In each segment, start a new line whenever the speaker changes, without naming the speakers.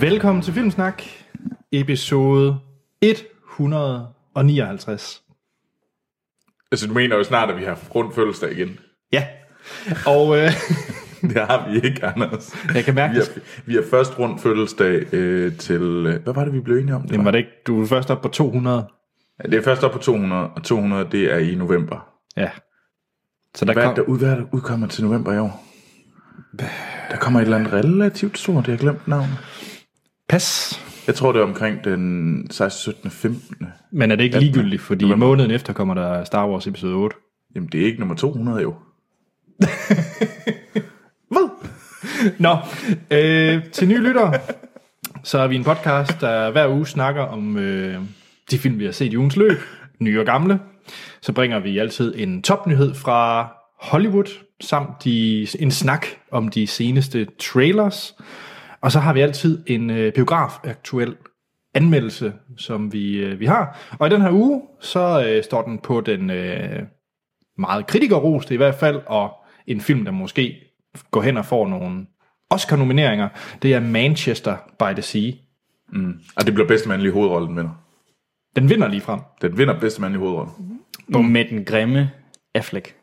Velkommen til Filmsnak, episode 159.
Altså, du mener jo snart, at vi har rundt fødselsdag igen.
Ja, og øh,
Det har vi ikke, Anders.
jeg kan mærke,
Vi
det.
har, vi har først rundt fødselsdag øh, til... øh, Hvad var det, vi blev enige om? Det,
Jamen, var
var,
det ikke, du er først op på 200.
det er først op på 200, og 200, det er i november.
Ja. Så der
Hvad,
kom,
kom... der, ud, hvad er der udkommer til november i år? Der kommer et eller andet relativt stort, jeg har glemt navnet.
pas.
Jeg tror, det er omkring den 16, 17, 15.
Men er det ikke ligegyldigt, fordi
november.
måneden efter kommer der Star Wars episode 8.
Jamen, det er ikke nummer 200 jo.
Hvad? Nå, øh, til nye lyttere, så er vi en podcast, der hver uge snakker om øh, de film, vi har set i ugens løb, nye og gamle. Så bringer vi altid en topnyhed fra Hollywood, samt de, en snak om de seneste trailers. Og så har vi altid en øh, biograf-aktuel anmeldelse, som vi, øh, vi har. Og i den her uge, så øh, står den på den... Øh, meget kritikerrost i hvert fald, og en film, der måske går hen og får nogle Oscar-nomineringer, det er Manchester by the Sea.
Og det bliver bedste mandlige hovedrolle, den vinder.
Den vinder lige frem.
Den vinder bedste mandlige hovedrolle.
Bum. Med den grimme Affleck.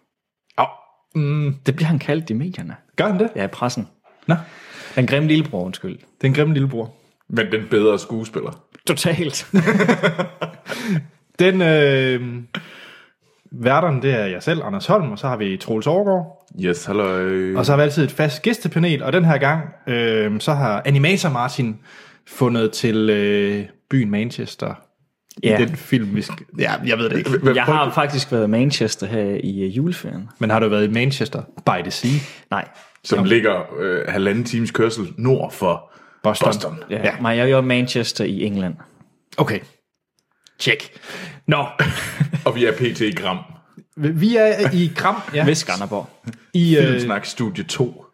Au. Mm,
Det bliver han kaldt i medierne.
gør den det?
Ja, i pressen.
Nå,
Den grimme lillebror, undskyld.
den grimme lillebror.
Men den bedre skuespiller.
Totalt.
Den øh, værterne, det er jeg selv, Anders Holm, og så har vi Troels Overgaard.
Yes, halløj.
Og så har vi altid et fast gæstepanel, og den her gang, øh, så har animator Martin fundet til øh, byen Manchester.
ja.
Den film, vi skal... Ja, jeg ved det ikke.
Hvem-
Jeg har faktisk været i Manchester her i øh, juleferien.
Men har du været i Manchester by the Sea?
Nej.
som ligger øh, halvanden times kørsel nord for
Boston.
Boston. Boston.
Ja. ja. Nej, jeg var i Manchester i England.
Okay. Tjek. Nå,
Og vi er pt. i Gram.
vi er i Kram. Ja,
Ved Skanderborg.
i, øh,
Filmsnak Studie 2.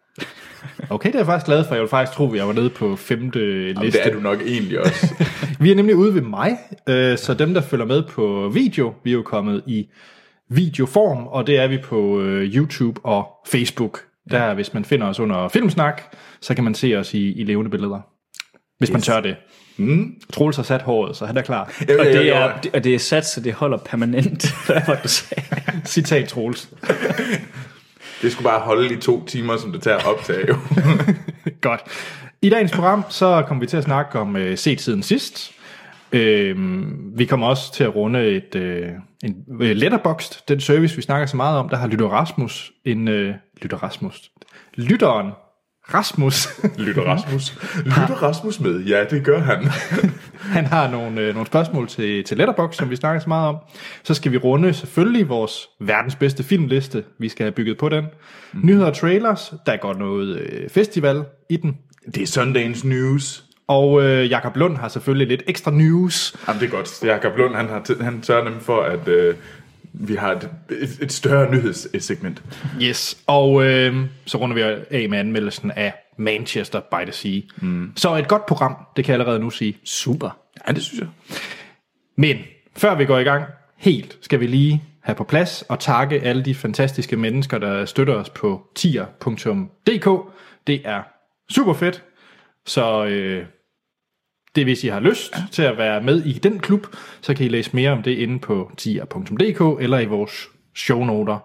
okay, det er jeg faktisk glad for. Jeg ville faktisk tro, vi var nede på femte
Jamen, det
liste.
er du nok egentlig også.
Vi er nemlig ude ved mig, øh, så dem, der følger med på video, vi er jo kommet i videoform, og det er vi på øh, YouTube og Facebook. Der, hvis man finder os under Filmsnak, så kan man se os i, i levende billeder. Hvis yes. man tør det. Mm. Troels har sat håret, så han er klar.
Og
jo,
det
jo.
er, og det er sat, så det holder permanent. Hvad var det, du sagde?
Citat Troels.
Det skulle bare holde i to timer, som det tager at optage. jo.
Godt. I dagens program, så kommer vi til at snakke om øh, set siden sidst. Øhm, vi kommer også til at runde et, øh, en øh, letterboxd, den service, vi snakker så meget om. Der har Lytter Rasmus en... Øh, Lytter Rasmus. Lytteren Rasmus,
Lytter Rasmus. Lytter Rasmus med? Ja, det gør han.
han har nogle, øh, nogle spørgsmål til, til Letterboxd, som vi snakker så meget om. Så skal vi runde selvfølgelig vores verdens bedste filmliste. Vi skal have bygget på den. Mm. Nyheder og trailers. Der går noget øh, festival i den.
Det er Sundagens News.
Og øh, Jakob Lund har selvfølgelig lidt ekstra news.
Jamen, det er godt. Jakob Lund, han, har t- han tør nemlig for, at øh, vi har et, et, et større nyhedssegment.
Yes, og øh, så runder vi af med anmeldelsen af Manchester by the Sea. Mm. Så et godt program, det kan jeg allerede nu sige.
Super.
Ja, det synes jeg.
Men før vi går i gang, helt skal vi lige have på plads og takke alle de fantastiske mennesker, der støtter os på tier.dk. Det er super fedt, så øh, det er, hvis I har lyst ja. til at være med i den klub, så kan I læse mere om det inde på tier.dk eller i vores shownoter.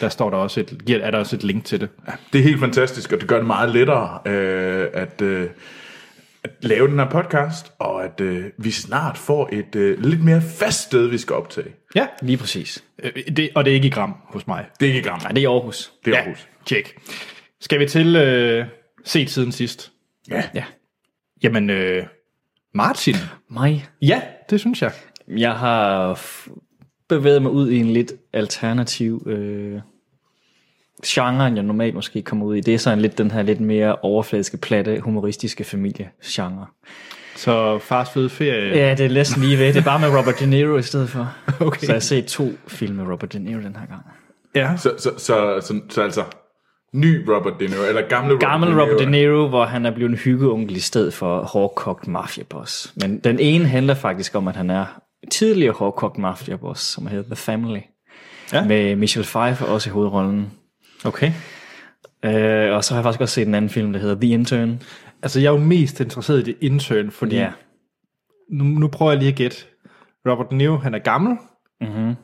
Der står der også et, er der også et link til det.
Det er helt fantastisk, og det gør det meget lettere øh, at, øh, at lave den her podcast, og at øh, vi snart får et øh, lidt mere fast sted, vi skal optage.
Ja,
Lige præcis.
Øh, Det, og det er ikke i gram hos mig.
Det er ikke Gram,
Nej, det er i Aarhus.
det er Aarhus.
Ja, tjek. Skal vi til øh, set siden sidst?
Ja.
Ja.
Jamen, øh, Martin.
Mig.
Ja, det synes jeg.
Jeg har f- bevæget mig ud i en lidt alternativ øh, genre, end jeg normalt måske kommer ud i. Det er sådan lidt den her lidt mere overfladiske, platte, humoristiske familiegenre.
Så fars fede ferie.
Ja, det er næsten lige ved. Det er bare med Robert De Niro i stedet for.
Okay.
Så jeg har set to film med Robert De Niro den her gang.
ja.
Så, så, så, så, så, så altså, ny Robert De Niro, eller gamle Robert
Gammel
De Niro.
Robert De Niro, hvor han er blevet en hyggeonkel i stedet for hårdkogt mafiaboss. Men den ene handler faktisk om, at han er tidligere hårdkogt mafiaboss, som hedder The Family.
Ja.
Med Michelle Pfeiffer også i hovedrollen.
Okay.
Øh, og så har jeg faktisk også set en anden film, der hedder The Intern.
Altså, jeg er jo mest interesseret i det intern, fordi
Ja.
yeah. nu, nu prøver jeg lige at gætte. Robert De Niro, han er gammel.
Mm-hmm.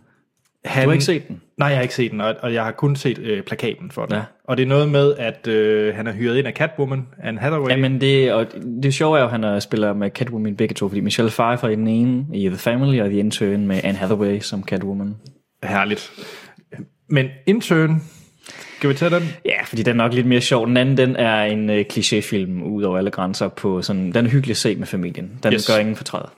Han,
Du har ikke set den?
Nej, jeg har ikke set den, og, og jeg har kun set øh, plakaten for den.
Ja.
Ja. Og det er noget med, at øh, han er hyret ind af Catwoman, Anne Hathaway.
Jamen det, og det sjove er jo, at han er- spiller med Catwoman begge to, fordi Michelle Pfeiffer i den ene i The Family, og The Intern med Anne Hathaway som Catwoman.
Herligt. Men intern, skal vi tage den?
Ja, fordi den er nok lidt mere sjov. Den anden, den er en øh, klichéfilm ud over alle grænser på sådan, den er hyggelig at se med familien. Den yes.
Yes.
gør ingen fortræd.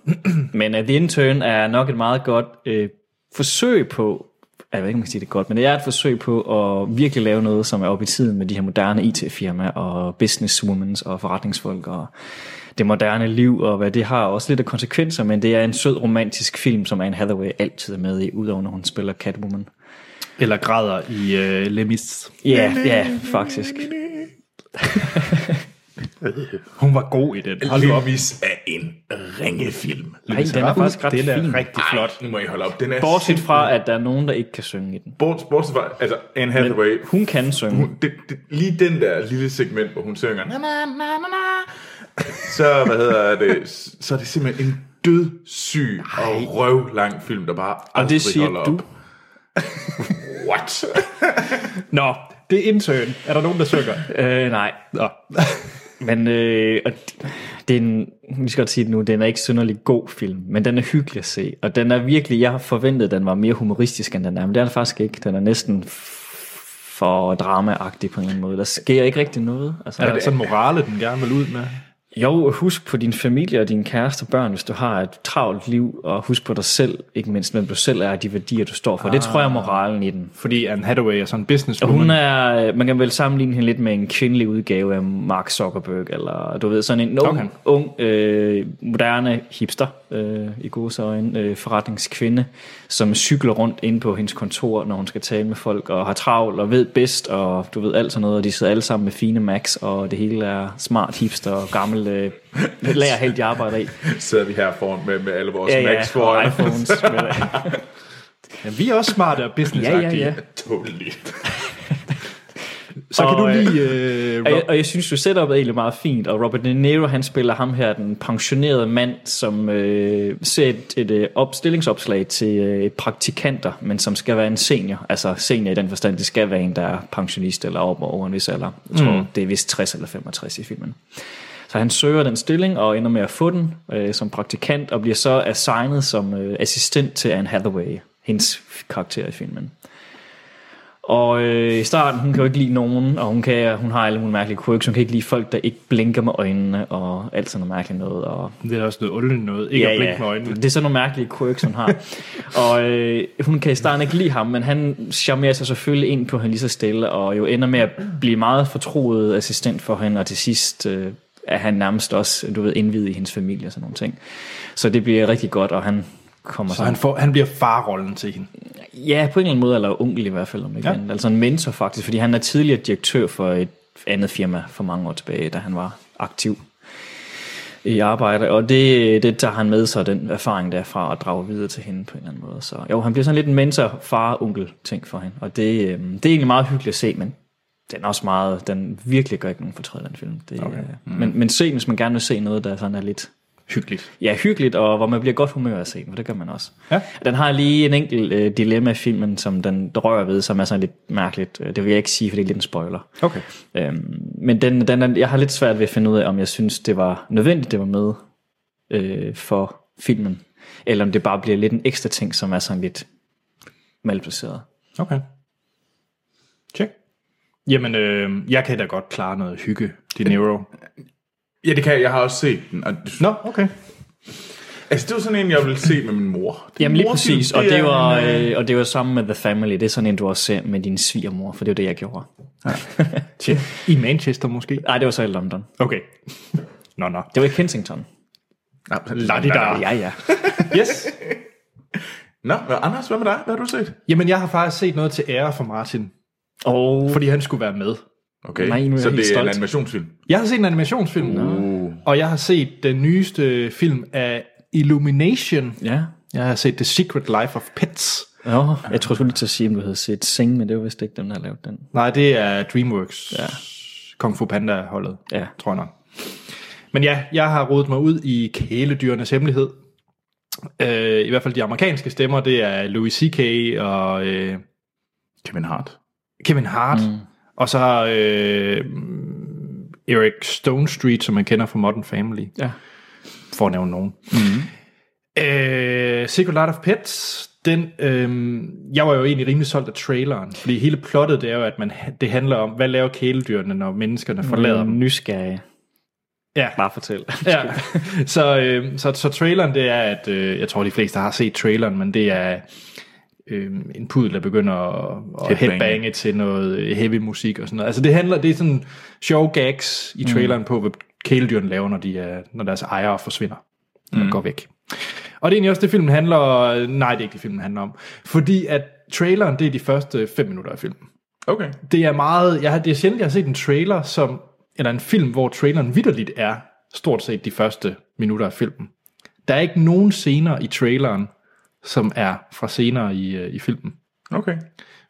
men uh, The Intern er nok et meget godt øh, forsøg på, jeg ved ikke, om man kan sige det er godt, men det er et forsøg på at virkelig lave noget, som er oppe i tiden med de her moderne IT-firmaer og businesswomens og forretningsfolk og det moderne liv og hvad det har også lidt af konsekvenser, men det er en sød romantisk film, som Anne Hathaway altid er med i, udover når hun spiller Catwoman.
Eller græder i øh, Les Mis.
Ja, yeah, ja, yeah, faktisk.
Hun var god i den. Hold nu op.
Levis er en ringefilm.
Nej, den er faktisk ret
den er
fin.
rigtig flot.
Ej, nu må I holde op. Den er
Bortset
sind-
fra, at der er nogen, der ikke kan synge i den.
Bort, bortset fra, altså Anne Hathaway, hun,
Hun kan synge.
det, det, lige den der lille segment, hvor hun synger, na, na, na, na, na, så, hvad hedder det, så er det simpelthen en dødssyg og røvlang film, der bare
Og det siger
holder
du.
Op. What?
Nå, det er intern. Er der nogen, der synger?
Øh, nej.
Nå.
Men øh, og d- det er en, vi skal godt sige det nu, den er ikke synderlig god film, men den er hyggelig at se. Og den er virkelig, jeg har forventet, at den var mere humoristisk, end den er, men det er den faktisk ikke. Den er næsten f- for dramaagtig på en eller anden måde. Der sker ikke rigtig noget. Altså,
Er der sådan en morale, den gerne vil ud med?
Jo, husk på din familie og din kæreste og børn, hvis du har et travlt liv, og husk på dig selv, ikke mindst hvem du selv er, og de værdier, du står for. Ah. Det tror jeg er moralen i den.
Fordi Anne Hathaway er sådan en businesswoman.
Hun er, øh, man kan vel sammenligne hende lidt med en kvindelig udgave af Mark Zuckerberg, eller du ved, sådan en ung, okay.
Okay.
ung øh, moderne hipster, øh, i gode øjne, øh, forretningskvinde, som cykler rundt ind på hendes kontor, når hun skal tale med folk, og har travlt, og ved bedst, og du ved alt sådan noget, og de sidder alle sammen med fine max, og det hele er smart hipster, og gammel øh, lærerhelt, jeg arbejder i.
Sidder vi her foran med, med alle vores
Ja,
ja,
ja,
Max
og
foran.
iPhones.
Ja, vi er også smarte og
ja, ja,
businessagtige.
ja.
Totally.
Så kan
Og,
du
øh,
lige... Øh,
Og
Rob,
jeg, og jeg synes jo setupet er egentlig meget fint, og Robert De Niro han spiller ham her, den pensionerede mand, som øh, ser et, et øh, op, stillingsopslag til øh, praktikanter, men som skal være en senior. Altså senior i den forstand, det skal være en, der er pensionist eller op over en vis alder. Jeg tror, mm. det er vist 60 eller 65 i filmen. Så han søger den stilling og ender med at få den øh, som praktikant, og bliver så assignet som øh, assistent til Anne Hathaway, hendes karakter i filmen. Og øh, i starten, hun kan jo ikke lide nogen, og hun, kan, hun har alle mulige mærkelige quirks. Hun kan ikke lide folk, der ikke blinker med øjnene, og alt sådan noget mærkeligt noget. Og,
det er også noget underligt noget. Ikke ja, at blinke ja. med øjnene.
Det er sådan nogle mærkelige quirks, hun har. og øh, hun kan i starten ikke lide ham, men han charmerer sig selvfølgelig ind på hende lige så stille, og jo ender med at blive meget fortroet assistent for hende, og til sidst øh, er han nærmest også, du ved, indvidet i hendes familie og sådan nogle ting. Så det bliver rigtig godt, og han kommer
Så han, får, han bliver farrollen til hende.
Ja, på en eller anden måde, eller onkel i hvert fald, om ikke ja.
Ja.
andet. Altså en mentor faktisk, fordi han er tidligere direktør for et andet firma for mange år tilbage, da han var aktiv i arbejde, og det, det tager han med sig, den erfaring derfra, og drager videre til hende på en eller anden måde. Så jo, han bliver sådan lidt en mentor, far, onkel ting for hende, og det, øh, det er egentlig meget hyggeligt at se, men den er også meget, den virkelig gør ikke nogen fortræd, den film. Det, okay. mm. men, men se, hvis man gerne vil se noget, der sådan er lidt
Hyggeligt.
ja, hyggeligt, og hvor man bliver godt humør af at se den, for det gør man også.
Ja.
Den har lige en enkelt øh, dilemma i filmen, som den rører ved, som er sådan lidt mærkeligt. Øh, Det vil jeg ikke sige, for det er lidt en spoiler.
Okay.
Øhm, men den, den, er- jeg har lidt svært ved at finde ud af, om jeg synes, det var nødvendigt, det var med øh, for filmen, eller om det bare bliver lidt en ekstra ting, som er sådan lidt malplaceret.
Okay. Check. Jamen, øh, jeg kan da godt klare noget hygge, De Niro.
Ja, det kan jeg. Jeg har også set den. Og,
Nå, okay.
altså, det var sådan en, jeg ville se med min mor. Det er
Jamen lige
morfilm,
præcis, og det, var,
en, øh,
øh, og det var sammen med The Family, det er sådan en, du også ser med din svigermor, for det var det, jeg gjorde.
Check. I Manchester måske?
Nej, det var så i London.
Okay. Nå, nå.
Det var i Kensington.
Nå,
Ladidar.
Ja, ja.
Yes.
Nå, men Anders, hvad med dig? Hvad har du set?
Jamen, jeg har faktisk set noget til ære for Martin,
Og
fordi han skulle være med.
Okay,
Nej, nu er jeg
så
helt
det er
stolt.
en animationsfilm.
Jeg har set en animationsfilm,
Uh.
og jeg har set den nyeste film af Illumination.
ja,
Jeg har set The Secret Life of Pets.
Nå, jeg tror sgu lige til at sige, om du havde set Sing, men det var vist ikke dem, der har lavet den.
Nej, det er DreamWorks ja.
Ja.
Kung Fu Panda-holdet,
Ja.
tror jeg nok. Men ja, jeg har rodet mig ud i kæledyrenes hemmelighed. Øh, I hvert fald de amerikanske stemmer, det er Louis C.K. og øh,
Kevin Hart.
Kevin Hart. Mm. Og så øh, Eric Stone Street, som man kender fra Modern Family,
Ja.
for at nævne nogen. Mm. Øh, Secret Life of Pets, den, øh, jeg var jo egentlig rimelig solgt af traileren, fordi hele plottet det er jo, at man, det handler om, hvad laver kæledyrene, når menneskerne forlader
Øhm.
mm. dem.
nysgerrig.
Ja.
Bare fortæl.
Ja. Så, øh, så, så traileren, det er, at øh, jeg tror, de fleste har set traileren, men det er øh, en pudel, der begynder at, at
Headbange.
headbange til noget heavy musik og sådan noget. Altså det handler, det er sådan sjove gags i traileren mm. på, hvad kæledyrene laver, når, de er, når deres ejere forsvinder mm. og går væk. Og det er egentlig også det, filmen handler Nej, det er ikke det, filmen handler om. Fordi at traileren, det er de første fem minutter af filmen
Okay.
det er meget, jeg har, det er sjældent, jeg har set en trailer, som, eller en film, hvor traileren vidderligt er stort set de første minutter af filmen. Der er ikke nogen scener i traileren, som er fra senere i, øh, i filmen.
Okay.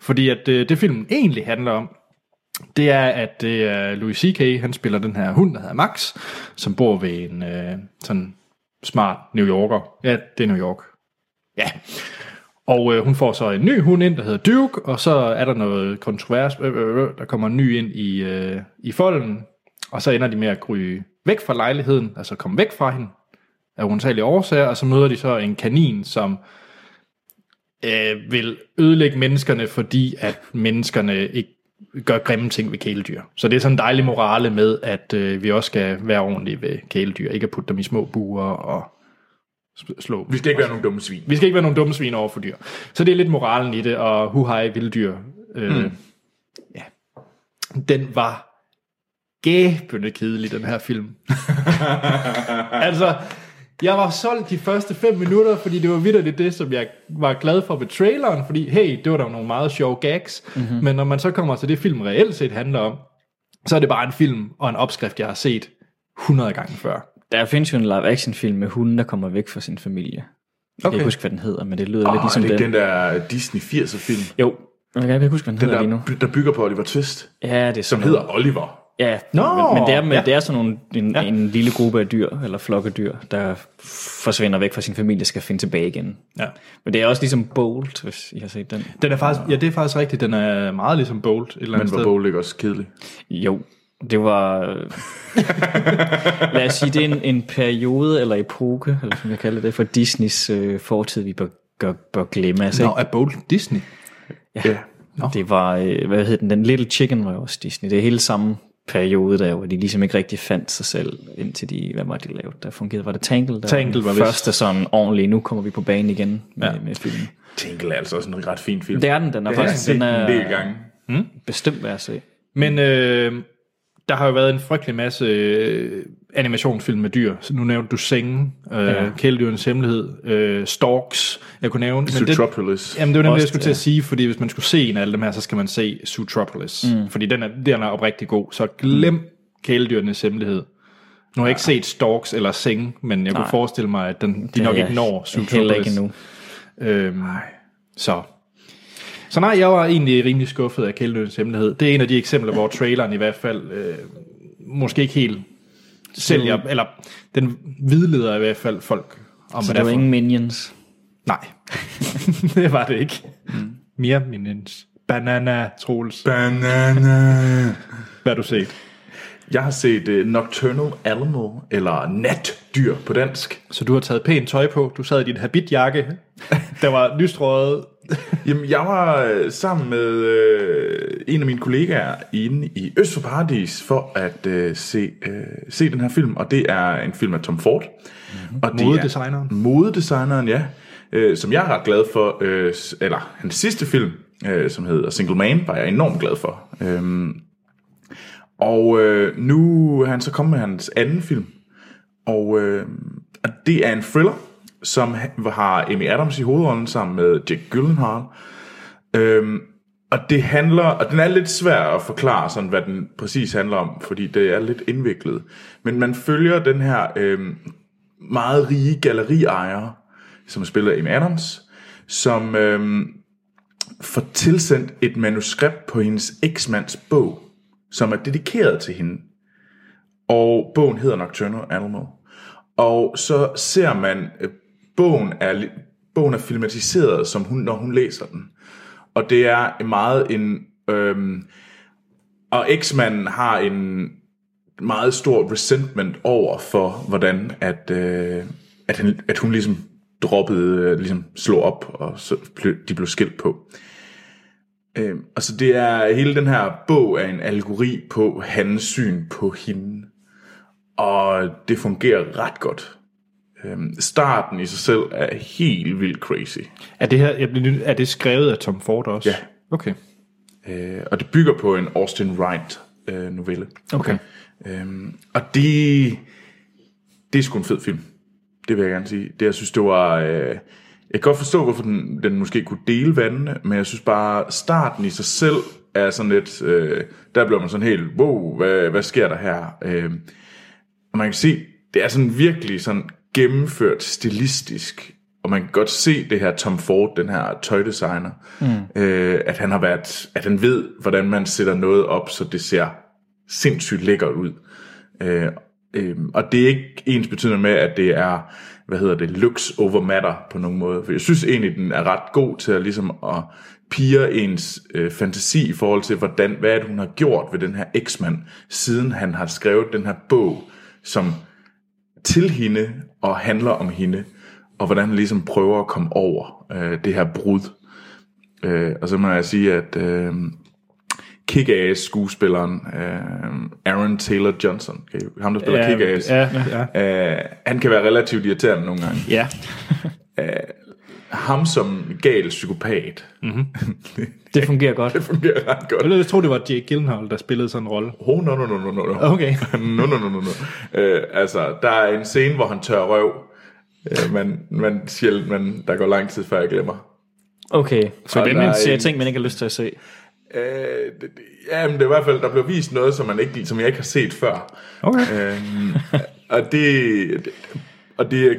Fordi at øh, det filmen egentlig handler om, det er, at det er Louis C.K., han spiller den her hund, der hedder Max, som bor ved en øh, sådan smart New Yorker. Ja, det er New York. Ja. Og øh, hun får så en ny hund ind, der hedder Duke, og så er der noget kontrovers, øh, øh, øh, der kommer en ny ind i, øh, i folden, og så ender de med at gryde væk fra lejligheden, altså komme væk fra hende af uantagelige årsager, og så møder de så en kanin, som øh, vil ødelægge menneskerne, fordi at menneskerne ikke gør grimme ting ved kæledyr. Så det er sådan en dejlig morale med, at øh, vi også skal være ordentlige ved kæledyr, ikke at putte dem i små buer og sp- slå dem.
Vi skal ikke være nogen dumme svin.
Vi skal ikke være nogle dumme svin over for dyr. Så det er lidt moralen i det, og hu hej, vilde dyr. Øh, mm. ja. Den var gæbende kedelig, den her film. altså, jeg var solgt de første fem minutter, fordi det var vidderligt det, som jeg var glad for ved traileren, fordi hey, det var der nogle meget sjove gags, mm-hmm. men når man så kommer til det, film reelt set handler om, så er det bare en film og en opskrift, jeg har set 100 gange før.
Der findes jo en live action film med hunden, der kommer væk fra sin familie. Okay. Jeg kan
Okay.
ikke huske, hvad den hedder, men det lyder
Åh,
lidt ligesom
Ah, det er
den.
ikke den der øh, Disney 80'er film.
Jo, jeg kan ikke huske, hvad den,
Den
hedder lige nu.
der, by- der bygger på Oliver Twist,
Ja, det
som
er sådan
hedder Oliver.
Ja,
Nå,
men, men det er, med,
ja.
ja. det er sådan nogle, en, ja. en lille gruppe af dyr, eller flokke dyr, der forsvinder væk fra sin familie, skal finde tilbage igen.
Ja.
Men det er også ligesom Bolt, hvis I har set den.
Den er faktisk, ja, det er faktisk rigtigt. Den er meget ligesom Bolt et eller andet
Men
sted.
var Bowl ikke også kedelig?
Jo, det var... øh, lad os sige, det er en, en periode eller epoke, eller som jeg kalder det, for Disneys øh, fortid, vi bør, gør, bør glemme. Altså,
Nå, er Bolt Disney?
Ja.
no. Det var, øh, hvad hed den, den Little Chicken var jo også Disney. Det er hele samme periode der, hvor de ligesom ikke rigtig fandt sig selv, indtil de, hvad var det, de lavede, der fungerede? Var det Tangled? Der
Tangled var
var
vist.
den første sådan ordentlig, nu kommer vi på banen igen med, ja. med filmen.
Tingle er altså også en ret fin film.
Det er den, den er
Jeg har
faktisk,
set
den øh,
den en del
er
gange.
bestemt værd at se.
Men øh, der har jo været en frygtelig masse øh, animationsfilm med dyr. Så nu nævnte du Senge, øh, ja. Kæledyrens Hemmelighed, øh, Storks, jeg kunne nævne. Men det,
Zootropolis.
jamen, det var nemlig,
Også,
jeg skulle til at sige, fordi hvis man skulle se en af alle dem her, så skal man se Zootropolis. Mm. Fordi den er, den er oprigtig god. Så glem mm. Kæledyrenes Hemmelighed. Nu har jeg ikke set Storks eller Senge, men jeg Nej. kunne forestille mig, at den, de nok
Ja,
ikke når Zootropolis.
Heller ikke endnu.
Øhm, nej. Så. Så nej, jeg var egentlig rimelig skuffet af Kældøens Hemmelighed. Det er en af de eksempler, hvor traileren i hvert fald øh, måske ikke helt sælger, eller den vidleder i hvert fald folk. Om
Så
hvad
der
det
var
er
ingen Minions.
for- Nej, det var det ikke. Mere minens. Banana, Troels.
Banana.
Hvad har du set?
Jeg har set uh, Nocturnal Animal, eller natdyr på dansk.
Så du har taget pænt tøj på. Du sad i din habitjakke. Der var lystrøget.
Jamen, jeg var øh, sammen med øh, en af mine kollegaer inde i Øst for Paradis for at øh, se, øh, se den her film, og det er en film af Tom Ford. Mm-hmm. Og det er-
Modedesigneren.
Modedesigneren, ja. Øh, som jeg er ret glad for, øh, s- eller hans sidste film, øh, som hedder Single Man, var jeg enormt glad for. Øhm, og øh, nu er han så kommet med hans anden film, og øh, og det er en thriller, som ha- har Amy Adams i hovedrollen sammen med Jack Gyllenhaal. Øhm, og det handler, og den er lidt svær at forklare, sådan, hvad den præcis handler om, fordi det er lidt indviklet. Men man følger den her øhm, meget rige galleriejer, som spiller Amy Adams, som øhm, får tilsendt et manuskript på hendes eksmands bog, som er dedikeret til hende. Og bogen hedder Nocturnal Animal. Og så ser man, øh, bogen er, li- bogen er filmatiseret, som hun, når hun læser den. Og det er meget en... Øhm, og X-manden har en meget stor resentment over for, hvordan at, øh, at, han, at hun ligesom droppede, øh, ligesom slog op, og så blev, de blev skilt på. Øh, og så det er, hele den her bog er en allegori på hans syn på hende. Og det fungerer ret godt. Øh, starten i sig selv er helt vildt crazy.
Er det, her, jeg bliver, nødt- er det skrevet af Tom Ford også?
Ja.
Okay.
Øh, og det bygger på en Austin Wright øh, novelle.
Okay.
Øhm, og det, det er sgu en fed film. Det vil jeg gerne sige. Det, jeg synes, det var... Øh, jeg kan godt forstå, hvorfor den, den måske kunne dele vandene, men jeg synes bare, starten i sig selv er sådan lidt... Øh, der blev man sådan helt, wow, hvad, hvad sker der her? Øh, og man kan se, det er sådan virkelig sådan gennemført stilistisk. Og man kan godt se det her Tom Ford, den her tøjdesigner, mm. øh, at han har været, at han ved, hvordan man sætter noget op, så det ser sindssygt lækkert ud. Øh, øh, og det er ikke ens betydende med, at det er, hvad hedder det, looks over matter på nogen måde. For jeg synes egentlig, den er ret god til at, ligesom at pige ens øh, fantasi i forhold til, hvordan, hvad er det, hun har gjort ved den her eksmand, siden han har skrevet den her bog, som til hende og handler om hende, og hvordan han ligesom prøver at komme over øh, det her brud. Øh, og så må jeg sige, at øh, Kick-Ass skuespilleren øh, Aaron Taylor Johnson, kan I- ham der spiller ja, Kick-Ass,
ja, ja.
øh, han kan være relativt irriterende nogle gange.
ja.
Ham som gal psykopat,
Mm.
Det fungerer godt.
det fungerer ret godt.
Jeg ville tro, det var Jake Gyllenhaal, der spillede sådan en rolle.
Oh, no, no, no, no, no, no.
Okay.
no, no, no, no, no. Øh, altså, der er en scene, hvor han tør røv. Øh, man, man sjældent, men der går lang tid, før jeg glemmer.
Okay, så
Og
det
der er
man ser
en-
ting, man ikke har lyst til at se.
Øh, det, det- ja, men det er i hvert fald, der blev vist noget, som, man ikke, som jeg ikke har set før.
Okay.
Øhm, og det, det- og det, er-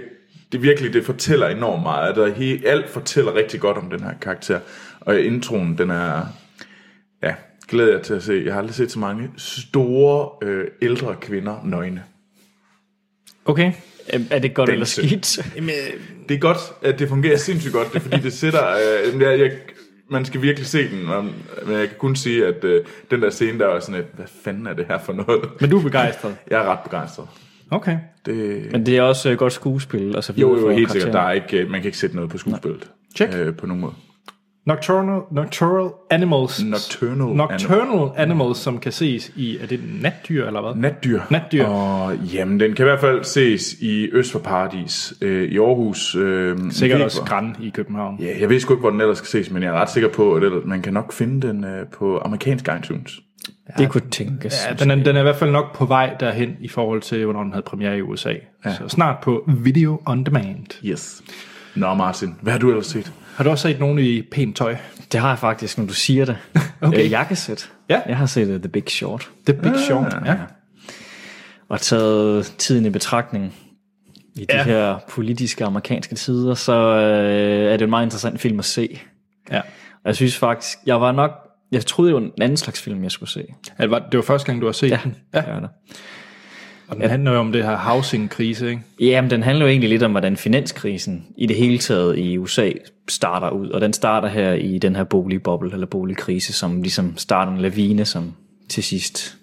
det virkelig, det fortæller enormt meget. Der er he, alt fortæller rigtig godt om den her karakter. Og introen, den er... Ja, glæder jeg til at se. Jeg har aldrig set så mange store, øh, ældre kvinder nøgne.
Okay. Er det godt
Den
eller
sø.
skidt?
Det er godt, at det fungerer sindssygt godt, det er, fordi det sætter... Øh, jeg, jeg, man skal virkelig se den, og- men jeg kan kun sige, at øh, den der scene, der var sådan et, hvad fanden er det her for noget?
Men du er begejstret.
Jeg er ret begejstret.
Okay.
Det,
Men det er også øh, godt skuespil og så videre.
jo, jo,
for
helt sikkert. Der
karakteren.
er ikke, øh, man kan ikke sætte noget på skuespillet.
Check.
Øh, på nogen måde.
Nocturnal, nocturnal Animals.
Nocturnal.
Nocturnal Animals, som kan ses i... Er det natdyr eller hvad?
Natdyr.
Natdyr.
Og jamen, den kan i hvert fald ses i Øst for Paradis, øh, i Aarhus. Øh,
Sikkert
Vibber.
også Gran i København.
Ja, jeg ved sgu ikke, hvor den ellers skal ses, men jeg er ret sikker på, at ellers- man kan nok finde den øh, på amerikansk iTunes.
Det kunne tænkes.
Ja, den er, den er i hvert fald nok på vej derhen i forhold til, hvornår den havde premiere i USA. Ja. Så snart på Video On Demand.
Yes. Nå, Martin, hvad har du ellers set?
Har du også set nogen i pænt tøj?
Det har jeg faktisk, når du siger det.
Okay.
Øh, Jeg kan sætte.
Ja.
Jeg har set øh, The Big Short.
The Big
Ah.
Short. Ja.
Og taget tiden i betragtning i de
Ja.
her politiske amerikanske tider, så øh, er det en meget interessant film at se.
ja.
Og jeg synes faktisk, jeg var nok... Jeg troede jo en anden slags film, jeg skulle se.
ja. det var- Det var første gang, du har set ja. den.
Ja. Det var det.
Og den handler jo om det her housing-krise, ikke?
Jamen, den handler jo egentlig lidt om, hvordan finanskrisen i det hele taget i USA starter ud, og den starter her i den her boligboble eller boligkrise, som ligesom starter en lavine, som til sidst,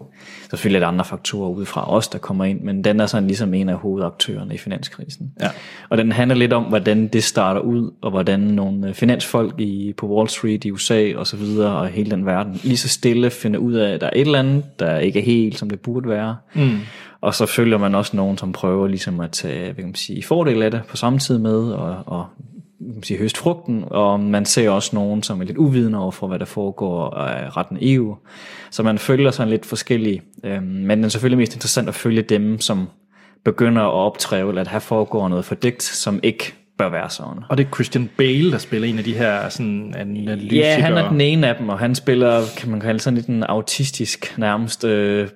selvfølgelig er der andre faktorer udefra os, der kommer ind, men den er sådan ligesom en af hovedaktørerne i finanskrisen.
Ja.
Og den handler lidt om, hvordan det starter ud, og hvordan nogle øh, finansfolk i, på Wall Street i USA og så videre, og hele den verden, lige så stille finder ud af, at der er et eller andet, der ikke er helt, som det burde være. Mm. Og så følger man også nogen, som prøver ligesom at tage hvad kan man sige, fordel af det på samme tid med, og, og hvad kan man sige, høste frugten, og man ser også nogen, som er lidt uvidende over for, hvad der foregår og er ret naive. Så man følger sådan lidt forskellige, øhm, men det er selvfølgelig mest interessant at følge dem, som begynder at optræve, eller at her foregår noget fordækt, som ikke bør være sådan.
Og det er Christian Bale, der spiller en af de her sådan, analytikere.
Ja, han er den ene af dem, og han spiller, kan man kalde sådan lidt en autistisk, nærmest øh,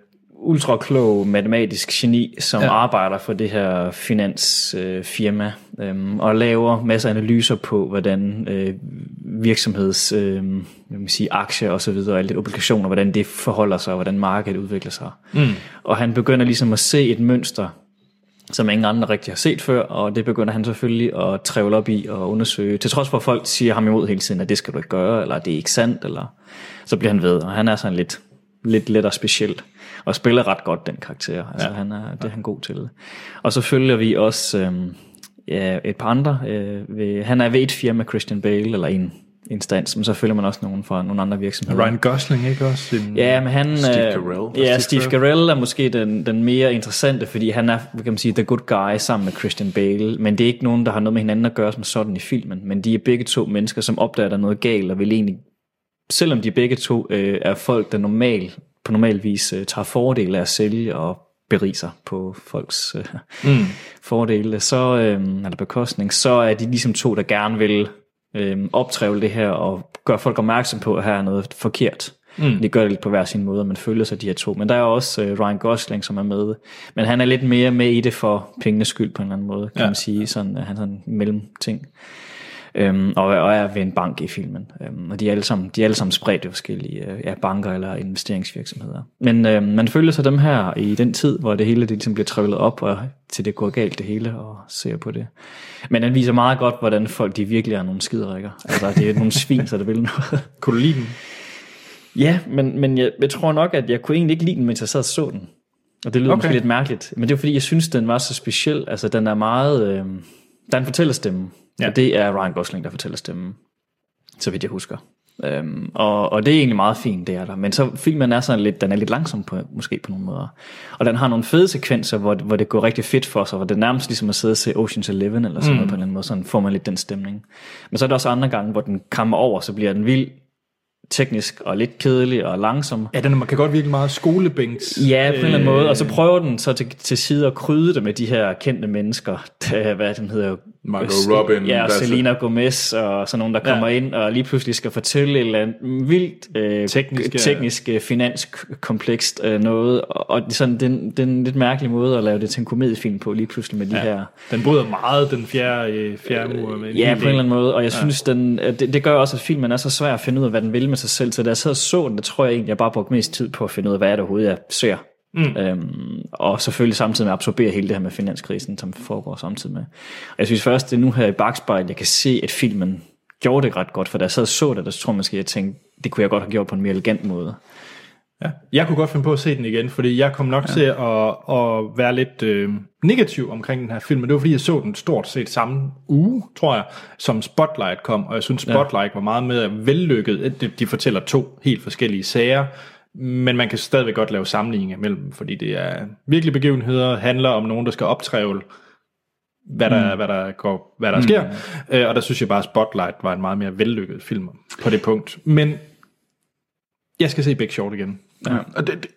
ultraklog matematisk geni, som ja. arbejder for det her finansfirma, øh, firma, øhm, og laver masser af analyser på, hvordan øh, virksomheds øh, hvad man sige, aktier og så videre, og alle de obligationer, hvordan det forholder sig, og hvordan markedet udvikler sig. Mm. Og han begynder ligesom at se et mønster, som ingen andre rigtig har set før, og det begynder han selvfølgelig at trævle op i og undersøge, til trods for at folk siger ham imod hele tiden, at det skal du ikke gøre, eller det er ikke sandt, eller så bliver han ved, og han er sådan lidt, lidt let og speciel, og spiller ret godt den karakter, altså ja. han er, det er han god til. Og så følger vi også øhm, ja, et par andre, øh, ved, han er ved et firma, Christian Bale, eller en instans, men så følger man også nogen fra nogle andre virksomheder.
Ryan Gosling, ikke også? En,
Ja, men han...
Øhm, Steve
øh,
Carell.
Ja, Steve Carell er måske den, den mere interessante, fordi han er, hvad kan man sige, the good guy sammen med Christian Bale, men det er ikke nogen, der har noget med hinanden at gøre som sådan i filmen, men de er begge to mennesker, som opdager, at der er noget galt, og vil egentlig, selvom de begge to øh, er folk, der normal, på normal vis øh, tager fordele af at sælge og berige sig på folks øh, mm. fordele, så, øh, eller bekostning, så er de ligesom to, der gerne vil øh, optrævle det her og gøre folk opmærksom på, at her er noget forkert. Mm. Det gør det lidt på hver sin måde, og man følger sig de her to. Men der er også øh, Ryan Gosling, som er med. Men han er lidt mere med i det for pengenes skyld på en eller anden måde, kan ja. man sige. Sådan, øh, han er sådan en mellemting. Øhm, og, og er ved en bank i filmen. Øhm, og de er alle sammen, de er alle sammen spredt i forskellige øh, ja, banker eller investeringsvirksomheder. Men øhm, man følger så dem her i den tid, hvor det hele det ligesom bliver trykket op, og til det går galt det hele, og ser på det. Men den viser meget godt, hvordan folk de virkelig er nogle skiderikker. Altså, det er nogle svin, så der vil noget.
Kunne du lide den?
Ja, men, men jeg, jeg tror nok, at jeg kunne egentlig ikke lide den, mens jeg sad og så den. Og det lyder okay. måske lidt mærkeligt. Men det er fordi, jeg synes, den var så speciel. Altså, den er meget... Øh, der er en fortællerstemme. Ja. Og det er Ryan Gosling, der fortæller stemmen. Så vidt jeg husker. Øhm, og, og det er egentlig meget fint, det er der. Men så filmen er sådan lidt, den er lidt langsom på, måske på nogle måder. Og den har nogle fede sekvenser, hvor, hvor det går rigtig fedt for sig, hvor det er nærmest ligesom at sidde og se Ocean's Eleven, eller sådan mm. noget på en eller anden måde, sådan får man lidt den stemning. Men så er der også andre gange, hvor den kammer over, så bliver den vild, teknisk og lidt kedelig og langsom. Øh,
Ja, den man kan godt virke meget skolebænks. øh,
Ja, på en eller anden måde. Og så prøver den så til, til side at krydde det med de her kendte mennesker. Der, hvad den hedder?
Margot Robin,
Ja, og
der er så-
Selena Gomez og sådan nogen, der kommer ja. ind og lige pludselig skal fortælle et eller andet vildt øh,
Teknisk,
teknisk,
ja.
teknisk øh, finanskomplekst øh, noget. Og, og sådan, det, er en- det er en lidt mærkelig måde at lave det til en komediefilm på lige pludselig med de ja. her
Den bryder meget den fjerde, øh, fjerde mur. Med en
Ja,
hel
på en
del.
eller anden måde, og jeg synes, den, at det, det gør også, at filmen er så svær at finde ud af, hvad den vil med sig selv, så da jeg sad og så den, der tror jeg egentlig, jeg bare brugte mest tid på at finde ud af, hvad er det overhovedet, jeg ser. Mm. Øhm, og selvfølgelig samtidig med at absorbere hele det her med finanskrisen, som foregår samtidig med. Og jeg synes først, det er nu her i bagspejlet, jeg kan se, at filmen gjorde det ret godt, for da jeg sad og så det, der tror jeg måske, jeg tænkte, det kunne jeg godt have gjort på en mere elegant måde.
Jeg kunne godt finde på at se den igen, fordi jeg kom nok ja. til at, at være lidt øh, negativ omkring den her film, men det var fordi, jeg så den stort set samme uge, tror jeg, som Spotlight kom, og jeg synes, Spotlight ja. var meget mere vellykket. Øh, De, de fortæller to helt forskellige sager, men man kan stadigvæk godt lave sammenligninger imellem, dem, fordi det er virkelig begivenheder, handler om nogen, der skal optrævle, hvad der, mm. hvad der, går, hvad der mm. sker. Øh, og der synes jeg bare, at Spotlight var en meget mere vellykket film på det punkt. Men jeg skal se Big Short igen.
Ja. Mm. Og det, det,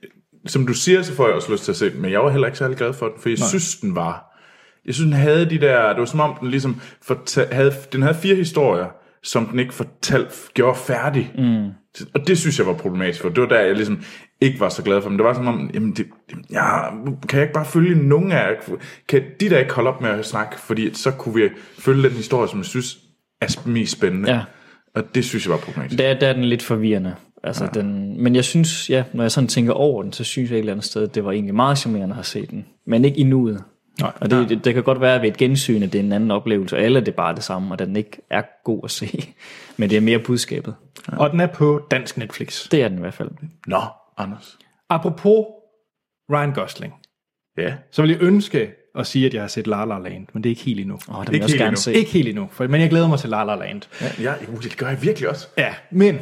som du siger, så får jeg også lyst til at se den, men jeg var heller ikke særlig glad for den, for jeg Nej. synes, den var... Jeg synes, den havde de der... Det var som om, den ligesom forta- havde, den havde fire historier, som den ikke fortalte, gjorde færdig. Mm. Og det synes jeg var problematisk for. Det var der, jeg ligesom ikke var så glad for. Men det var som om, jamen det, ja, kan jeg ikke bare følge nogen af jer? Kan de der ikke holde op med at snakke? Fordi så kunne vi følge den historie, som jeg synes er mest spændende.
Ja.
Og det synes jeg var problematisk.
Der, der er den lidt forvirrende. Altså, ja. den, men jeg synes, ja, når jeg sådan tænker over den, så synes jeg et eller andet sted, at det var egentlig meget charmerende at have set den. Men ikke i nuet.
Nej.
og det, det, det kan godt være ved et gensyn, at det er en anden oplevelse, eller det er bare det samme, og den ikke er god at se. Men det er mere budskabet.
Og den er på dansk Netflix.
Det er den i hvert fald.
Nå, Anders.
Apropos Ryan Gosling,
Ja.
så vil jeg ønske at sige, at jeg har set La La Land, men det er ikke helt endnu.
Åh, oh, den vil jeg også
helt
gerne
endnu.
se.
Ikke helt endnu, for, men jeg glæder mig til La La Land. Ja,
Ja, jo, det gør jeg virkelig også.
ja men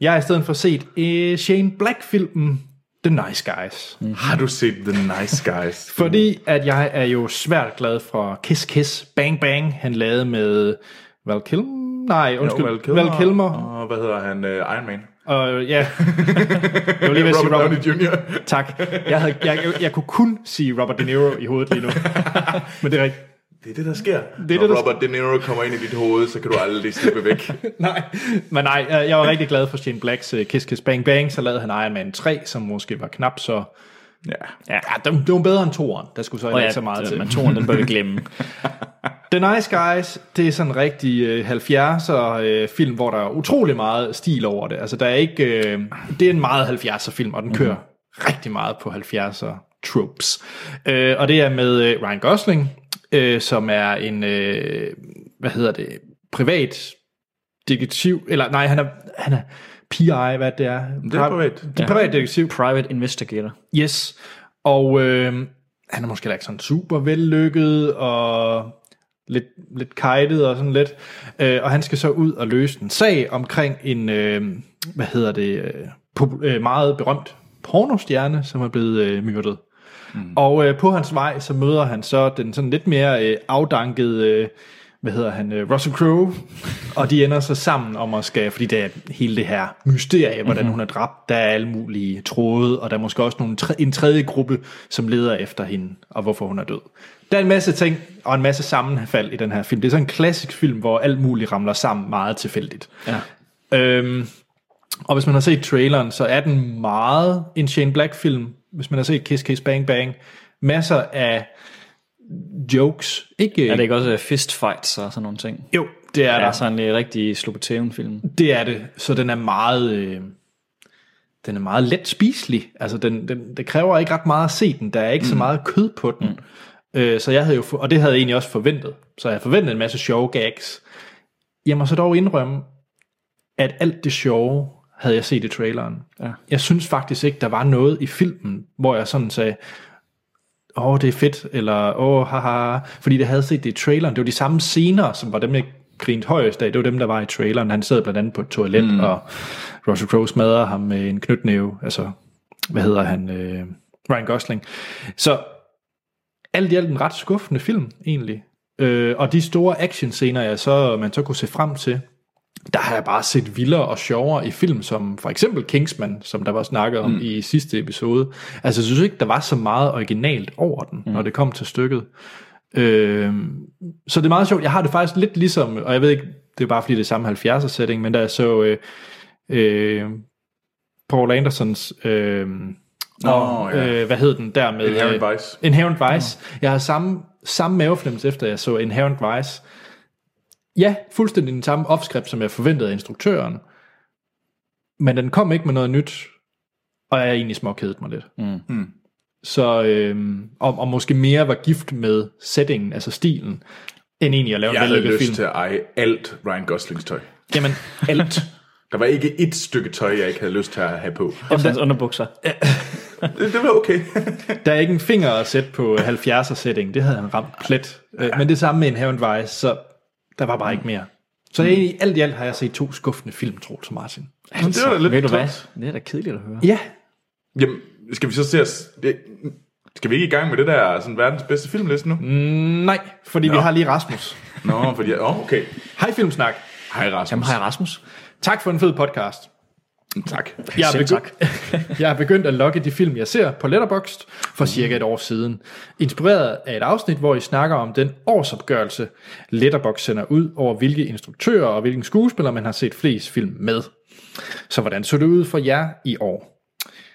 jeg har i stedet for set uh, Shane Black-filmen The Nice Guys.
Mhm.
Mm.
Har du set The Nice Guys?
Fordi at jeg er jo svært glad for Kiss Kiss Bang Bang, han lavede med Val Kilmer? Nej, undskyld.
Val Kilmer.
Val Kilmer.
Og hvad hedder han? Uh, Iron Man.
Og, ja, jeg var lige ved at sige
Robert Downey
Robert.
Jr.
Tak. Jeg, havde, jeg, jeg, jeg kunne kun sige Robert De Niro i hovedet lige nu. Men det er rigtigt.
Det er det, der sker. Det er
det,
Når
der
Robert De Niro kommer ind i dit hoved, så kan du aldrig slippe væk.
nej, men nej, øh, jeg var rigtig glad for Shane Blacks øh, Kiss Kiss Bang Bang, så lavede han Iron Man 3, som måske var knap så...
ja.
Ja, det, det var bedre end toeren, der skulle så oh,
Og
ikke
ja,
så meget
det-
til.
men toren, den bør vi glemme.
The Nice Guys, det er sådan en rigtig øh, 70'er øh, film, hvor der er utrolig meget stil over det. Altså der er ikke, øh, det er en meget 70'er film, og den kører mm. rigtig meget på 70'er tropes. Øh, og det er med øh, Ryan Gosling, øh, som er en, øh, hvad hedder det, privat detektiv, eller nej, han er, han er PI, hvad det er.
Det er privat.
Det er privat detektiv.
Private Investigator.
Yes, og øh, han er måske heller ikke sådan super vellykket, og lidt, lidt kajtet og sådan lidt. Øh, og han skal så ud og løse en sag omkring en, øh, hvad hedder det, øh, popu- øh, meget berømt pornostjerne, som er blevet øh, myrdet. Mm. Og øh, på hans vej, så møder han så den sådan lidt mere øh, afdankede, øh, hvad hedder han, øh, Russell Crowe, og de ender så sammen om at skal, fordi det er hele det her mysterie, hvordan mm-hmm. hun er dræbt, der er alle mulige tråde, og der er måske også nogle, tre- en tredje gruppe, som leder efter hende, og hvorfor hun er død. Der er en masse ting, og en masse sammenfald i den her film. Det er sådan en klassisk film, hvor alt muligt ramler sammen meget tilfældigt.
Ja.
Øhm, og hvis man har set traileren, så er den meget en Shane Black-film. Hvis man har set Kiss Kiss Bang Bang, masser af jokes. Ikke,
Er det ikke også øh, fistfights og sådan nogle ting?
Jo, det er
Ja.
der.
Der er sådan en rigtig Slobotæven-film.
Det er det. Så den er meget... Øh, den er meget let spiselig. Altså, den, den, det kræver ikke ret meget at se den. Der er ikke mm. så meget kød på den. Mm. Øh, så jeg havde jo, for- og det havde jeg egentlig også forventet. Så jeg forventede en masse sjove gags. Jeg må så dog indrømme, at alt det sjove havde jeg set i traileren.
Ja.
Jeg synes faktisk ikke, der var noget i filmen, hvor jeg sådan sagde, åh, oh, det er fedt, eller åh, oh, haha, fordi det havde set det i traileren. Det var de samme scener, som var dem, jeg grinte højest af. Det var dem, der var i traileren. Han sad blandt andet på et toilet, mm. og Russell Crowe smadrer ham med en knytnæve. Altså, hvad hedder han? Øh, Ryan Gosling. Så alt i alt en ret skuffende film, egentlig. Øh, og de store actionscener, jeg så, man så kunne se frem til, der har jeg bare set vildere og sjovere i film, som for eksempel Kingsman, som der var snakket om mm. i sidste episode. Altså, jeg synes ikke, der var så meget originalt over den, mm. når det kom til stykket. Øh, så det er meget sjovt. Jeg har det faktisk lidt ligesom, og jeg ved ikke, det er bare fordi det er samme 70'er setting, men da jeg så øh, øh, Paul Andersons... Øh,
Nå, ja.
øh, hvad hed den der med...
Inherent
øh,
Vice.
Inherent Vice. Jeg har samme, samme mavefornemmelse efter, jeg så Inherent Vice. Ja, fuldstændig den samme opskrift, som jeg forventede af instruktøren. Men den kom ikke med noget nyt, og jeg er egentlig småkedet mig lidt. Mm. Så, øhm, og, og måske mere var gift med settingen, altså stilen, end egentlig at lave
Jeg
en
havde
vellykket
lyst
film.
til at eje alt Ryan Goslings tøj.
Jamen, alt.
Der var ikke et stykke tøj, jeg ikke havde lyst til at have på.
Og hans underbukser.
Det, det var okay.
Der er ikke en finger at sætte på 70'er setting. Det havde han ramt plet. Øh, Men det samme med Inherent Vice, så der var bare ikke mere.
Mm.
Så egentlig, alt i alt har jeg set to skuffende film, Troels og Martin.
Men det var da lidt
Ved du hvad?
tungt.
Det er da kedeligt at høre.
Ja,
Jamen, skal vi så se os... det- Skal vi ikke i gang med det der sådan, verdens bedste filmliste nu? Mm.
nej, fordi vi har lige Rasmus.
Nå, fordi... Åh, oh, okay.
Hej Filmsnak.
Hej Rasmus.
Jamen, hej Rasmus.
Tak for en fed podcast.
Tak.
Jeg er,
Selv
begyndt, jeg er begyndt at logge de film, jeg ser på Letterboxd for cirka et år siden. Inspireret af et afsnit, hvor I snakker om den årsopgørelse, Letterboxd sender ud over, hvilke instruktører og hvilken skuespiller, man har set flest film med. Så hvordan så det ud for jer i år?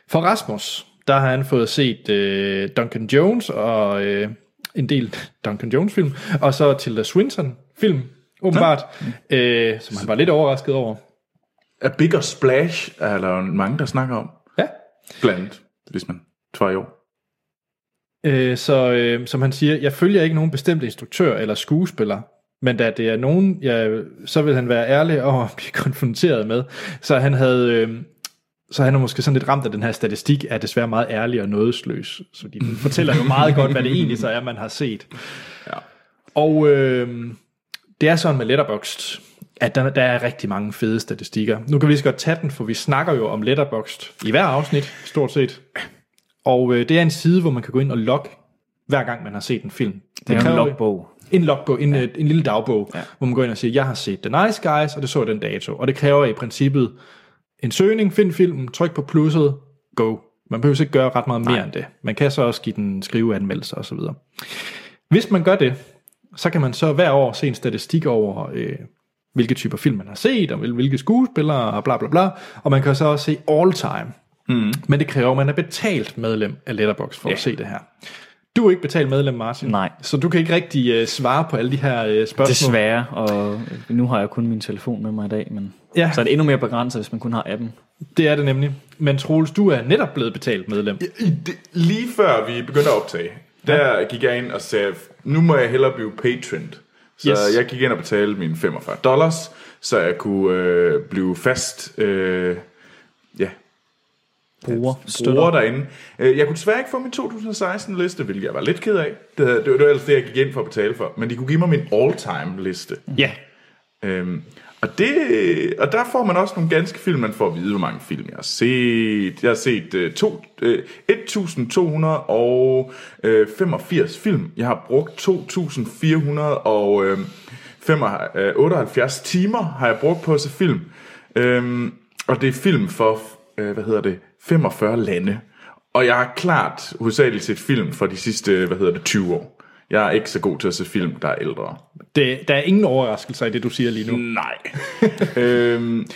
For Rasmus, der har han fået set øh, Duncan Jones og øh, en del Duncan Jones-film, og så Tilda Swinton-film, åbenbart, øh, som han var lidt overrasket over.
A Bigger Splash er der jo mange, der snakker om.
Ja,
Blandt andet, hvis man tror i år.
Øh, så øh, som han siger, jeg følger ikke nogen bestemt instruktør eller skuespiller, men da det er nogen, jeg, så vil han være ærlig over at blive konfronteret med. Så han havde... Øh, så han er måske sådan lidt ramt af den her statistik, er desværre meget ærlig og nådesløs. Så de fortæller jo meget godt, hvad det egentlig så er, man har set.
Ja.
Og øh, det er sådan med Letterboxd, at der, der er rigtig mange fede statistikker. Nu kan vi lige så godt tage den, for vi snakker jo om Letterboxd i hver afsnit, stort set. Og øh, det er en side, hvor man kan gå ind og logge, hver gang man har set en film. Det,
Det er jo en
kræver-
logbog.
En logbog, en, ja. en lille dagbog, ja. hvor man går ind og siger, jeg har set The Nice Guys, og det så jeg den dato. Og det kræver i princippet en søgning, find filmen, tryk på plusset, go. Man behøver ikke gøre ret meget mere Nej. end det. Man kan så også give den skriveanmeldelser osv. Hvis man gør det, så kan man så hver år se en statistik over, øh, hvilke typer film man har set, og hvil- hvilke skuespillere, og bla bla bla. Og man kan så også se all time. Mm. Men det kræver, at man er betalt medlem af Letterboxd for ja. at se det her. Du er ikke betalt medlem, Martin.
Nej.
Så du kan ikke rigtig øh, svare på alle de her øh, spørgsmål.
Desværre, og nu har jeg kun min telefon med mig i dag, men
Ja.
ja. så er det endnu mere begrænset, hvis man kun har appen.
Det er det nemlig. Men Troels, du er netop blevet betalt medlem.
I det, lige før vi begyndte at optage, der gik jeg ind og sagde, nu må jeg hellere blive patron. Så
Yes.
yes. jeg gik ind og betalte mine 45 dollars, så jeg kunne øh, blive fast øh, ja,
Bruger, støtter.
bruger derinde. Øh, Jeg kunne desværre ikke få min 2016-liste, hvilket jeg var lidt ked af. Det, havde- det, var- det var ellers det, jeg gik ind for at betale for. Men de kunne give mig min all-time-liste.
Ja.
Øhm, og, det, og der får man også nogle ganske film. Man får at vide, hvor mange film jeg har set. Jeg har set øh, to, øh, 1285 øh, film. Jeg har brugt 2400 og øh, 78 timer har jeg brugt på at se film. Øhm, og det er film for, øh, hvad hedder det, 45 lande. Og jeg har klart hovedsageligt set film for de sidste, øh, hvad hedder det, 20 år. Jeg er ikke så god til at se film, der er ældre.
Det, der er ingen overraskelser i det, du siger lige nu.
Nej. øhm,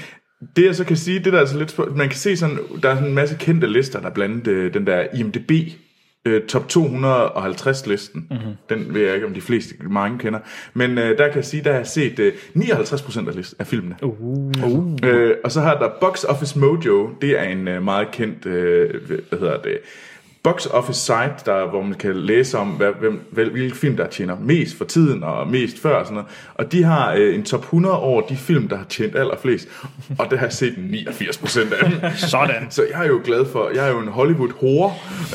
det jeg så kan sige, det der er altså lidt spørg- man kan se sådan, der er sådan en masse kendte lister, der er blandt andet øh, den der IMDB øh, top 250 listen. Mm-hmm. Den ved jeg ikke, om de fleste mange kender. Men øh, der kan jeg sige, der har jeg set øh, 59% af, list, af filmene. Øh, og så har der Box Office Mojo. Det er en øh, meget kendt, øh, hvad hedder det, box office site, der, hvor man kan læse om, hvad, hvem, hvem, hvilke film, der tjener mest for tiden og mest før og sådan noget. Og de har øh, en top 100 over de film, der har tjent allerflest. Og det har jeg set 89 procent af dem.
Sådan.
Så jeg er jo glad for, jeg er jo en Hollywood-hore.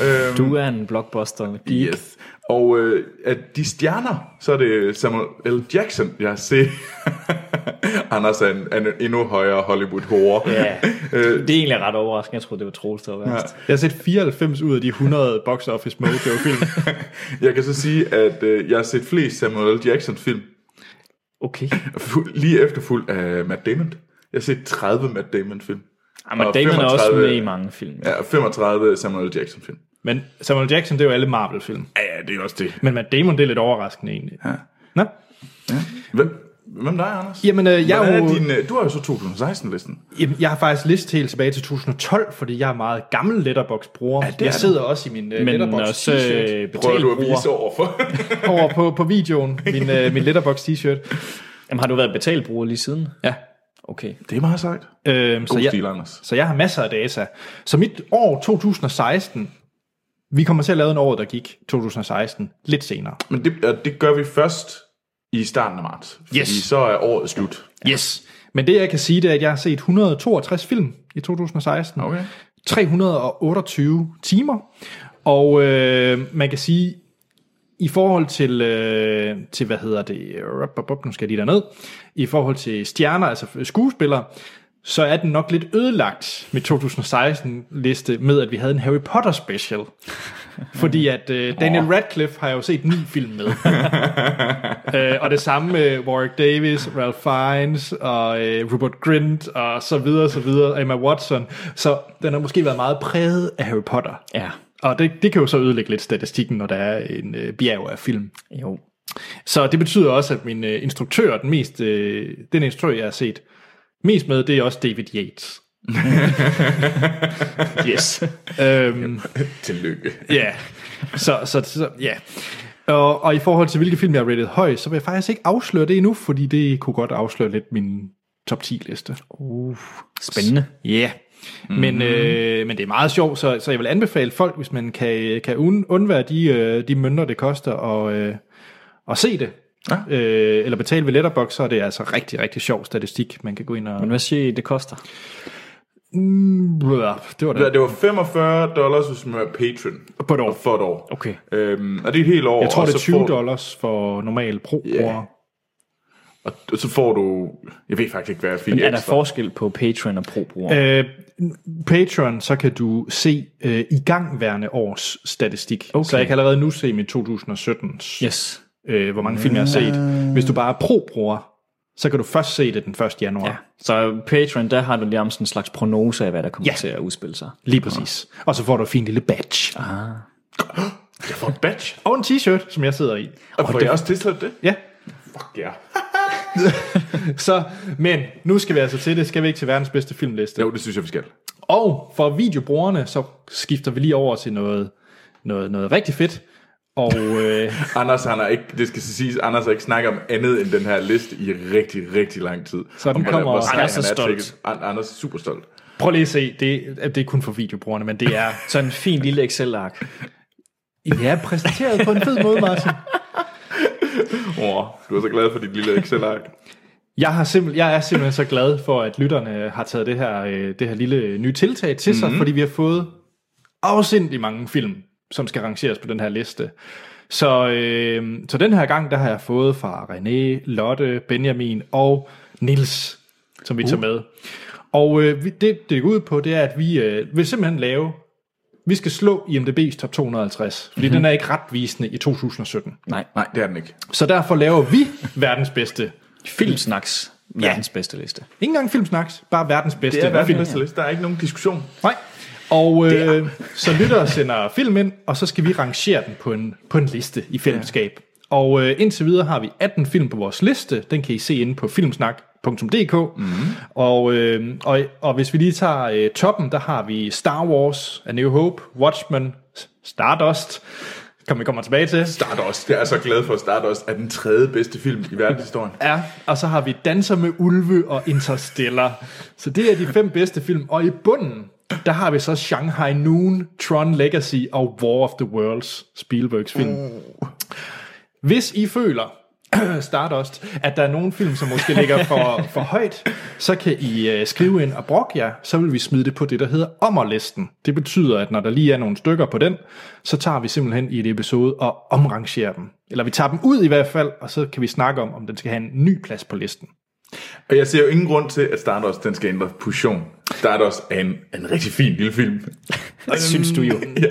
Øhm,
Du er en blockbuster. geek.
Yes. Og øh, at de stjerner, så er det Samuel L. Jackson, jeg ser. Anders er en, er en endnu højere Hollywood-hore.
Ja, det er egentlig ret overraskende. Jeg troede, det var Troels, der var værst. Ja.
Jeg har set 94 ud af de 100 box office mojo-film.
Jeg kan så sige, at øh, jeg har set flest Samuel L. Jackson-film,
Okay.
fu- lige efterfulgt af Matt Damon. Jeg har set 30 Matt Damon-film.
Jamen,
Og
Ah, Damon er også
35
med i mange film. Ja.
Ja, og 35 Samuel L. Jackson-film.
Men Samuel Jackson, det er jo alle Marvel-film.
Ja, ja, det er også det.
Men Matt Damon, det er lidt overraskende egentlig.
Ja.
Nå?
Hvem, hvem er dig, Anders?
Jamen, øh, jeg,
Hvordan
er jo,
er din, øh, du har jo så 2016-listen.
jamen, jeg har faktisk list helt tilbage til 2012, fordi jeg er meget gammel Letterbox-bruger.
det er
jeg
du.
sidder også i min uh,
Men også
Letterbox-t-shirt
Prøver
øh, betalt
du at vise
bruger.
overfor?
over på, på videoen. Min, uh, min Letterbox-t-shirt.
Jamen, har du været betalt bruger lige siden?
Ja.
Okay.
det er meget sejt.
Øhm, så,
God
jeg,
stil, Anders.
så jeg har masser af data. Så mit år 2016, vi kommer til at lave en år, der gik 2016 lidt senere.
Men det, og det gør vi først i starten af marts. Fordi
Yes.
så er året slut.
Yes. Men det jeg kan sige, det er, at jeg har set 162 film i 2016.
Okay.
328 timer. Og øh, man kan sige, i forhold til, øh, til hvad hedder det, rup, rup, rup, nu skal jeg lige derned, i forhold til stjerner, altså skuespillere, så er den nok lidt ødelagt med 2016-liste med, at vi havde en Harry Potter special. Fordi at øh, Daniel Radcliffe har jeg jo set ni film med. øh, og det samme med Warwick Davis, Ralph Fiennes og øh, Rupert Grint og så videre, så videre, Emma Watson. Så den har måske været meget præget af Harry Potter.
Ja.
Og det, det kan jo så ødelægge lidt statistikken, når der er en øh, bjerg af film.
Jo.
Så det betyder også, at min øh, instruktør, den, mest, øh, den instruktør, jeg har set mest med, det er også David Yates.
Yes.
Øhm,
Tillykke.
ja, så, så, så ja. Og, og i forhold til, hvilke film jeg har rated høj, så vil jeg faktisk ikke afsløre det endnu, fordi det kunne godt afsløre lidt min top 10-liste.
Uh, spændende.
Ja, yeah. mm-hmm.
Mhm.
men, øh, men det er meget sjovt, så, så jeg vil anbefale folk, hvis man kan, kan un, undvære de, øh, de mønter, det koster at, øh, at se det,
Ja.
øh, eller betale ved Letterboxd, så er det altså rigtig, rigtig sjov statistik, man kan gå ind og...
Men hvad siger I, det koster?
Mm, blah, det var
Hvad,
det.
Det var 45 dollars, hvis man er patron.
På et år.
For et år.
Okay.
Øhm, og det er et helt år.
Jeg tror,
og
det er
så
20
får-
dollars for normal pro yeah.
Og så får du... Jeg ved faktisk ikke, hvad jeg fik
Men er der
ekstra.
forskel på Patreon og Pro-bruger?
øh, Patreon, så kan du se øh, igangværende års statistik. Okay. Så jeg kan allerede nu se mit 2017's
Yes.
øh, hvor mange film jeg har set. Hvis du bare er pro-bruger, så kan du først se det den 1. januar. Ja.
Ja. Så Patreon, der har du lige en slags prognose af, hvad der kommer
Ja.
ja. til at udspille sig.
Lige præcis. Og så får du en fin lille badge.
Jeg får et badge.
Og en t-shirt, som jeg sidder i.
Og får jeg også tilsat det?
Ja.
Fuck ja.
Så, men nu skal vi altså til det. Skal vi ikke til verdens bedste filmliste?
Jo, det synes jeg, vi skal.
Og for videobrugerne, så skifter vi lige over til noget, noget, noget rigtig fedt. Og øh,
Anders, han har ikke, det skal så siges, Anders har ikke snakket om andet end den her liste i rigtig, rigtig lang tid.
Så den
Om,
kommer-
hvor sej
Anders
han
er stolt.
sikkert. An- Anders er super stolt.
prøv lige at se, det, det er kun for videobrugerne, men det er
Sådan en fin lille Excel-ark.
ja, præsenteret på en fed måde, Martin.
Oh, du er så glad for dit lille Excel-ark.
Jeg, har simpel, jeg er simpelthen så glad for, at lytterne har taget det her, øh, det her lille nye tiltag til sig, mm-hmm. fordi vi har fået afsindelig mange film, som skal rangeres på den her liste. Så, øh, så den her gang, der har jeg fået fra René, Lotte, Benjamin og Nils, som vi tager med. Og øh, vi- det, det går ud på, det er, at vi øh, vil simpelthen lave, vi skal slå IMDb's top 250, fordi mm-hmm. den er ikke retvisende i 2017.
Nej,
Nej, det er den ikke.
Så derfor laver vi verdens bedste
Filmsnaks. Verdens bedste liste.
Ikke engang filmsnaks, bare verdens bedste
Det er verdens
film.
bedste liste. Der er ikke nogen diskussion.
Nej. Og øh, så lytter og sender film ind, og så skal vi rangere den på en, på en liste i fællesskab. Og øh, indtil videre har vi 18 film på vores liste. Den kan I se inde på filmsnak.dk.
Mhm.
Mm-hmm. Og, øh, og, og hvis vi lige tager øh, toppen, der har vi Star Wars, A New Hope, Watchmen, Stardust, kan vi kommer tilbage til.
Stardust. Jeg er så glad for, at Stardust er den tredje bedste film i verdenshistorien.
Ja, og så har vi Danser med Ulve og Interstellar. Så det er de fem bedste film. Og i bunden, der har vi så Shanghai Noon, Tron Legacy og War of the Worlds, Spielbergs film. Hvis I føler, Stardust, at der er nogle film, som måske ligger for, for højt, så kan I øh, skrive ind og brokke jer, så vil vi smide det på det, der hedder ommerlisten. Det betyder, at når der lige er nogle stykker på den, så tager vi simpelthen i et episode og omrangerer dem. Eller vi tager dem ud i hvert fald, og så kan vi snakke om, om den skal have en ny plads på listen.
Og jeg ser jo ingen grund til, at Stardust den skal ændre position. Stardust er en, en rigtig fin lille film.
Det synes du jo.
ja.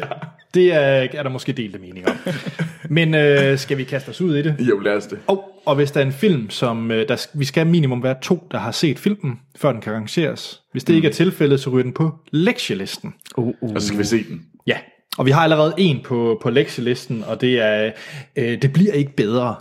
Det er, er der måske delte meninger om. Men øh, skal vi kaste os ud i det?
Jo, lad os det.
Og, og hvis der er en film, som øh, der, sk- vi skal minimum være to, der har set filmen, før den kan rangeres. Hvis det ikke er tilfældet, så ryger den på lektielisten.
Uh, uh.
Og så skal vi se den.
Ja, og vi har allerede en på, på lektielisten, og det er øh, Det bliver ikke bedre.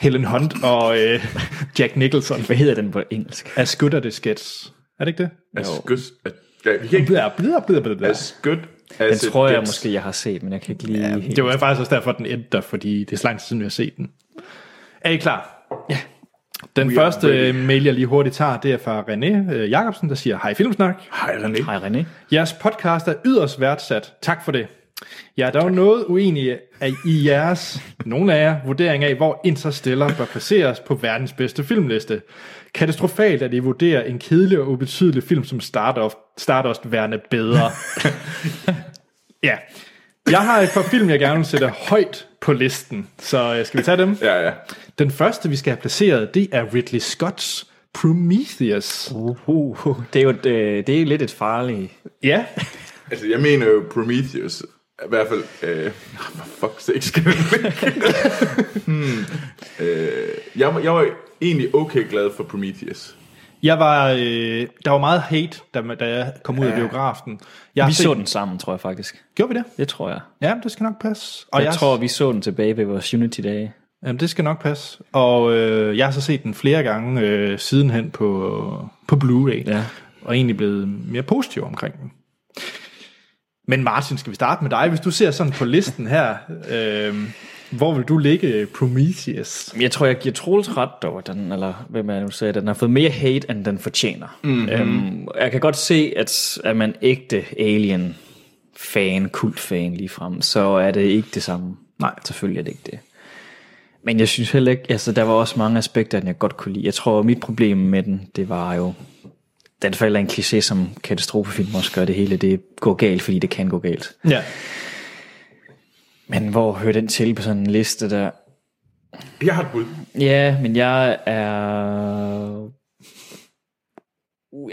Helen Hunt og øh, Jack Nicholson
Hvad hedder den på engelsk? Altså,
er skutter det skets. Er det ikke det?
As good, as, ja, vi kan ikke
Blæder, blæder, blæder, blæder.
as good
Den
as it
tror jeg
gets.
måske, jeg har set, men jeg kan ikke lige... Ja,
Det var faktisk også derfor, den endte der, fordi det er så lang tid siden, vi har set den. Er I klar? Ja. Den
are
første
ready.
øh, mail, jeg lige hurtigt tager, det er fra René øh, Jacobsen, der siger, Hej Filmsnak.
Hej René.
Hej René.
Jeres podcast er yderst værdsat. Tak for det. Jeg er dog noget uenig af i jeres, nogle af jer, vurdering af, hvor Interstellar bør placeres på verdens bedste filmliste. Katastrofalt, at I vurderer en kedelig og ubetydelig film som Stardust, Stardust værende bedre. ja. Jeg har et par film, jeg gerne vil sætte højt på listen, så øh, skal vi tage dem?
Ja, ja.
Den første, vi skal have placeret, det er Ridley Scott's Prometheus.
Uh, uh, uh. Det er jo et, øh, det er lidt et farligt...
Ja,
Altså, jeg mener jo Prometheus. I hvert fald, øh, for fuck's sake skal den ligge. hmm. øh, jeg, var- jeg var egentlig okay glad for Prometheus.
Jeg var, øh, der var meget hate, da, da jeg kom ud af biografen. Jeg har
Vi
set-
så den sammen, tror jeg faktisk.
Gjorde vi det?
Det tror jeg.
Ja, men det skal nok passe. Og
Jeg tror, vi så den tilbage ved vores Unity-dage.
Jamen, det skal nok passe. Og øh, jeg har så set den flere gange øh, sidenhen på, på Blu-ray.
Ja.
Og egentlig blevet mere positiv omkring den. Men Martin, skal vi starte med dig? Hvis du ser sådan på listen her, øh, hvor vil du ligge Prometheus?
Jeg tror, jeg giver Troels ret dog, den, eller hvem jeg nu sagde, at den har fået mere hate, end den fortjener. Mm-hmm. Øhm, jeg kan godt se, at er man ægte alien fan, kultfan ligefrem, så er det ikke det samme. Nej. Selvfølgelig er det ikke det. Men jeg synes heller ikke, altså der var også mange aspekter, den jeg godt kunne lide. Jeg tror, mit problem med den, det var jo, den falder i en kliché, som katastrofefilm også gør det hele. Det går galt, fordi det kan gå galt.
Ja.
Men hvor hører den til på sådan en liste der?
Jeg har et bud.
Ja, men jeg er...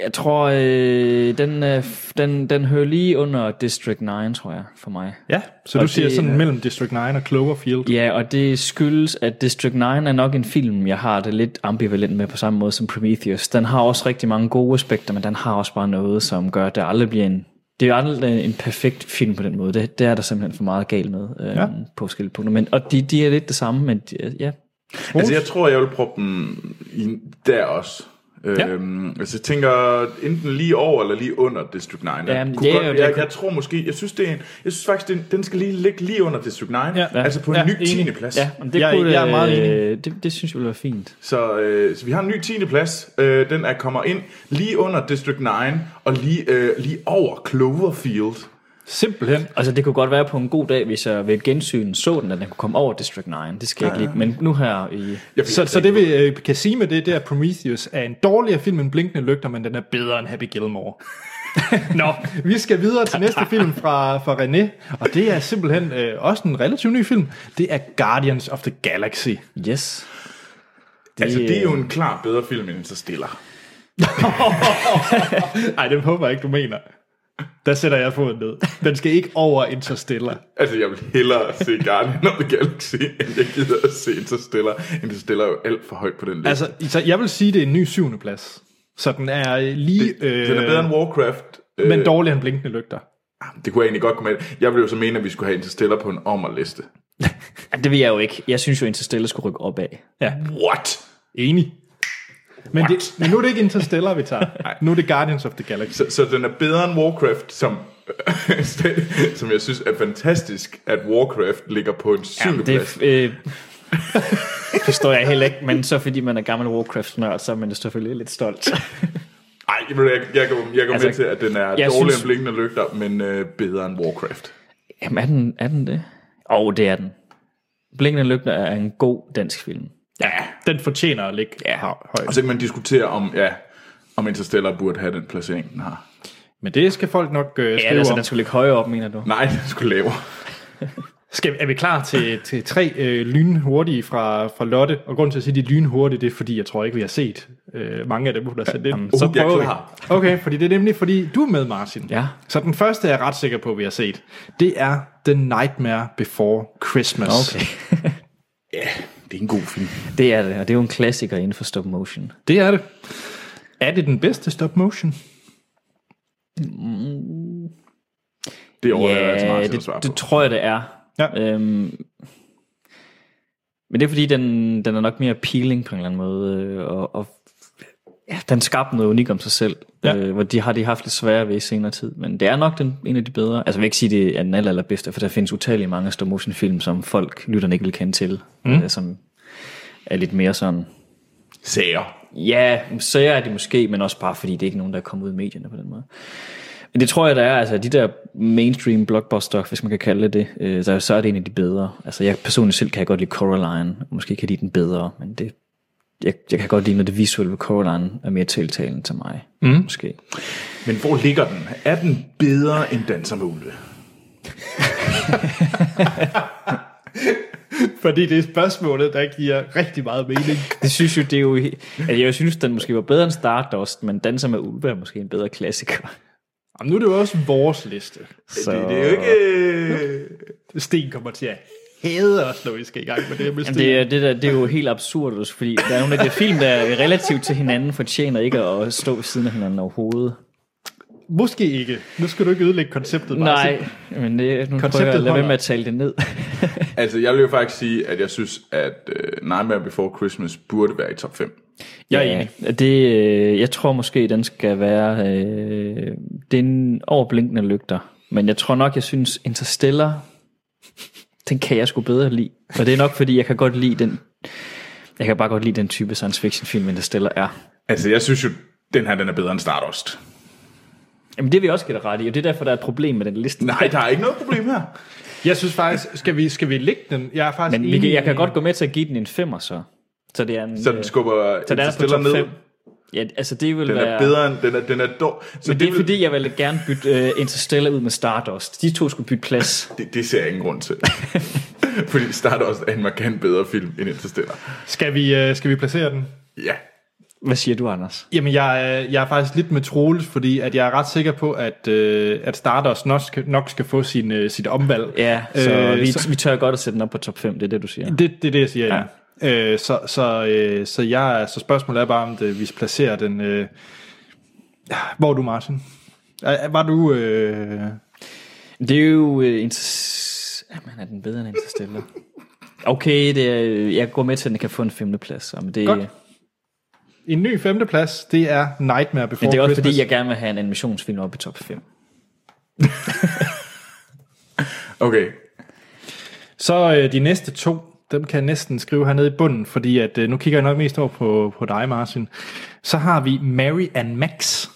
Jeg tror, øh, den, øh, f- den, den hører lige under District 9, tror jeg, for mig.
Ja, så
Og
du siger
det-
sådan mellem District 9 og Cloverfield.
Ja, og det skyldes, at District 9 er nok en film, jeg har det lidt ambivalent med på samme måde som Prometheus. Den har også rigtig mange gode aspekter, men den har også bare noget, som gør, at det aldrig bliver en... Det er aldrig en perfekt film på den måde. Det, det er der simpelfen for meget galt med øh,
Ja.
ja. på forskellige punkter. Men, og de, de er lidt det samme, men de, ja,
Altså, jeg tror, jeg vil proppe den i, der også.
Ja.
Øhm, altså, jeg tænker enten lige over eller lige under District 9. Der
Jamen,
kunne
ja,
godt,
ja,
jeg,
det
jeg,
kunne-
tror måske, jeg synes, det er en, jeg synes faktisk, den, den skal lige ligge lige under District 9. Ja.
ja.
Altså på en
Ja,
ny
enig.
10. plads.
Ja, men det
Jeg-
kunne,
jeg er meget
enig. Det, det synes jeg ville være fint.
Så, øh, så vi har en ny 10. plads. Øh, den er kommer ind lige under District 9 og lige, øh, lige over Cloverfield.
Simpelthen.
Altså, det kunne godt være på en god dag, hvis jeg ved et gensyn så den, at den kunne komme over District 9. Det skal jeg ikke lide. Men nu her i...
Jeg
Så, så det vi øh, kan sige med det, det er, at Prometheus er en dårligere film end Blinkende Lygter, men den er bedre end Happy Gilmore. Nå, vi skal videre til næste film fra, fra René, og det er simpelthen øh, også en relativt ny film. Det er Guardians of the Galaxy.
Yes.
det, altså, det er jo en klar bedre film end så stiller.
Nej, det håber jeg ikke, du mener. Der sætter jeg foden ned. Den skal ikke over Interstellar.
Altså, jeg vil hellere se Guardian of the Galaxy, end jeg gider at se Interstellar. Interstellar er jo alt for højt på den liste. Altså,
Altså, så jeg vil sige, det er en ny syvende plads. Så den er øh, lige...
øh, den er bedre end Warcraft. Øh,
men dårligere end Blinkende Lygter.
det kunne jeg egentlig godt komme med. Jeg ville jo så mene, at vi skulle have Interstellar på en ommerliste.
Ej, Det vil jeg jo ikke. Jeg synes jo, Interstellar skulle rykke op af.
Ja,
What?
enig. Men, det, men nu er det ikke Interstellar, vi tager. nu er det Guardians of the Galaxy.
Så, så den er bedre end Warcraft, som, som jeg synes er fantastisk, at Warcraft ligger på en syvende
Jamen,
Jamen, plads.
det øh, forstår jeg heller ikke, men så fordi man er gammel Warcraft-nørd, så er man selvfølgelig lidt stolt.
Ej, jeg, jeg, jeg går, jeg går altså,
Altså,
med til, at den er dårligere synes...
synes-
end Blinkende Lygter, men øh, bedre end Warcraft.
Jamen, er den, er den det? Åh, oh, det er den. Blinkende Lygter er en god dansk film.
Ja, den fortjener at ligge
Ja.
hø-
Og
højt.
så kan man diskutere, om, ja, om Interstellar burde have den placering, den har.
Men det skal folk nok øh,
Ja,
skrive
altså,
om.
den skulle ligge højere op, mener du?
Nej, den skulle lavere.
Skal, er vi klar til, til tre øh, lynhurtige fra, fra Lotte? Og grund til at sige, at de er lynhurtige, det er fordi, jeg tror ikke, vi har set øh, mange af dem, hun har sendt ind.
Uh, jeg er klar.
vi. Okay, fordi det er nemlig, fordi du er med, Martin.
Ja.
Så den første, jeg er ret sikker på, vi har set, det er The Nightmare Before Christmas.
Okay.
Ja, det er en god film.
Det er det, og det er jo en klassiker inden for stop motion.
Det er det. Er det den bedste stop motion?
Det overlader yeah, jeg til Martin at svare
det,
på.
det tror jeg, det er.
Ja.
Øhm, men det er fordi, den, den er nok mere appealing på en eller anden måde, øh, og, og ja, den skabte noget unikt om sig selv,
Ja.
ja. øh, hvor de har de haft lidt sværere ved i senere tid, men det er nok den, en af de bedre. Altså jeg vil ikke sige, det er den aller, allerbedste, for der findes utallige mange stop motion film, som folk, lytterne ikke vil kende til, mm. øh, som er lidt mere sådan,
Sager.
Ja, sager er det måske, men også bare fordi det er ikke nogen, der er kommet ud i medierne på den måde. Men det tror jeg, der er, altså de der mainstream blockbuster, hvis man kan kalde det det, øh, så, så er det en af de bedre. Altså jeg personligt selv kan jeg godt lide Coraline, og måske kan jeg lide den bedre, men det, jeg, jeg kan godt lide, når det visuelle ved Coraline er mere tiltalende til mig, mm. måske.
Men hvor ligger den? Er den bedre end Danser med Ulve?
Fordi det er spørgsmålet, der giver rigtig meget mening.
Det synes jo, det er jo... he- Altså, jeg synes, den måske var bedre end Stardust, men Danser med Ulve er måske en bedre klassiker.
Jamen, nu er det jo også vores liste.
Så...
Det, det er jo øh, ikke...
Sten kommer til at hade os, når vi skal i gang med det med Sten.
Jamen, det, er, det, der, det er jo helt absurd, også, fordi der er nogle af de her film, der er relativt til hinanden fortjener ikke at stå ved siden af hinanden overhovedet.
Måske ikke. Nu skal du ikke ødelægge konceptet. Martin.
Nej, men det, nu prøver jeg
Konceptet
at lade være
holder.
med at tale det ned.
Altså, jeg vil jo faktisk sige, at jeg synes, at uh, Nightmare Before Christmas burde være i top 5.
Jeg er enig.
Ja, det, øh, jeg tror måske, den skal være øh, den overblinkende lygter. Men jeg tror nok, jeg synes Interstellar, den kan jeg sgu bedre lide. Og det er nok, fordi jeg kan godt lide den... Jeg kan bare godt lide den type science fiction film, Interstellar er.
Altså, jeg synes jo, den her den er bedre end Stardust.
Jamen det vil jeg også give dig ret i, og det er derfor, der er et problem med den liste.
Nej, der er ikke noget problem her.
Jeg synes faktisk, skal vi, skal vi lægge den? Jeg er faktisk
Men vi kan, jeg kan godt gå med til at give den en femmer så. Så det er en...
Så den skubber
så den er på
Interstellar
top
ned.
5. Ja, altså det vil
Den
være...
er bedre end... Den er, den er dår. Så
Men det er
vil-
fordi, jeg ville gerne bytte uh, Interstellar ud med Stardust. De to skulle bytte plads.
det, det ser jeg ingen grund til. fordi Stardust er en markant bedre film end Interstellar.
Skal vi, øh, skal vi placere den?
Ja.
Hvad siger du, Anders?
Jamen, jeg, er- jeg er faktisk lidt med Troels, fordi at jeg er ret sikker på, at, øh, at Stardust nok skal, nok skal få sin, øh, sit omvalg.
Ja, så, øh, vi,
så
vi tør godt at sætte den op på top 5, det er det, du siger.
det, det er det, jeg siger, ja. Øh, så, så, øh, så, jeg, er- så spørgsmålet er bare, om det, vi placerer den... Øh, hvor er du, Martin? Er- Var du... Øh,
Det er jo... Uh, inter... Jamen, er den bedre end Interstellar? Okay, det er, jeg går med til, at den kan få en femte plads. Så, men det,
Godt. En ny femteplads, det er Nightmare Before
Men det er også
Christmas.
fordi, jeg gerne vil have en animationsfilm op i top 5.
Okay.
Så øh, de næste to, dem kan jeg næsten skrive hernede i bunden, fordi at, øh, nu kigger jeg nok mest over på, på dig, Martin. Så har vi Mary and Max.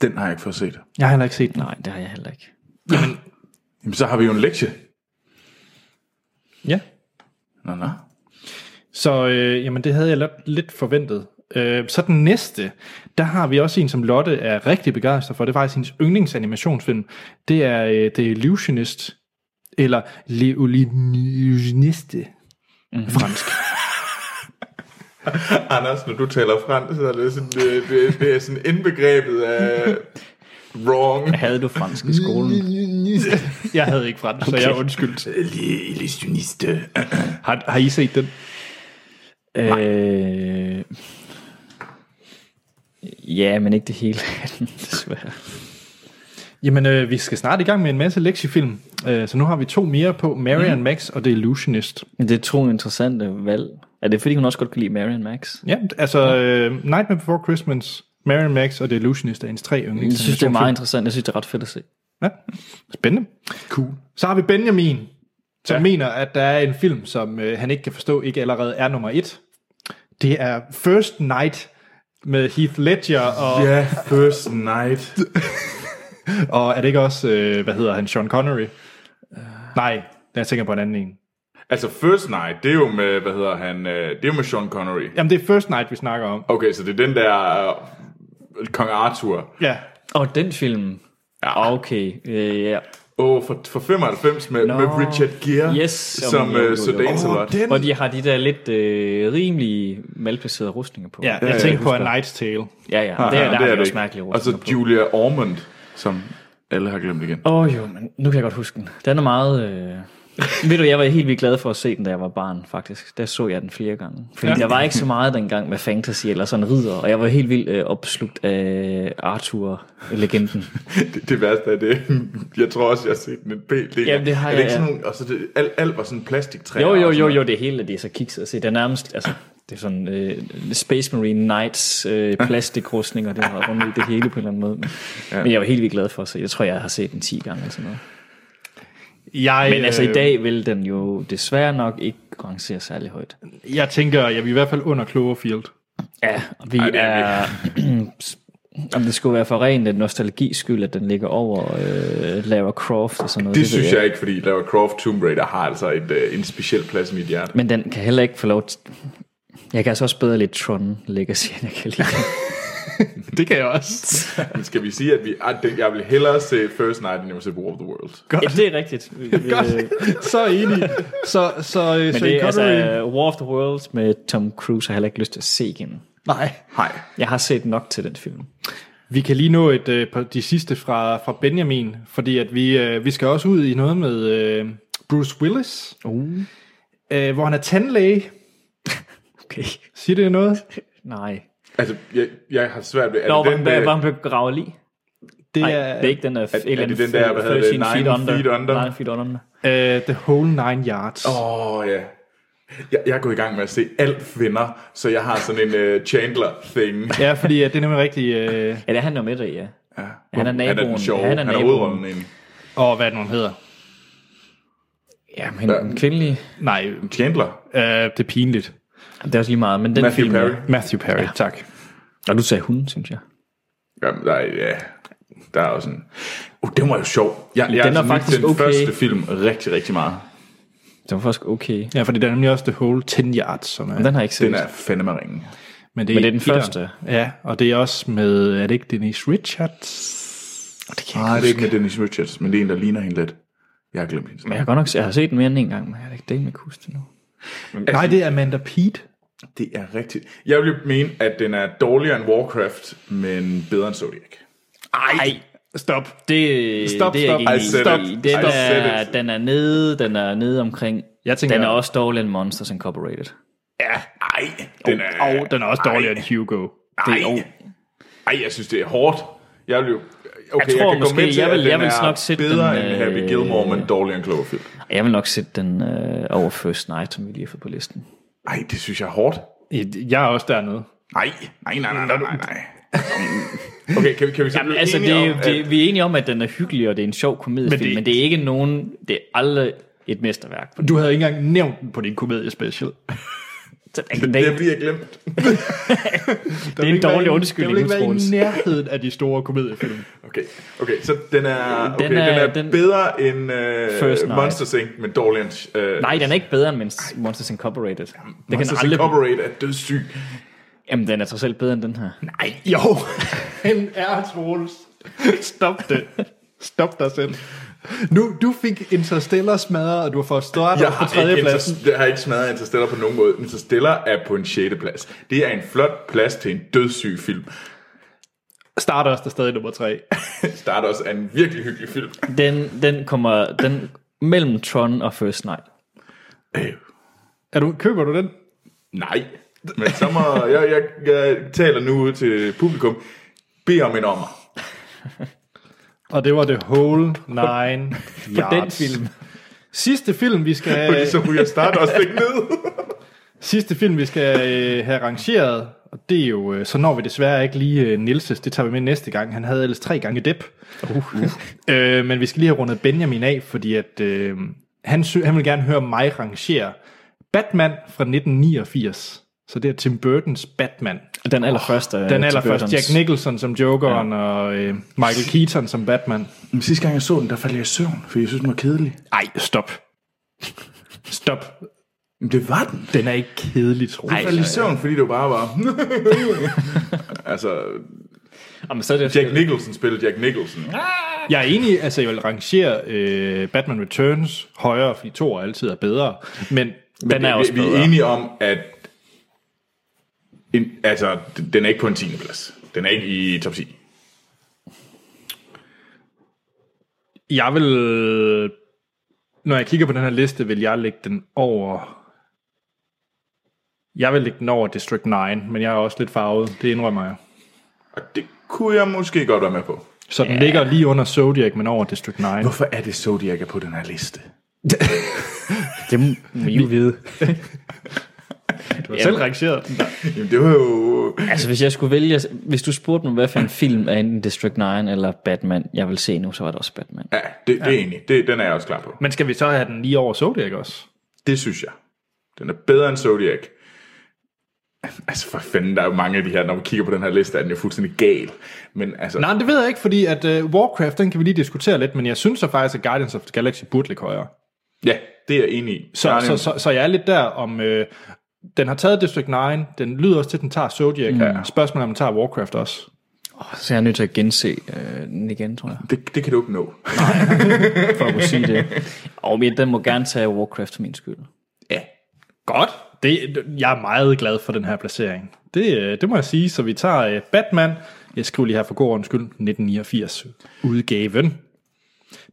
Den har jeg ikke fået set.
Jeg har heller ikke set den.
Nej, det har jeg heller ikke.
Jamen, så har vi jo en lektie.
Ja.
Nå, nå.
Så øh, jamen, det havde jeg lidt- lidt forventet. Øh, så den næste, der har vi også en, som Lotte er rigtig begejstret for. Det er faktisk hendes yndlingsanimationsfilm. Det er øh, The Illusionist. Eller Le Illusioniste. Mm-hmm. Fransk.
Anders, når du taler fransk, så er det sådan, det, det, det er sådan indbegrebet af wrong.
Havde du fransk i skolen?
Jeg havde ikke fransk, okay. så jeg er undskyldt.
Illusioniste.
Har, har I set den?
Øh, ja, men ikke det hele af den, desværre.
Jamen, øh, vi skal snart i gang med en masse lektiefilm. Øh, så nu har vi to mere på. Mary mm. Max og The Illusionist.
Men det er to interessante valg. Er det fordi, hun også godt kan lide Marion Max?
Ja, altså øh, Nightmare Before Christmas, Mary Max og The Illusionist er ens tre
Jeg
yndlings.
synes, det er meget interessant. Jeg synes, det er ret fedt at se.
Ja. Spændende.
Cool.
Så har vi Benjamin, som ja. mener, at der er en film, som øh, han ikke kan forstå, ikke allerede er nummer et. Det er First Night med Heath Ledger, og,
Ja, first night.
og er det ikke også, øh, hvad hedder han, Sean Connery? Nej, jeg tænker på en anden en.
Altså, first night, det er jo med, hvad hedder han, øh, det er jo med Sean Connery.
Jamen, det er First Night, vi snakker om.
Okay, så det er den der øh, Kong Arthur.
Ja,
Og den film. Ja. Okay, øh, ja.
Åh, oh, for, for 95 med, no. med Richard Gere,
Yes.
som
Jo, jo, jo,
øh, Sir
jo.
Dancelot.
den
Og de har de der lidt øh, rimelig malplacerede rustninger på.
Ja, jeg tænkte på A Night's Tale.
ja. ja.
Ah,
Der, der, der har de også mærkelige
Og så
rustninger på.
Julia Ormond, som alle har glemt igen.
Åh oh, jo, men nu kan jeg godt huske den. Den er meget... Øh... Ved du, jeg var helt vildt glad for at se den, da jeg var barn, faktisk. Der så jeg den flere gange. Fordi ja. der var ikke så meget dengang med fantasy eller sådan ridder, og jeg var helt vildt øh, opslugt af Arthur-legenden.
Det, det værste er det. Jeg tror også, jeg har set den en del del.
Jamen, det har
er det
jeg,
ikke
ja.
sådan nogle, og så det, alt, alt var sådan plastiktræer.
Jo,
og
jo,
sådan
jo,
noget.
jo, det hele det er så kikset at se. Det er nærmest, altså, det er sådan øh, Space Marine Knights øh, plastikrustninger, det har rundt i det hele på en eller anden måde. Men, ja. men jeg var helt vildt glad for at se. Jeg tror, jeg har set den 10 gange eller sådan noget.
Jeg,
Men altså i
øh,
dag vil den jo desværre nok ikke rangere særlig højt.
Jeg tænker, jeg vil i hvert fald under Cloverfield.
Ja, og vi Ej,
det er
er... Om det skulle være for rent en nostalgis skyld, at den ligger over øh, Lara Croft og sådan noget.
Det
ved
synes jeg ikke, fordi Lara Croft Tomb Raider har altså et, øh, en speciel plads i mit hjerte.
Men den kan heller ikke få lov til... Jeg kan altså også bedre lidt Tron Legacy, end jeg kan lide.
Det kan jeg også.
Men skal vi sige, at vi, ah, det, jeg vil hellere se First Night, end jeg vil se War of the Worlds.
ja, det er rigtigt. Øh,
så enig. Så, så, øh,
Men
så
det er altså
altså...
War of the Worlds med Tom Cruise har jeg heller ikke lyst til at se igen.
Nej.
Nej.
Jeg har set nok til den film.
Vi kan lige nå et øh, på de sidste fra, fra Benjamin, fordi at vi, øh, vi skal også ud i noget med øh, Bruce Willis,
Uh.
øh, hvor han er tandlæge.
Okay.
Siger det noget?
Nej.
Altså, jeg, jeg har svært ved... Er
Nå,
det
var,
den,
hvad
øh,
var han begravet lige?
Det
Nej,
er,
det er ikke den der... Er,
er det den der, hvad hedder det, Nine Feet Under?
9 feet under.
øh, The Whole Nine Yards. Oh.
Åh, oh, ja. Jeg, jeg er gået i gang med at se alt venner, så jeg har sådan en uh, Chandler-thing.
Ja, fordi at det er nemlig rigtigt... Øh,
Ja, det er han jo med i, ja.
Ja.
Han er
Han er
naboen.
den sjove. Han
Han er
er, han er
naboen.
hovedrollen egentlig.
og hvad er det nu, han hedder?
Ja, men den kvindelige...
Nej,
Chandler.
øh, det er pinligt.
Det er også lige meget, men den
Matthew
film...
Perry.
Ja.
Matthew Perry, ja. tak.
Og du sagde hun, synes jeg.
Jamen, der, er- ja, der er også en... Uh, den var jo sjov. Jeg, jeg
Den er
altså nydt
faktisk
den
okay.
første film rigtig, rigtig meget.
Den var faktisk okay.
Ja, fordi der er nemlig også The Whole 10 Yards, som er...
Den har jeg ikke set.
Den er fandme ringen.
Men det,
Men det er den
etteren.
første.
Ja, og det er også med, er det ikke Denise Richards?
det kan jeg
Nej,
ikke
det er
huske.
ikke med Dennis Richards, men det er en, der ligner hende lidt. Jeg har glemt hende.
Men jeg har godt nok jeg har set den mere end en gang, men jeg har ikke delt med kuste nu.
Nej, det er Amanda Pete.
Det er rigtigt. Jeg vil mene, at den er dårligere end Warcraft, men bedre end Zodiac.
Ej, stop. Det,
Stop,
Øh, det
stop.
er jeg
I
ikke
said
enig i.
it.
Den,
I said
er,
it.
den er nede, den er nede omkring.
Jeg tænker-
den er også dårlig end Monsters Incorporated.
Ja, ej. Den er,
Og den er også dårligere end Hugo.
ej,
det er-
ej, ej, jeg synes, det er hårdt. Jeg vil jo... Okay,
tror
kan gå
måske,
med til,
jeg vil-
at den
jeg vil
er
nok sætte
bedre
den,
end Happy
øh,
Gilmore, men dårligere end Cloverfield.
Jeg vil nok sætte den øh, over First Night, som vi lige har fået på listen.
Ej, det synes jeg er hårdt.
Jeg er også dernede.
Nej, nej, nej, nej, nej, nej. nej. Okay, kan vi, kan vi så
Jamen,
blive
altså, det,
enige
er-
om, at-
det, vi er enige om, at den er hyggelig, og det er en sjov
Men
komediefilm, men det,
det-
men det er ikke nogen... Det er aldrig et mesterværk.
Du havde ikke engang nævnt den på din komediespecial. Det
Så der kan-
det er
der-
fordi, jeg glemt.
Det er en dårlig undskyldning,
Det ville ikke
Troels.
være i nærheden af de store komediefilm.
Okay, okay, så den er, okay, den
er-
er, den er
den-
den... bedre end
First
uh,
Night.
Monster Inc., men dårligere end... Uh,
Nej, den er ikke bedre end Monst- Monsters Incorporated. Det kan
Monsters
aldrig...
Incorporated er dødssyg.
Jamen, den er trods alt bedre end den her.
Nej, jo. Han er Troels. Stop det. Stop dig selv. Nu, du fik Interstellar smadret, og du har fået større
Jeg
på
har,
tredje
ikke
pladsen.
inter, jeg har ikke smadret Interstellar på nogen måde. Interstellar er på en 6. plads. Det er en flot plads til en dødssyg film.
Stardust er stadig nummer tre.
Stardust er en virkelig hyggelig film.
Den, den kommer den mellem Tron og First Night.
Øh,
Er du, køber du den?
nej, men så må... Jeg, jeg, jeg taler nu ud til publikum. Bed om en ommer.
Og det var The Whole Nine
På
Yards.
den film.
Sidste film, vi skal,
Fordi så ryger Stardust ikke ned.
sidste film, vi skal øh, have rangeret, og det er jo, øh, så når vi desværre ikke lige øh, Nilses, det tager vi med næste gang. Han havde ellers tre gange dep. Uh. øh, men vi skal lige have rundet Benjamin af, fordi at, øh, han, sy- han vil gerne høre mig rangere Batman fra 1989. Så det er Tim Burtons Batman.
Den allerførste. øh,
Den
Tim
allerførste
Burton's.
Jack Nicholson som Jokeren ja. og øh, Michael Keaton som Batman.
Men sidste gang jeg så den, der faldt jeg i søvn, for jeg synes, den var kedelig.
Ej, stop. Stop.
Men det var den.
Den er ikke kedelig, tror
Jeg
jeg.
faldt i søvn, fordi det bare var... altså,
Jamen, så er det
Jack Nicholson spillede Jack Nicholson.
Jeg er enig, altså jeg vil rangere øh, Batman Returns højere, fordi to altid er bedre, men
Den er også
vi, vi
bedre.
er enige om, at en, altså, d- den er ikke på en 10. plads. Den er ikke i top 10.
jeg vil, når jeg kigger på den her liste, vil jeg lægge den over, jeg vil lægge den over District 9, men jeg er også lidt farvet, det indrømmer jeg.
Og det kunne jeg måske godt være med på.
Så den ligger lige under Zodiac, men over District 9.
Hvorfor er det Zodiac er på den her liste?
Det må I jo vide.
Du har selv rangeret den.
Jamen, det var jo...
Altså, hvis jeg skulle vælge... Hvis du spurgte mig, hvad for en film er enten District 9 eller Batman, jeg vil se nu, så var det også Batman.
Ja, det, det er egentlig. Det, den er jeg også klar på.
Men skal vi så have den lige over Zodiac også?
Det synes jeg. Den er bedre end Zodiac. Altså for fanden, der er jo mange af de her, når man kigger på den her liste, er den jo fuldstændig gal. Men altså,
Nej, men det ved jeg ikke, fordi at uh, Warcraft, den kan vi lige diskutere lidt, men jeg synes så faktisk, at Guardians of the Galaxy burde ligge højere.
ja, det er jeg enig i.
Så, så, så, så jeg er lidt der om, øh, den har taget District 9, den lyder også til, at den tager Zodiac. Mm. Spørgsmålet er, om den tager Warcraft også.
Åh, Så jeg er nødt til at gense øh, den igen, tror jeg.
Det, det kan du ikke nå.
For at kunne sige det. Og men den må gerne tage Warcraft for min skyld.
Godt. Det, jeg er meget glad for den her placering. Det, øh, det må jeg sige. Så vi tager øh, Batman. Jeg skriver lige her for god ordens skyld. 1989 udgaven.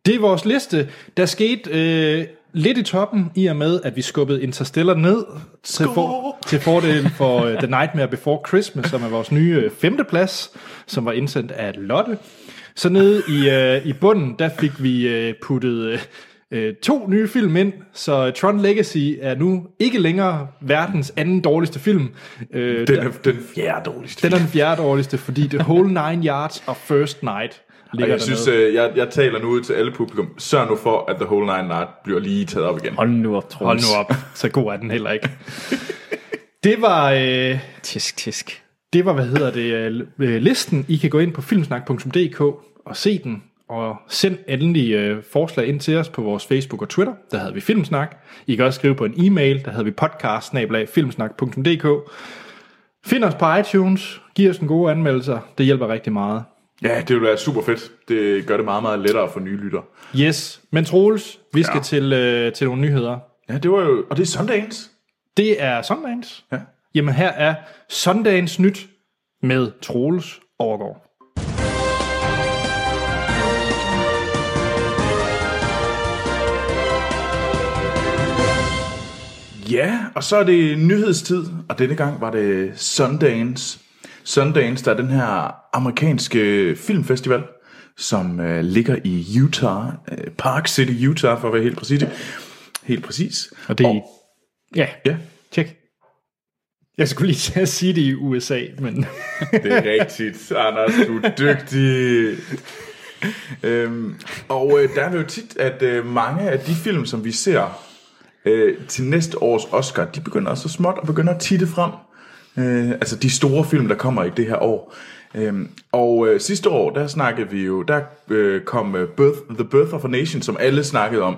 Det er vores liste. Der skete øh, lidt i toppen, i og med, at vi skubbede Interstellar ned til, for, til fordel for øh, The Nightmare Before Christmas, som er vores nye øh, femteplads, som var indsendt af Lotte. Så nede i, øh, i bunden, der fik vi øh, puttet øh, øh, to nye film ind, så Tron Legacy er nu ikke længere verdens anden dårligste film. Øh,
Den er den fjerde dårligste.
den er den fjerde dårligste, fordi The Whole Nine Yards og First Night ligger
Og jeg
dernede.
synes, øh, jeg, jeg taler nu ud til alle publikum. Sørg nu for, at The Whole Nine Night bliver lige taget op igen.
Hold nu op, Troels.
Hold nu op, så god er den heller ikke. Det var, øh,
Tisk, tisk.
det var hvad hedder det, øh, øh, listen. I kan gå ind på filmsnak.dk og se den, og send endelig øh, forslag ind til os på vores Facebook og Twitter. Der havde vi Filmsnak. I kan også skrive på en e-mail, der havde vi podcast filmsnak.dk. Find os på iTunes, giv os en gode anmeldelser, det hjælper rigtig meget.
Ja, det vil være super fedt. Det gør det meget, meget lettere for nye lytter.
Yes, men Troels, vi skal
Ja.
ja. til, øh, til nogle nyheder.
Ja, det var jo... Og det er søndagens.
Det er Sundance.
Ja.
Jamen her er Sundagens Nyt med Troels Overgaard.
Ja, og så er det nyhedstid, og denne gang var det Sundance. Sundance, der er den her amerikanske filmfestival, som øh, ligger i Utah, øh, Park City, Utah, for at være helt præcis. Helt præcis.
Og det er i- Ja,
ja,
tjek. Jeg skulle lige til at sige det i USA, men
Det er rigtigt, Anders, du er dygtig. øhm, og øh, der er det jo tit, at øh, mange af de film, som vi ser øh, til næste års Oscar, de begynder så småt og begynder at titte frem. Øh, altså de store film, der kommer i det her år. Øhm, og øh, sidste år, der snakkede vi jo, der øh, kom øh, Birth, The Birth of a Nation, som alle snakkede om.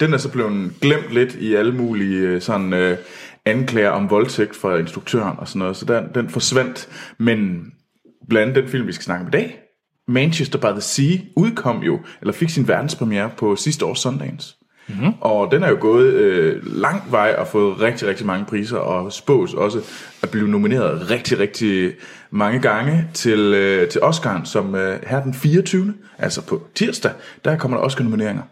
Den er så blevet glemt lidt i alle mulige øh, sådan, øh, anklager om voldtægt fra instruktøren og sådan noget, så den, den forsvandt. Men blandt andet den film, vi skal snakke om i dag, Manchester by the Sea, udkom jo, eller fik sin verdenspremiere på sidste års Sundance. Mm-hmm. Og den er jo gået øh, lang vej og fået rigtig, rigtig mange priser, og spås også at blive nomineret rigtig, rigtig mange gange til, øh, til Oscar'en, som øh, her den 24. Altså på tirsdag, der kommer der Oscar-nomineringer.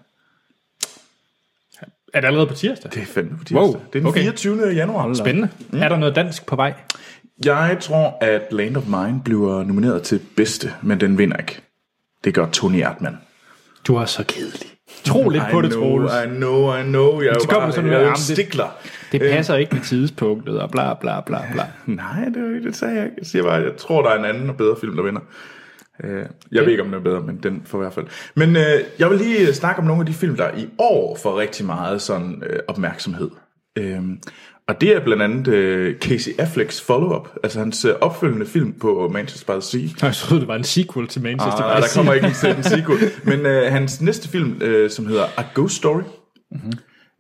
er det allerede på tirsdag?
Det er fandme på tirsdag.
Wow,
det er den
okay.
24. januar.
Spændende. Mm. Er der noget dansk på vej?
Jeg tror, at Land of Mine bliver nomineret til bedste, men den vinder ikke. Det gør Tony Erdmann.
Du er så kedelig. Tro lidt på det, Troels.
I know, I know. Jeg er jo
kommer
bare,
sådan
jeg
noget,
er jo
"Jamen,
en
det-
stikler.
Det passer ikke med tidspunktet og bla bla bla bla.
Nej, det, er jo ikke- det sagde jeg ikke. Jeg siger bare, at jeg tror, der er en anden og bedre film, der vinder. Øh, Jeg ved ikke, om den er bedre, men den for i hvert fald. Men øh, jeg vil lige snakke om nogle af de film, der i år får rigtig meget sådan øh, opmærksomhed. Øhm, og det er blandt andet øh, Casey Afflecks follow-up, altså hans øh, opfølgende film på Manchester by the Sea.
Nå, Jeg troede, det var en sequel til Manchester
Nej,
by the
Ah, der
Sea.
kommer ikke en second sequel. Men øh, hans næste film, øh, som hedder A Ghost Story. Mm-hmm.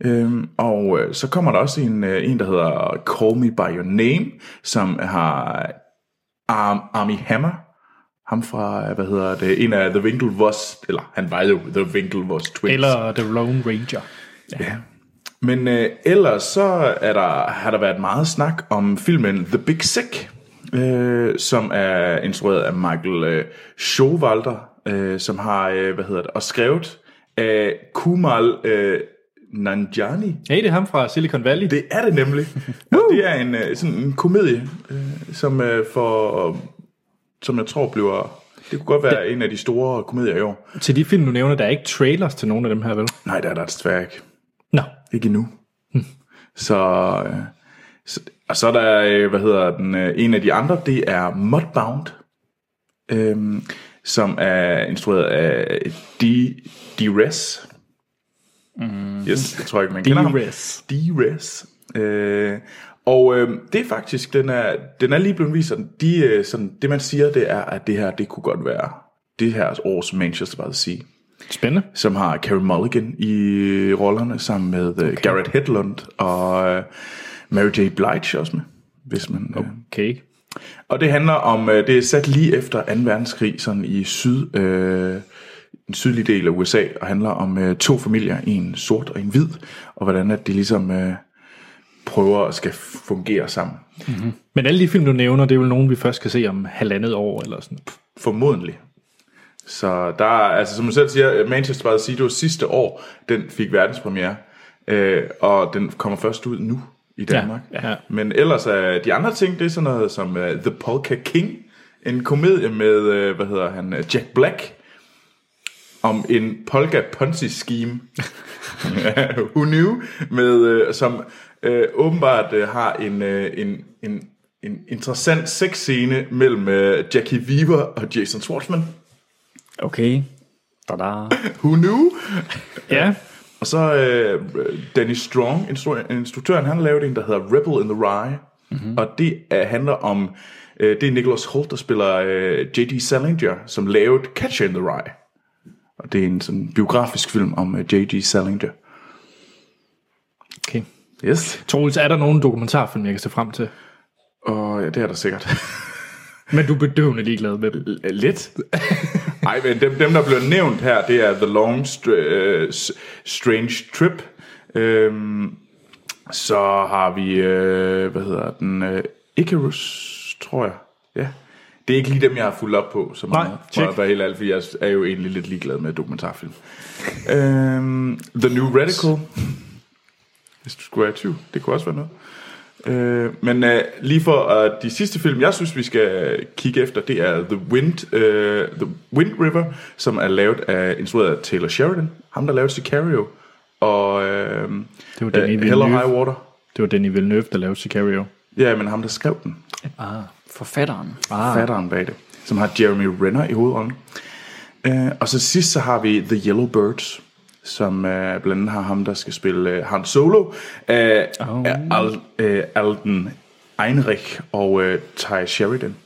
Øhm, og øh, så kommer der også en, øh, en, der hedder Call Me By Your Name, som har Arm, Army Hammer. Ham fra, øh, hvad hedder det, en af The Winklevoss, eller han var jo The Winklevoss Twins.
Eller The Lone Ranger.
Ja. Men øh, ellers så er der, har der været meget snak om filmen The Big Sick, øh, som er instrueret af Michael øh, Showalter, øh, som har, øh, hvad hedder det, og skrevet af Kumal øh, Nanjiani.
Hey, det er ham fra Silicon Valley. Det.
Det er det nemlig. Og det er en, øh, sådan en komedie, øh, som, øh, for, som jeg tror bliver... Det kunne godt være en af de store komedier i år.
Til de film, du nævner, der er ikke trailers til nogen af dem her, vel?
Nej, det er der desværre ikke.
Nå,
Ikke endnu. Så, øh, så, og så er der, øh, hvad hedder den, øh, en af de andre, det er Mudbound, øhm, som er instrueret af D. D-Res. Mm. Yes, jeg tror ikke, man kender ham.
D-Res.
D-Res. Øh, og øh, det er faktisk, den er, den er lige blevet vist, sådan, de, øh, sådan, det man siger, det er, at det her, det kunne godt være det her års Manchester by the Sea
spændende.
som har Carey Mulligan i rollerne, sammen med okay. Garrett Hedlund og øh, Mary J. Blige også med, hvis man... Øh.
Okay.
Og det handler om, øh, det er sat lige efter 2. verdenskrig, sådan i syd, øh, den sydlige del af USA, og handler om øh, to familier, en sort og en hvid, og hvordan at de ligesom øh, prøver at skal fungere sammen.
Men alle de film, du nævner, det er vel nogen, vi først kan se om halvandet år eller sådan. Pff,
Formodentlig. Så der er, altså som du selv siger, Manchester by the Sea, det var sidste år, den fik verdenspremiere. Øh, og den kommer først ud nu i Danmark.
Ja, ja.
Men ellers er de andre ting, det er sådan noget som uh, The Polka King, en komedie med, uh, hvad hedder han, øh, Jack Black, om en polka ponzi scheme who knew, med, øh, som øh, åbenbart øh, har en, øh, en, en, en interessant sexscene mellem øh, Jackie Weaver og Jason Schwartzman.
Okay. Da-da.
Who knew?
Ja,
Og så øh, Danny Strong, instru- instruktøren, han lavede en, der hedder Rebel in the Rye. Mm-hmm. Og det er, handler om, øh, det er Nicholas Holt, der spiller øh, J.D. Salinger, som lavede Catcher in the Rye. Og det er en sådan biografisk film om øh, J.D. Salinger.
okay.
Yes.
Troels, er der nogen dokumentarfilm, jeg kan se frem til?
Og ja, det er der sikkert.
Men du er bedøvende ligeglad med dem.
Lidt. Nej, men dem, dem, der blev nævnt her, det er The Long Str- øh, S- Strange Trip. Øhm, så har vi, øh, hvad hedder den, øh, Icarus, tror jeg. Ja. Det er ikke lige dem, jeg har fulgt op på så meget.
tjek.
For at være helt ærlig, fordi jeg er jo egentlig lidt ligeglad med dokumentarfilm. øhm, The New Radical. Hvis du skulle være i tvivl, det kunne også være noget. Øh, men øh, lige for øh, de sidste film, jeg synes, vi skal kigge efter, det er The Wind, øh, The Wind River, som er lavet af, instrueret af Taylor Sheridan, ham der lavede Sicario, og øh,
Det var den, I ville
Hell or
nyde.
High Water.
Det var Danny Villeneuve, der lavede Sicario.
Ja, men ham, der skrev den.
Ah, forfatteren.
ah. fatteren bag det, som har Jeremy Renner i hovedrollen. Uh, og så sidst så har vi The Yellow Birds, som uh, blandt andet har ham, der skal spille uh, Han Solo, uh, oh. Al, uh, Alden Einrich og uh, Ty Sheridan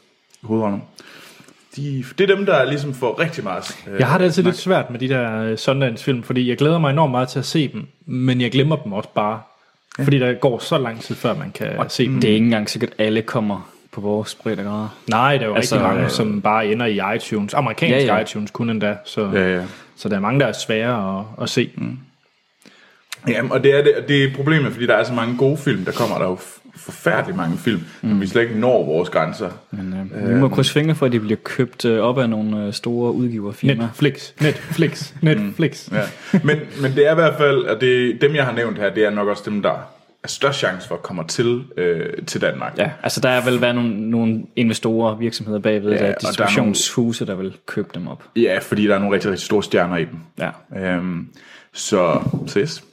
i hovedrollen. De, det er dem, der ligesom får rigtig meget... Uh,
Jeg har det altid lidt svært med de der øh, søndagsfilm, fordi jeg glæder mig enormt meget til at se dem, men jeg glemmer dem også bare, fordi der går så lang tid, før man kan se dem.
Det er ikke engang sikkert, at alle kommer på vores breddegrader.
Nej, der er jo
Altså,
altså, rigtig mange,
øh,
som bare ender i iTunes. Amerikanske
Ja,
ja,
ja.
ja. iTunes kun endda, så, ja,
Ja,
ja.
ja.
så der er mange, der er svære at, at se. Mm.
Jamen, og det er, det, og det er problemet, fordi der er så mange gode film, der kommer. Der er jo f- forfærdeligt mange film, mm. men vi slet ikke når vores grænser.
Men øh, vi må krydse fingre for, at de bliver købt øh, op af nogle øh, store udgiverfirmaer.
Netflix, Netflix, Netflix. Mm.
Ja. Men, men det er i hvert fald, og det, dem jeg har nævnt her, det er nok også dem, der er størst chance for at komme til, øh, til Danmark.
Ja, altså der er vel været nogle, nogle investorer, virksomheder bagved, ja,
og der er
der er distributionshuse, der vil købe dem op.
ja, fordi der er nogle rigtig, rigtig store stjerner i dem.
Ja.
Øhm, så ses.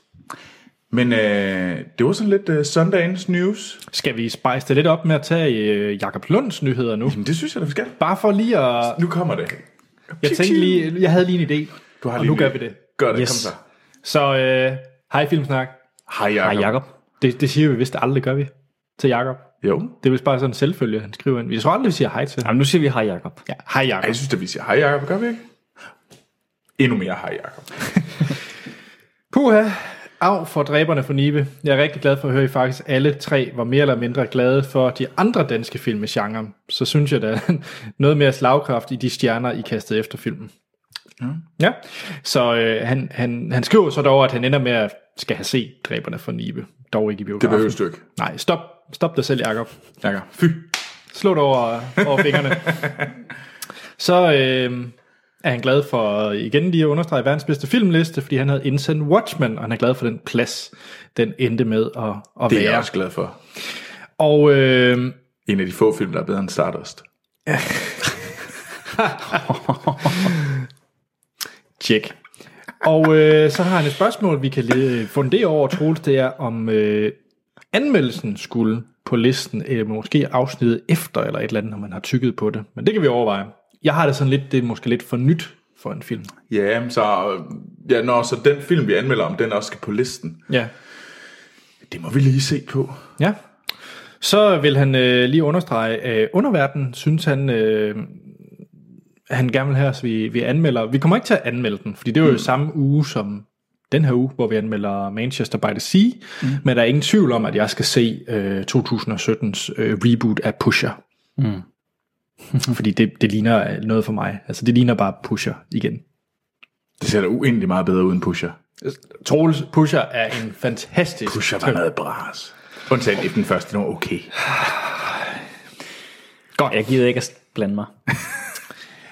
Men øh, det var sådan lidt øh, søndagens news.
Skal vi spice det lidt op med at tage øh, Jakob Lunds nyheder nu?
Men det synes jeg, da vi skal.
Bare for lige at...
Nu kommer det.
Jeg tænkte lige, jeg havde lige en idé,
Du har
og
lige
nu
en
gør
idé.
vi det.
Gør det,
Yes.
yes. kom så.
Så øh, hej Filmsnak.
Hej Jacob.
Hej Jakob.
Det, det siger vi vist aldrig, gør vi, til Jakob.
Jo.
Det er vist bare sådan en selvfølge, han skriver ind. Vi tror aldrig, vi siger hej til ham.
Jamen, nu siger vi hej Jakob.
Ja, hej
Ej,
Jakob.
jeg synes, at vi siger hej Jacob, gør vi ikke? Endnu mere hej Jacob.
Puha, af for dræberne for Nibe. Jeg er rigtig glad for at høre, at I faktisk alle tre var mere eller mindre glade for de andre danske film i genren. Så synes jeg, der er noget mere slagkraft i de stjerner, I kastede efter filmen. Ja, ja. så øh, han, han, han skriver så dog, at han ender med at skal have set dræberne for Nibe. Dog ikke i biografen.
Det behøves du ikke.
Nej, stop, stop dig selv, Jacob.
Jacob. Fy.
Slå dig over, over fingrene. Så øh, er han glad for, igen lige at understrege, verdens bedste filmliste, fordi han havde indsendt Watchmen, og han er glad for den plads, den endte med at, at
Det er jeg
være.
også glad for.
Og øh,
En af de få film, der er bedre end Stardust.
tjek. Og øh, så har han et spørgsmål, vi kan lede, fundere over, Troels, det er, om øh, anmeldelsen skulle på listen, eller måske afsnittet efter, eller et eller andet, når man har tykket på det. Men det kan vi overveje. Jeg har det sådan lidt, det er måske lidt for nyt for en film.
Ja, men så, øh, ja, når så den film, vi anmelder om, den også skal på listen.
Ja.
Det må vi lige se på.
Ja. Så vil han øh, lige understrege, øh, underverdenen synes han, øh, han gerne vil have os, vi, vi anmelder. Vi kommer ikke til at anmelde den, fordi det er jo mm. samme uge som den her uge, hvor vi anmelder Manchester by the Sea. Mm. Men der er ingen tvivl om, at jeg skal se øh, 2017's øh, reboot af Pusher. Mm. fordi det, det ligner øh, noget for mig. Altså det ligner bare Pusher igen.
Det ser da uendelig meget bedre ud end Pusher.
Troels Pusher er en fantastisk...
Pusher var noget bras. Undtagen i den første, den var okay.
Godt. Jeg gider ikke at blande mig.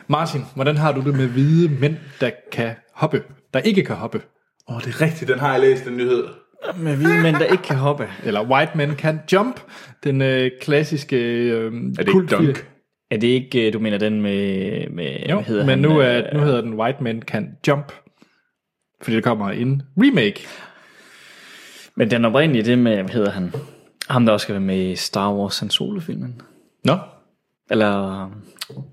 Martin, hvordan har du det med hvide mænd, der kan hoppe? Der ikke kan hoppe?
Åh, oh, det er rigtigt, den har jeg læst, den nyhed.
Med hvide mænd, der ikke kan hoppe.
Eller white men can jump, den øh, klassiske øh,
Er det ikke Dunk?
Er det ikke, øh, du mener den med... med
Jo,
hvad hedder
men
han,
nu,
øh,
er, nu hedder den white men can jump. Fordi der kommer en remake.
Men den oprindelige, det med, hvad hedder han? Ham, der også skal være med i Star Wars Han Solo-filmen.
Nå,
Eller,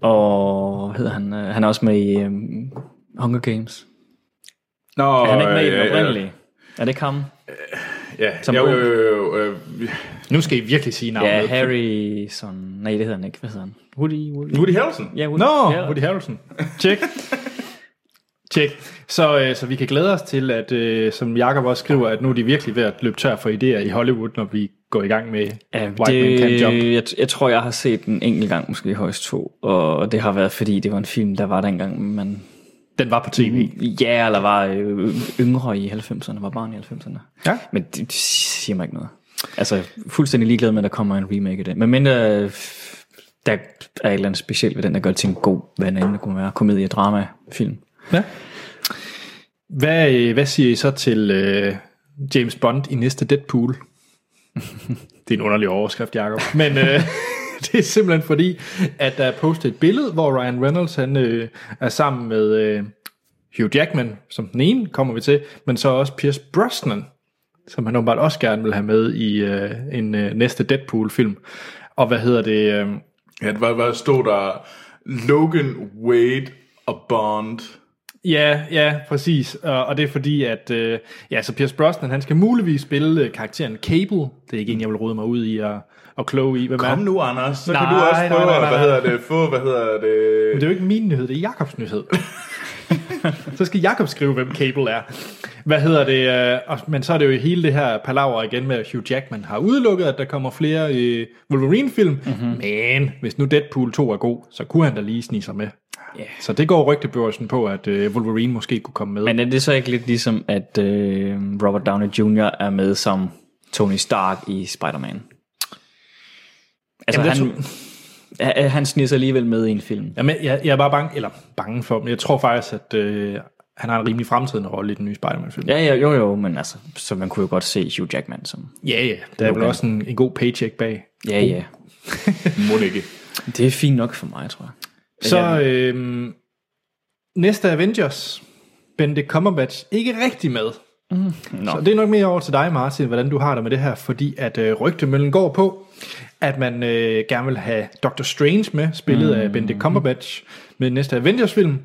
og hvad hedder han? Øh, Han er også med i um, Hunger Games.
Nå,
Er han ikke med i
øh,
den oprindelige? Er det ikke ham?
Ja,
Som
jo,
ung?
jo, jo, jo, øh,
nu skal I virkelig sige navnet.
Ja, Harrison. Nej, det hedder han ikke. Hvad hedder han? Woody? Woody?
Woody Harrelson.
Ja, Woody.
Nå,
ja.
Woody Harrelson. Tjek. Tjek. Så, øh, så vi kan glæde os til, at øh, som Jakob også skriver, at nu er de virkelig ved at løbe tør for idéer i Hollywood, når vi går i gang med
Ja,
White Men Can Jump.
det, jeg, jeg tror, jeg har set den enkelt gang, måske højst to, og det har været, fordi det var en film, der var dengang, man
Den var på tv.
ja, eller var øh, yngre i 90'erne, var barn i 90'erne.
Ja.
Men det, det siger mig ikke noget. Altså, jeg er fuldstændig ligeglad med, at der kommer en remake af det. Men mindre, øh, der er et eller andet specielt ved den, der gør det til en god, hvad end det kunne være, komedie, drama, film.
Ja. Hvad, øh, hvad siger I så til øh, James Bond i næste Deadpool? det er en underlig overskrift, Jacob. Men øh, det er simpelthen fordi, at der er postet et billede, hvor Ryan Reynolds han, øh, er sammen med øh, Hugh Jackman, som den ene kommer vi til, men så også Pierce Brosnan. som han åbenbart også gerne vil have med i øh, en øh, næste Deadpool-film. Og hvad hedder det? Øh,
Ja, hvad, hvad stod der? Logan, Wade og Bond.
ja, ja, præcis. Og, og det er fordi, at øh, ja, så Pierce Brosnan, han skal muligvis spille øh, karakteren Cable. Det er ikke en, jeg vil rode mig ud i at, og kloge i. Hvem er han?
Kom nu, Anders. Så kan
Nej,
du også
nej,
få,
nej, nej,
hvad
nej.
hedder det, få, hvad hedder
Men
det...
det er jo ikke min nyhed, det er Jakobs nyhed. så skal Jakob skrive, hvem Cable er. Hvad hedder det? øh, og- Men så er det jo hele det her palaver igen med, at Hugh Jackman har udelukket, at der kommer flere øh, Wolverine-film. Mm-hmm. Men hvis nu Deadpool 2 er god, så kunne han da lige snige sig med.
Yeah.
Så det går rygtebørsen på, at øh, Wolverine måske kunne komme med. Men,
Men er det så ikke lidt ligesom, at øh, Robert Downey Jr. er med som Tony Stark i Spider-Man? Altså,
Jamen,
Jamen, han, han, han sniger sig alligevel med i en film.
Jamen, jeg, jeg er bare bange, eller bange for, men jeg tror faktisk, at øh, han har en rimelig fremtidende rolle i den nye Spider-Man-film.
Ja, ja, jo, jo, men altså, så man kunne jo godt se Hugh Jackman som...
ja, ja. Der er vel også en, en god paycheck bag.
Ja, ja.
Må det ikke.
Det er fint nok for mig, tror jeg.
Så øh, næste Avengers, Benedict Cumberbatch, ikke rigtig med.
Nå.
Så det er nok mere over til dig, Martin, hvordan du har det med det her, fordi at øh, rygtemøllen går på, at man øh, gerne vil have Doctor Strange med, spillet mm. af Benedict Cumberbatch, med næste Avengers-film.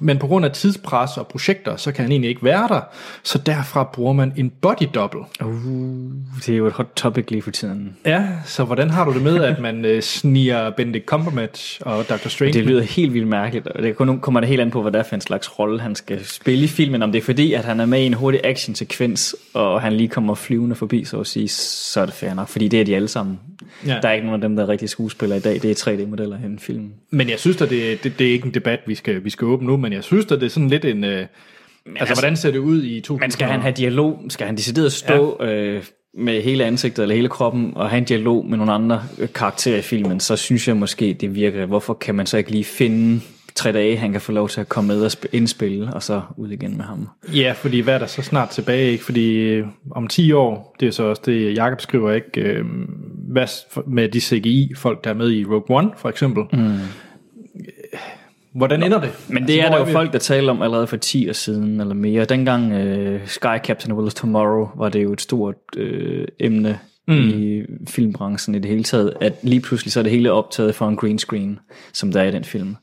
Men på grund af tidspres og projekter, så kan han egentlig ikke være der, så derfra bruger man en body double.
Det er jo et hot topic lige for tiden.
Ja, så hvordan har du det med, at man øh, sniger Benedict Cumberbatch og Doctor Strange?
Det lyder helt vildt mærkeligt, og det kun- kommer det helt an på, hvad det er for en slags rolle, han skal spille i filmen. Om det er fordi, at han er med i en hurtig actionsekvens, og han lige kommer flyvende forbi, så at sige, så er det fair nok, fordi det er de alle sammen.
Ja.
Ja. Der er ikke nogen af dem, der er rigtige skuespillere i dag. Det er 3D-modeller i en film.
Men jeg synes, at det, det, det er ikke en debat, vi skal, vi skal åbne nu, men jeg synes, at det er sådan lidt en... Øh, altså, altså,
altså-
hvordan ser det ud i 2000?
Men skal han have dialog? Skal han decideret stå ja. øh, med hele ansigtet eller hele kroppen og have en dialog med nogle andre øh, karakterer i filmen, så synes jeg måske, det virker. Hvorfor kan man så ikke lige finde tre dage, han kan få lov til at komme med og sp- indspille, og så ud igen med ham?
Ja, fordi hvad er der så snart tilbage? Ikke? Fordi øh, om 10 år, det er så også det, Jakob skriver, ikke? Øh, hvad s- for- med de CGI-folk, der er med i Rogue One, for eksempel. Mm. Hvordan ender det?
Men det er
Altså, hvor
der jo
vi?
folk, der taler om allerede for 10 år siden eller mere. Dengang øh, Sky Captain Will Tomorrow var det jo et stort øh, emne mm. i filmbranchen i det hele taget, at lige pludselig så er det hele optaget for en green screen, som der er i den film.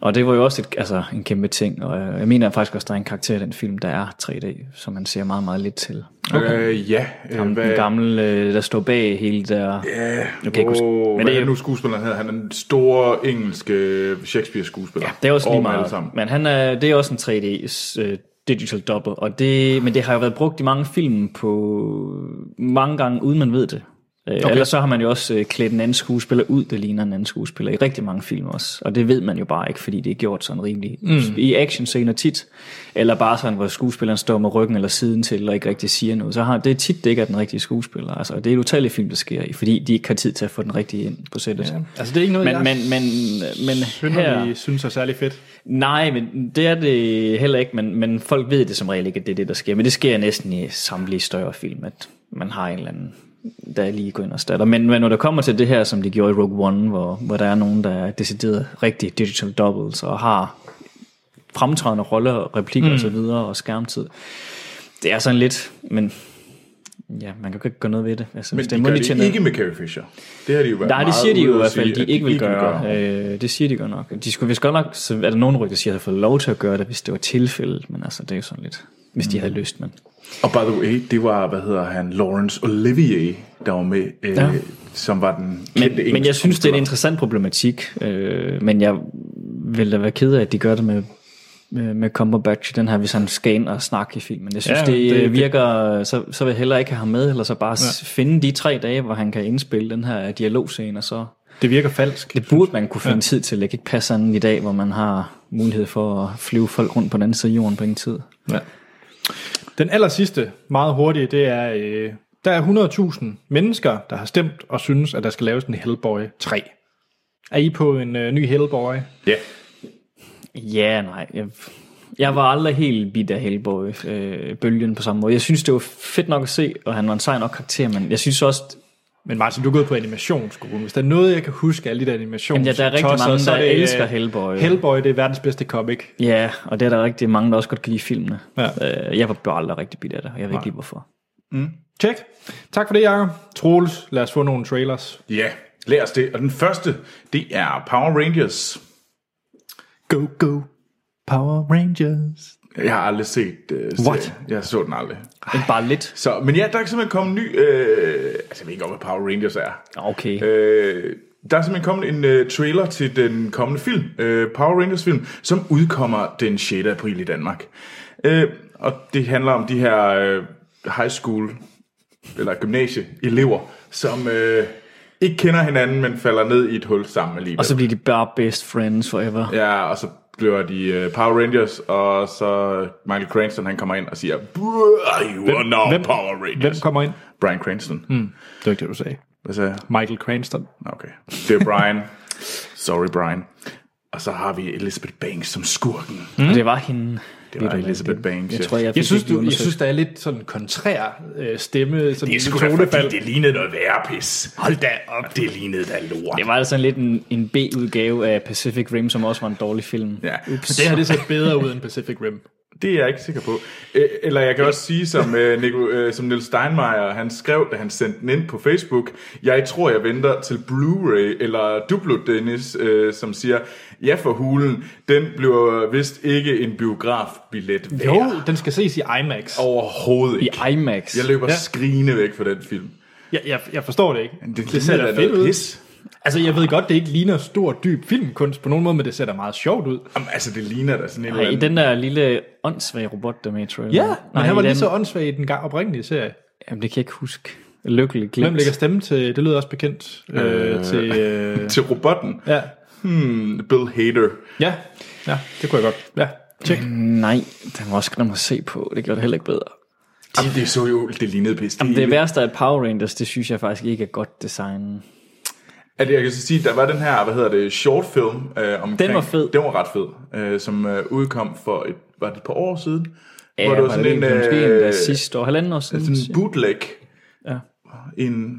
Og det var jo også et, altså, en kæmpe ting, og øh, jeg mener faktisk også, der er en karakter i den film, der er 3D, som man ser meget, meget lidt til.
Okay. Øh, ja, øh,
Ham, den gamle, øh, der står bag hele der...
Ja,
Jeg kan ikke huske-
åh,
men
hvad
det
er
er-
nu skuespilleren hedder? Han er den store engelske Shakespeare-skuespiller. Ja,
Det er også lige meget.
Alle sammen.
Men han er, det er også en 3D øh, digital double, og det, men det har jo været brugt i mange film på mange gange, uden man ved det. Okay. Ellers så har man jo også øh, klædt en anden skuespiller ud, der ligner en anden skuespiller, i rigtig mange film også. Og det ved man jo bare ikke, fordi det er gjort sådan rimelig mm. i actionscener tit. Eller bare sådan, hvor skuespilleren står med ryggen eller siden til, og ikke rigtig siger noget. Så har det er tit, det ikke er den rigtige skuespiller. Altså, og det er et utallige film, der sker i, fordi de ikke har tid til at få den rigtige ind på sættet. Ja.
Altså, det er ikke noget,
Men,
jeg
men, men, men her...
synderligt synes er særlig fedt.
Nej, men det er det heller ikke, men, men folk ved det som regel ikke, at det er det, der sker. Men det sker næsten i samtlige større film, at man har en eller anden, der lige går ind og starter. Men, men når der kommer til det her, som de gjorde i Rogue One, hvor, hvor der er nogen, der er decideret rigtige digital doubles og har fremtrædende roller, og replikker mm. og så videre, og skærmtid. Det er sådan lidt, men ja, man kan jo ikke gøre noget ved det. Altså,
Men
hvis
det
er
gør
money til
de
noget-
ikke med Carrie Fisher. Det har de jo været
Nej, det
meget
siger de jo
ude
i
at
hvert fald,
sige,
de
at
ikke vil gøre.
gøre.
Øh, det siger de godt nok. De skulle vist godt nok, så er der nogen rygter, der siger, at de havde fået lov til at gøre det, hvis det var tilfældet, men altså, det er jo sådan lidt, hvis de havde lyst, men...
Og by the way, det var, hvad hedder han, Laurence Olivier, der var med, øh, ja.
Ja.
som var den kendte
Men, men
engelske
jeg synes, det er en
skuespiller.
interessant problematik, øh, men jeg vil da være ked af, at de gør det med med med Cumberbatch i den her, hvis han skal ind og snakke i filmen. Jeg synes,
Ja,
ja, det,
det-
det virker, så, så vil jeg heller ikke have ham med, eller så bare ja. finde de tre dage, hvor han kan indspille den her dialogscene, og så
Det virker falsk.
Det burde man kunne finde ja. tid til. Det kan ikke passe sådan i dag, hvor man har mulighed for at flyve folk rundt på den anden side af jorden på ingen tid.
Ja. Den aller sidste, meget hurtige, det er, øh, der er 100.000 mennesker, der har stemt og synes, at der skal laves en Hellboy 3. Er I på en øh, ny Hellboy?
Ja,
Ja, nej. Jeg, jeg var aldrig helt bidt af Hellboy-bølgen på samme måde. Jeg synes, det var fedt nok at se, og han var en sej nok karakter, men jeg synes også,
Men Martin, du er gået på animationsskolen. Hvis der er noget, jeg kan huske af alle de der animations
Jamen, ja, der er rigtig
tosser,
mange,
så er
der
det, øh,
elsker Hellboy.
Hellboy, det er verdens bedste comic.
ja, og det er der rigtig mange, der også godt kan lide filmene.
Ja.
Øh, Jeg var bare aldrig rigtig bidt af det, og jeg ved ikke lige hvorfor.
Tjek. Tak for det, Jacob. Troels, lad os få nogle trailers.
Ja, lad os det. Og den første, det er Power Rangers.
Go, go. Power Rangers.
Jeg har aldrig set uh,
What?
Jeg så den aldrig.
Men bare lidt.
Så, men ja, der er simpelthen kommet en ny... Øh, altså, jeg ved ikke om, hvad Power Rangers er.
Okay.
Øh, der er simpelthen kommet en øh, trailer til den kommende film, øh, Power Rangers film, som udkommer den 6. april i Danmark. Øh, og det handler om de her øh, high school, eller gymnasieelever, som øh, ikke kender hinanden, men falder ned i et hul sammen alligevel.
Og så bliver de bare best friends forever.
Ja, og så bliver de øh, Power Rangers, og så Michael Cranston, han kommer ind og siger, "Bruh, you are now
hvem-
Power Rangers.
Hvem kommer ind?
Brian Cranston. Hmm.
Det var ikke det, du sagde.
Hvad sagde jeg?
Michael Cranston.
Okay. Det er Brian. Sorry, Brian. Og så har vi Elizabeth Banks som skurken.
Mm. Det var hende.
Det var Elizabeth Banks.
Jeg
ja.
tror, jeg, fik
Jeg synes,
det lige
du, jeg
undersøgt.
synes, der er lidt sådan kontrær øh, stemme. Sådan
det skulle være, fordi det lignede noget værre pis. Hold da op. Det lignede da lort.
Det var altså lidt en, en B-udgave af Pacific Rim, som også var en dårlig film.
Ja.
Ups.
Det her det ser bedre ud end Pacific Rim.
Det er jeg ikke sikker på. Øh, Eller jeg kan også sige, som, øh, Nico, øh, som Niels Steinmeier han skrev, da han sendte den ind på Facebook, jeg tror, jeg venter til Blu-ray, eller Duplo Dennis, øh, som siger, ja for hulen, den bliver vist ikke en biografbillet værd.
Jo, den skal ses i IMAX. Og
Overhovedet
I
ikke.
IMAX.
Jeg løber
Ja.
ja. skrigende væk fra den film.
jeg, jeg, jeg forstår det ikke.
Det, det ser da noget pis.
Altså, jeg ved godt, det ikke ligner stor, dyb filmkunst på nogen måde, men det ser da meget sjovt ud.
Jamen, altså, det ligner da sådan en
Nej,
eller
i
anden...
den der lille åndssvage robot, der er med i traileren.
Ja, men
Nej,
han var
i
lige
den-
så åndssvag i den gang oprindelige serie.
Jamen, det kan jeg ikke huske. Lykkelig glimt.
Hvem lægger stemme til, det lyder også bekendt, øh, øh. til... Øh,
Til robotten.
ja.
Hmm, Bill Hader.
ja, ja, det kunne jeg godt. Ja, tjek.
Nej, den var også grim at se på. Det gjorde det heller ikke bedre.
Jamen, det så jo... Det lignede pis. Det,
Det værste af Power Rangers, det synes jeg faktisk ikke er godt designet.
At jeg kan så sige, der var den her, hvad hedder det, shortfilm øh, omkring...
Den var fed.
Den var ret fed, øh, som øh, udkom for et, var det et par år siden.
Ja, hvor det var sådan en, måske øh, endda sidste år, halvanden år siden.
sådan en bootleg.
Ja.
En,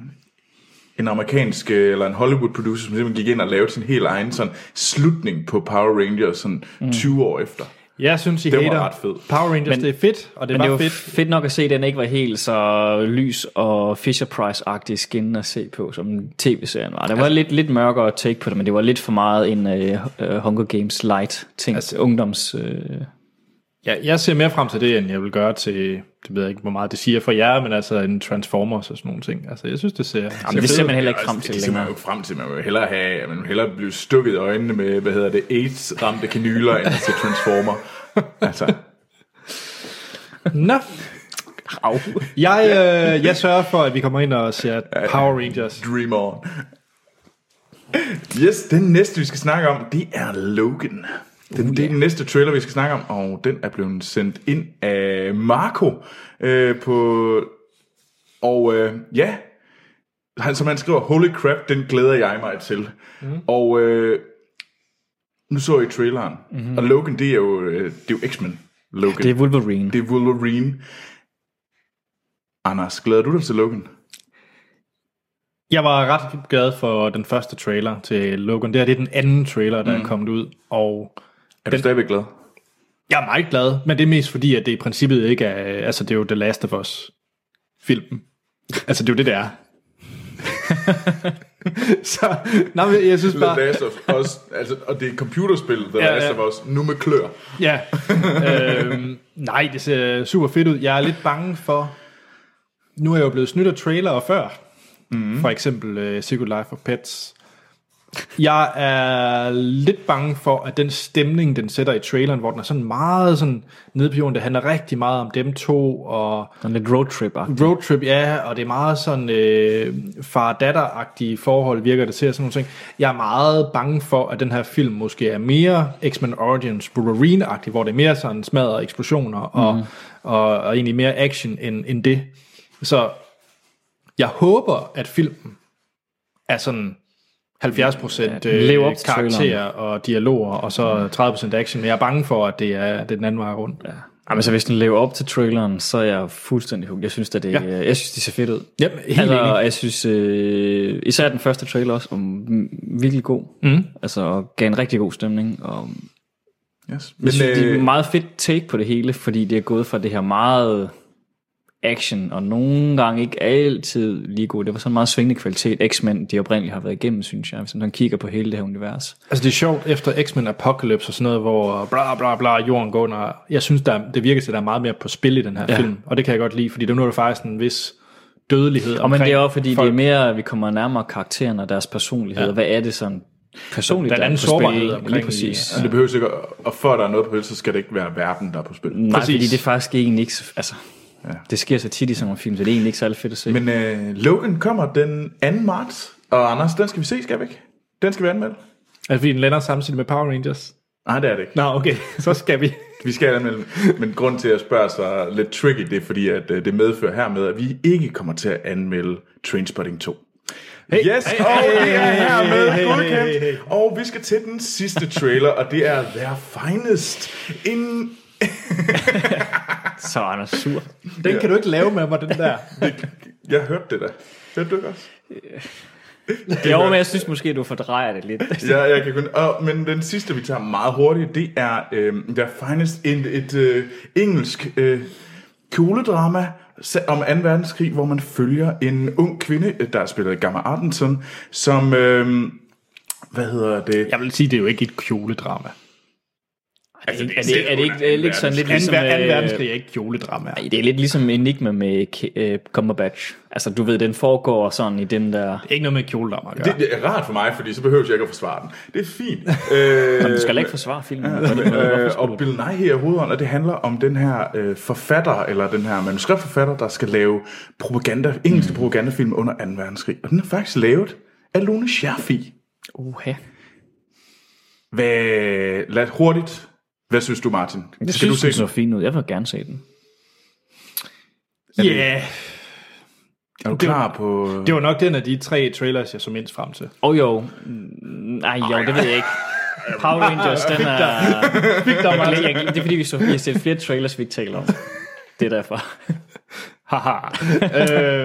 en amerikansk, øh, eller en Hollywood producer, som simpelthen gik ind og lavede sin helt egen sådan, slutning på Power Rangers sådan
Mm.
20 år efter.
Jeg synes, I
Den var
hater
ret fed.
Power Rangers, men, det er fedt, og det
Men
var,
det var
fedt.
fedt. fedt nok at se, at den ikke var helt så lys og Fisher Price-agtig skin at se på, som tv-serien var. Der var lidt, lidt mørkere take på det, men det var lidt for meget en uh, Hunger Games light-ting. Altså, ungdoms... Uh,
Ja, jeg ser mere frem til det, end jeg vil gøre til, det ved jeg ikke, hvor meget det siger for jer, men altså en Transformers og sådan nogle ting. Altså, jeg synes, det ser...
det ser man heller ikke
Og
frem til
det ser man
længere.
jo ikke frem til. Man vil jo hellere have, man vil hellere blive stukket i øjnene med, hvad hedder det, AIDS-ramte kanyler, end til Transformer. altså,
Nå,
au,
jeg, øh, jeg sørger for, at vi kommer ind og ser Power Rangers.
dream on. Yes, den næste, vi skal snakke om, det er Logan. Den, uh, Det er den næste trailer, vi skal snakke om, og den er blevet sendt ind af Marco øh, på... Og øh, ja, han, som han skriver, holy crap, den glæder jeg mig til. Mm. Og øh, nu så jeg traileren, mm-hmm. og Logan, det er jo, øh, det er jo X-Men. Logan.
det er Wolverine.
det er Wolverine. Anders, glæder du dig til Logan?
Jeg var ret glad for den første trailer til Logan. Det her det er den anden trailer, der mm. er kommet ud, og
Er du stadigvæk glad?
jeg er meget glad, men det er mest fordi, at det i princippet ikke er... Altså, det er jo The Last of Us-filmen. Altså, det er jo det, det er. så, nej, men jeg synes bare...
The Last of Us, altså, og det er computerspil, The
Ja,
Last
ja.
of Us, nu med klør.
Ja. øhm, nej, det ser super fedt ud. Jeg er lidt bange for... Nu er jeg jo blevet snydt af trailere før. Mm. For eksempel uh, Secret Life of Pets. Jeg er lidt bange for, at den stemning, den sætter i traileren, hvor den er sådan meget sådan nede på jorden, det handler rigtig meget om dem to, og
Sådan lidt roadtrip -agtig.
roadtrip, ja, og det er meget sådan øh, far-datter-agtige forhold, virker det til, og sådan nogle ting. Jeg er meget bange for, at den her film måske er mere X-Men Origins Wolverine-agtig, hvor det er mere sådan smadret eksplosioner og,
Mhm.
mm. og, og, og egentlig mere action end, end det. Så jeg håber, at filmen er sådan 70%
den lever op
øh,
til
karakterer
traileren. Mhm.
og dialoger, og så 30% action, men jeg er bange for, at det er, det er den anden vej rundt. Ja.
Ja, men så hvis den lever op til traileren, så er jeg fuldstændig hooked. Jeg synes, at det, ja. jeg synes, det ser fedt ud.
Jamen, helt
altså,
enig.
jeg synes, øh, især den første trailer også, um, virkelig god. Mm. Altså, og gav en rigtig god stemning. Og
Yes.
Men,
Men
jeg synes, det er et
øh,
meget fedt take på det hele, fordi det er gået fra det her meget action, og nogle gange ikke altid lige god. Det var sådan en meget svingende kvalitet, X-Men de oprindeligt har været igennem, synes jeg, hvis man sådan kigger på hele det her univers.
Altså det er sjovt, efter X-Men Apocalypse og sådan noget, hvor bla bla bla, jorden går under. Jeg synes, der, er- det virker til, at der er meget mere på spil i den her ja. film, og det kan jeg godt lide, fordi det nu er der faktisk en vis dødelighed
Og men det er også fordi,
folk.
det er mere, at vi kommer nærmere karakteren og deres personlighed, ja. hvad er det sådan personligt,
Der er en anden
på spil,
sårbarhed
ikke?
omkring
Lige præcis.
Så det behøver ikke, at- og før der er noget på spil, så skal det ikke være verden, der er på spil.
Nej,
Præcis.
fordi det er faktisk egentlig ikke... så- Altså, ja. Det sker så tit i sådan nogle film, så det er egentlig ikke særlig fedt at se. Men,
Men øh, Logan kommer den 2. marts, og Anders, den skal vi se, skal vi ikke? Den skal vi anmelde.
Altså fordi den lander samtidig med Power Rangers.
Nej, det er det ikke.
Nå, okay, så skal vi.
Vi skal anmelde, den, men grund til at spørge så lidt tricky, det er fordi, at øh, det medfører hermed, at vi ikke kommer til at anmelde Trainspotting 2. Hey, yes, hey, og hey, det er hermed hey, godkendt. Hey, hey. Og vi skal til den sidste trailer, og det er Their Finest. En,
så er Anders sur.
Den kan du ikke lave med mig, den der.
jeg hørte det da. Hørte du ikke også?
Jo, men jeg synes måske, du fordrejer det lidt.
Ja, jeg kan kun, og, men den sidste, vi tager meget hurtigt, det er øh, der findes en, et øh, engelsk øh, kugledrama sa- om 2. verdenskrig, hvor man følger en ung kvinde, øh, der er spillet af Gamma Artenson, som, øh, hvad hedder det?
Jeg vil sige, det er jo ikke et kjoledrama.
Altså, er, det, er, det ikke, er det ikke sådan lidt
Anden,
ligesom...
ver- anden
øh,
verdenskrig er ikke kjoledrama.
nej, det er lidt ligesom Enigma med K- øh, Cumberbatch. Altså, du ved, den foregår sådan i den der...
Ikke noget med kjoledrama at gøre.
Det, det er rart for mig, fordi så behøver jeg ikke at forsvare den. Det er fint. Øh,
Du skal da ikke forsvare filmen. på den måde.
Øh, og Bill Nighy er hovedånden, og det handler om den her øh, forfatter, eller den her manuskriptforfatter, der skal lave propaganda, engelske
Mm.
propagandafilm under 2. verdenskrig. Og den er faktisk lavet af Lone Scherfi.
Uha.
Hvad, lad hurtigt. Hvad synes du, Martin?
Det
skal
synes,
du
den
se
så
den?
fint ud. Jeg vil gerne se den.
Ja, yeah.
Er du klar på... øh,
det var nok den af de tre trailers, jeg så mindst frem til.
Åh oh, jo. Nej, jo, det ved jeg ikke. Power Rangers, den er...
Fik der
Jeg,
meget.
jeg, jeg, det er fordi, vi, så, vi har set flere trailers, vi ikke taler om. Det er derfor.
Haha.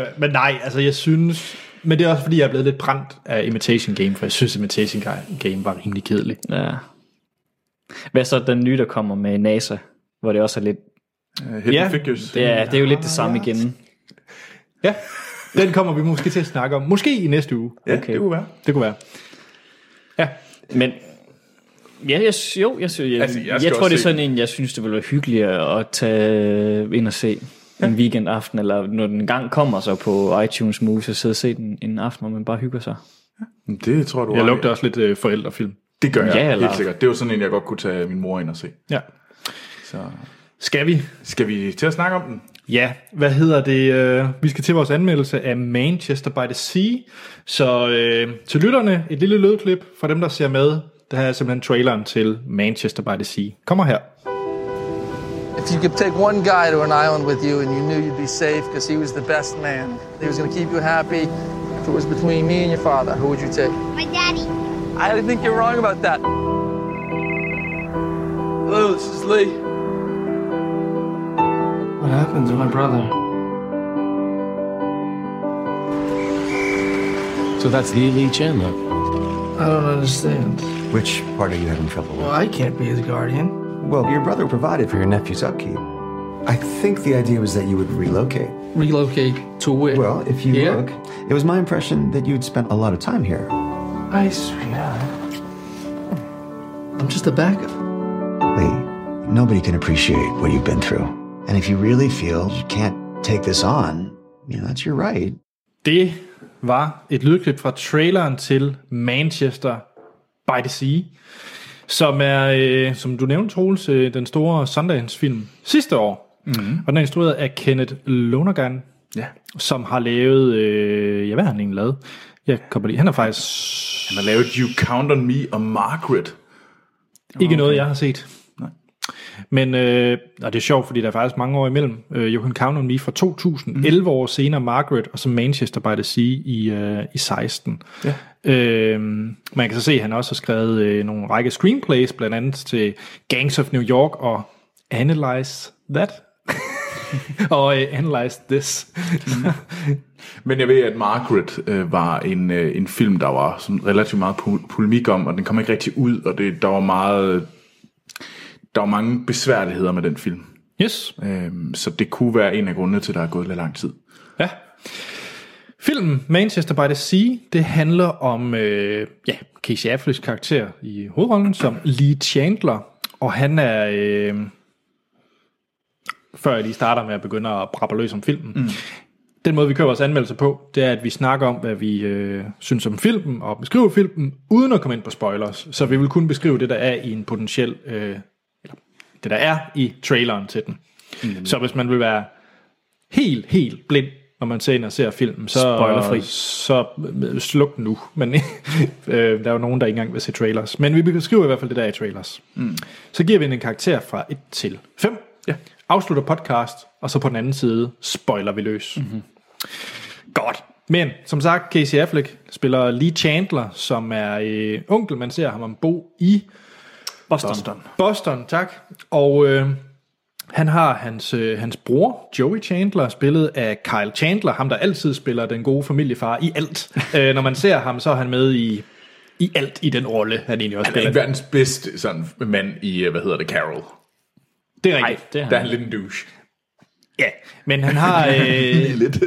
øh, men nej, altså jeg synes... Men det er også fordi, jeg er blevet lidt brændt af Imitation Game, for jeg synes, Imitation Ga- Game var rimelig kedelig.
Ja. Hvad så den nye, der kommer med NASA? Hvor det også er lidt...
Uh, Hidden
Ja,
Figures?
Det er, det er jo lidt det samme igen.
Ja, den kommer vi måske til at snakke om. Måske i næste uge.
ja,
okay.
det kunne være.
Det kunne være. Ja,
Men... Ja, jeg, sy- jo, jeg, sy- jeg,
Altså,
altså,
jeg
jeg,
skal
jeg tror,
også
det er
se
sådan en, jeg synes, det ville være hyggeligt at tage øh, ind og se ja. en weekendaften, eller når den gang kommer så på iTunes Movie, så sidde og se den en aften, hvor man bare hygger sig.
Det tror du
jeg
har-
lugter også lidt øh, forældrefilm.
Det gør jeg,
Ja, eller-
helt sikkert. Det var sådan en, jeg godt kunne tage min mor ind og se.
Ja.
Så
Skal vi?
skal vi til at snakke om den?
Ja, hvad hedder det? øh, Vi skal til vores anmeldelse af Manchester by the Sea. Så øh, til lytterne, et lille lydklip fra dem, der ser med. Det her er simpelthen traileren til Manchester by the Sea. Kommer her.
If you could take one guy to an island with you and you knew you'd be safe because he was the best man, he was going to keep you happy, if it was between me and your father, who would you take?
My daddy.
I think you're wrong about that. Hello, this is Lee.
What happened to my brother?
So that's the Lee Chandler.
I don't understand.
Which part are you having trouble
Well,
with?
I can't be his guardian.
Well, your brother provided for your nephew's upkeep. I think the idea was that you would relocate.
Relocate to where?
Well, if you
Here?
look, it was my impression that you'd spent a lot of time here.
Hi, sweetheart. I'm just a backup.
Lee, nobody can appreciate what you've been through. And if you really feel you can't take this on, you know, that's your right.
Det var et lydklip fra traileren til Manchester by the Sea, som er, øh, som du nævnte, Troels, øh, den store Sundance-film sidste år. Mm-hmm. Og den er instrueret af Kenneth Lonergan,
Ja.
som har lavet, øh, ja, hvad har han egentlig lavet? Jeg kommer lige, han er faktisk
Han har lavet You Count On Me og Margaret.
Ikke noget, jeg har set. Nej. Men, øh, og det er sjovt, fordi der er faktisk mange år imellem. Øh, you Can Count On Me fra 2000, mm. 11 år senere Margaret, og så Manchester by the Sea i, øh, i 16. Ja. Øh, man kan så se, at han også har skrevet øh, nogle række screenplays, blandt andet til Gangs of New York og Analyze That. og øh, Analyze This. Mhm.
Men jeg ved, at Margaret øh, var en, øh, en film, der var sådan relativt meget po- polemik om, og den kom ikke rigtig ud, og det, der var meget... Der var mange besværligheder med den film.
Yes.
Øhm, så det kunne være en af grundene til, at der er gået lidt lang tid.
Ja. Filmen Manchester by the Sea, det handler om øh, ja, Casey Afflecks karakter i hovedrollen som Lee Chandler, og han er, øh, før jeg lige starter med at begynde at brappe løs om filmen, mm. den måde vi kører vores anmeldelse på, det er, at vi snakker om, hvad vi øh, synes om filmen, og beskriver filmen, uden at komme ind på spoilers, så vi vil kun beskrive det, der er i en potentiel, øh, eller det der er i traileren til den. Mm. Så hvis man vil være helt, helt blind, når man ser ind og ser filmen, så,
Spoilerfri.
så øh, sluk den nu. Men øh, der er jo nogen, der ikke engang vil se trailers. Men vi beskriver i hvert fald det, der er i trailers. Mm. Så giver vi den en karakter fra 1 til 5. Ja. Afslutter podcast, og så på den anden side spoiler vi løs. Mm-hmm. Godt. Men som sagt, Casey Affleck spiller Lee Chandler, som er øh, onkel, man ser ham om bo i
Boston. Boston.
Boston, tak. Og øh, han har hans, øh, hans bror, Joey Chandler, spillet af Kyle Chandler, ham der altid spiller den gode familiefar i alt. øh, når man ser ham, så er han med i, i alt i den rolle, han egentlig også
Han er
spiller.
ikke verdens bedste sådan, mand i, øh, hvad hedder det, Carol.
det er rigtigt.
Det er
Der er
han.
han lidt en douche.
Ja, men han har... Øh,
Lidt.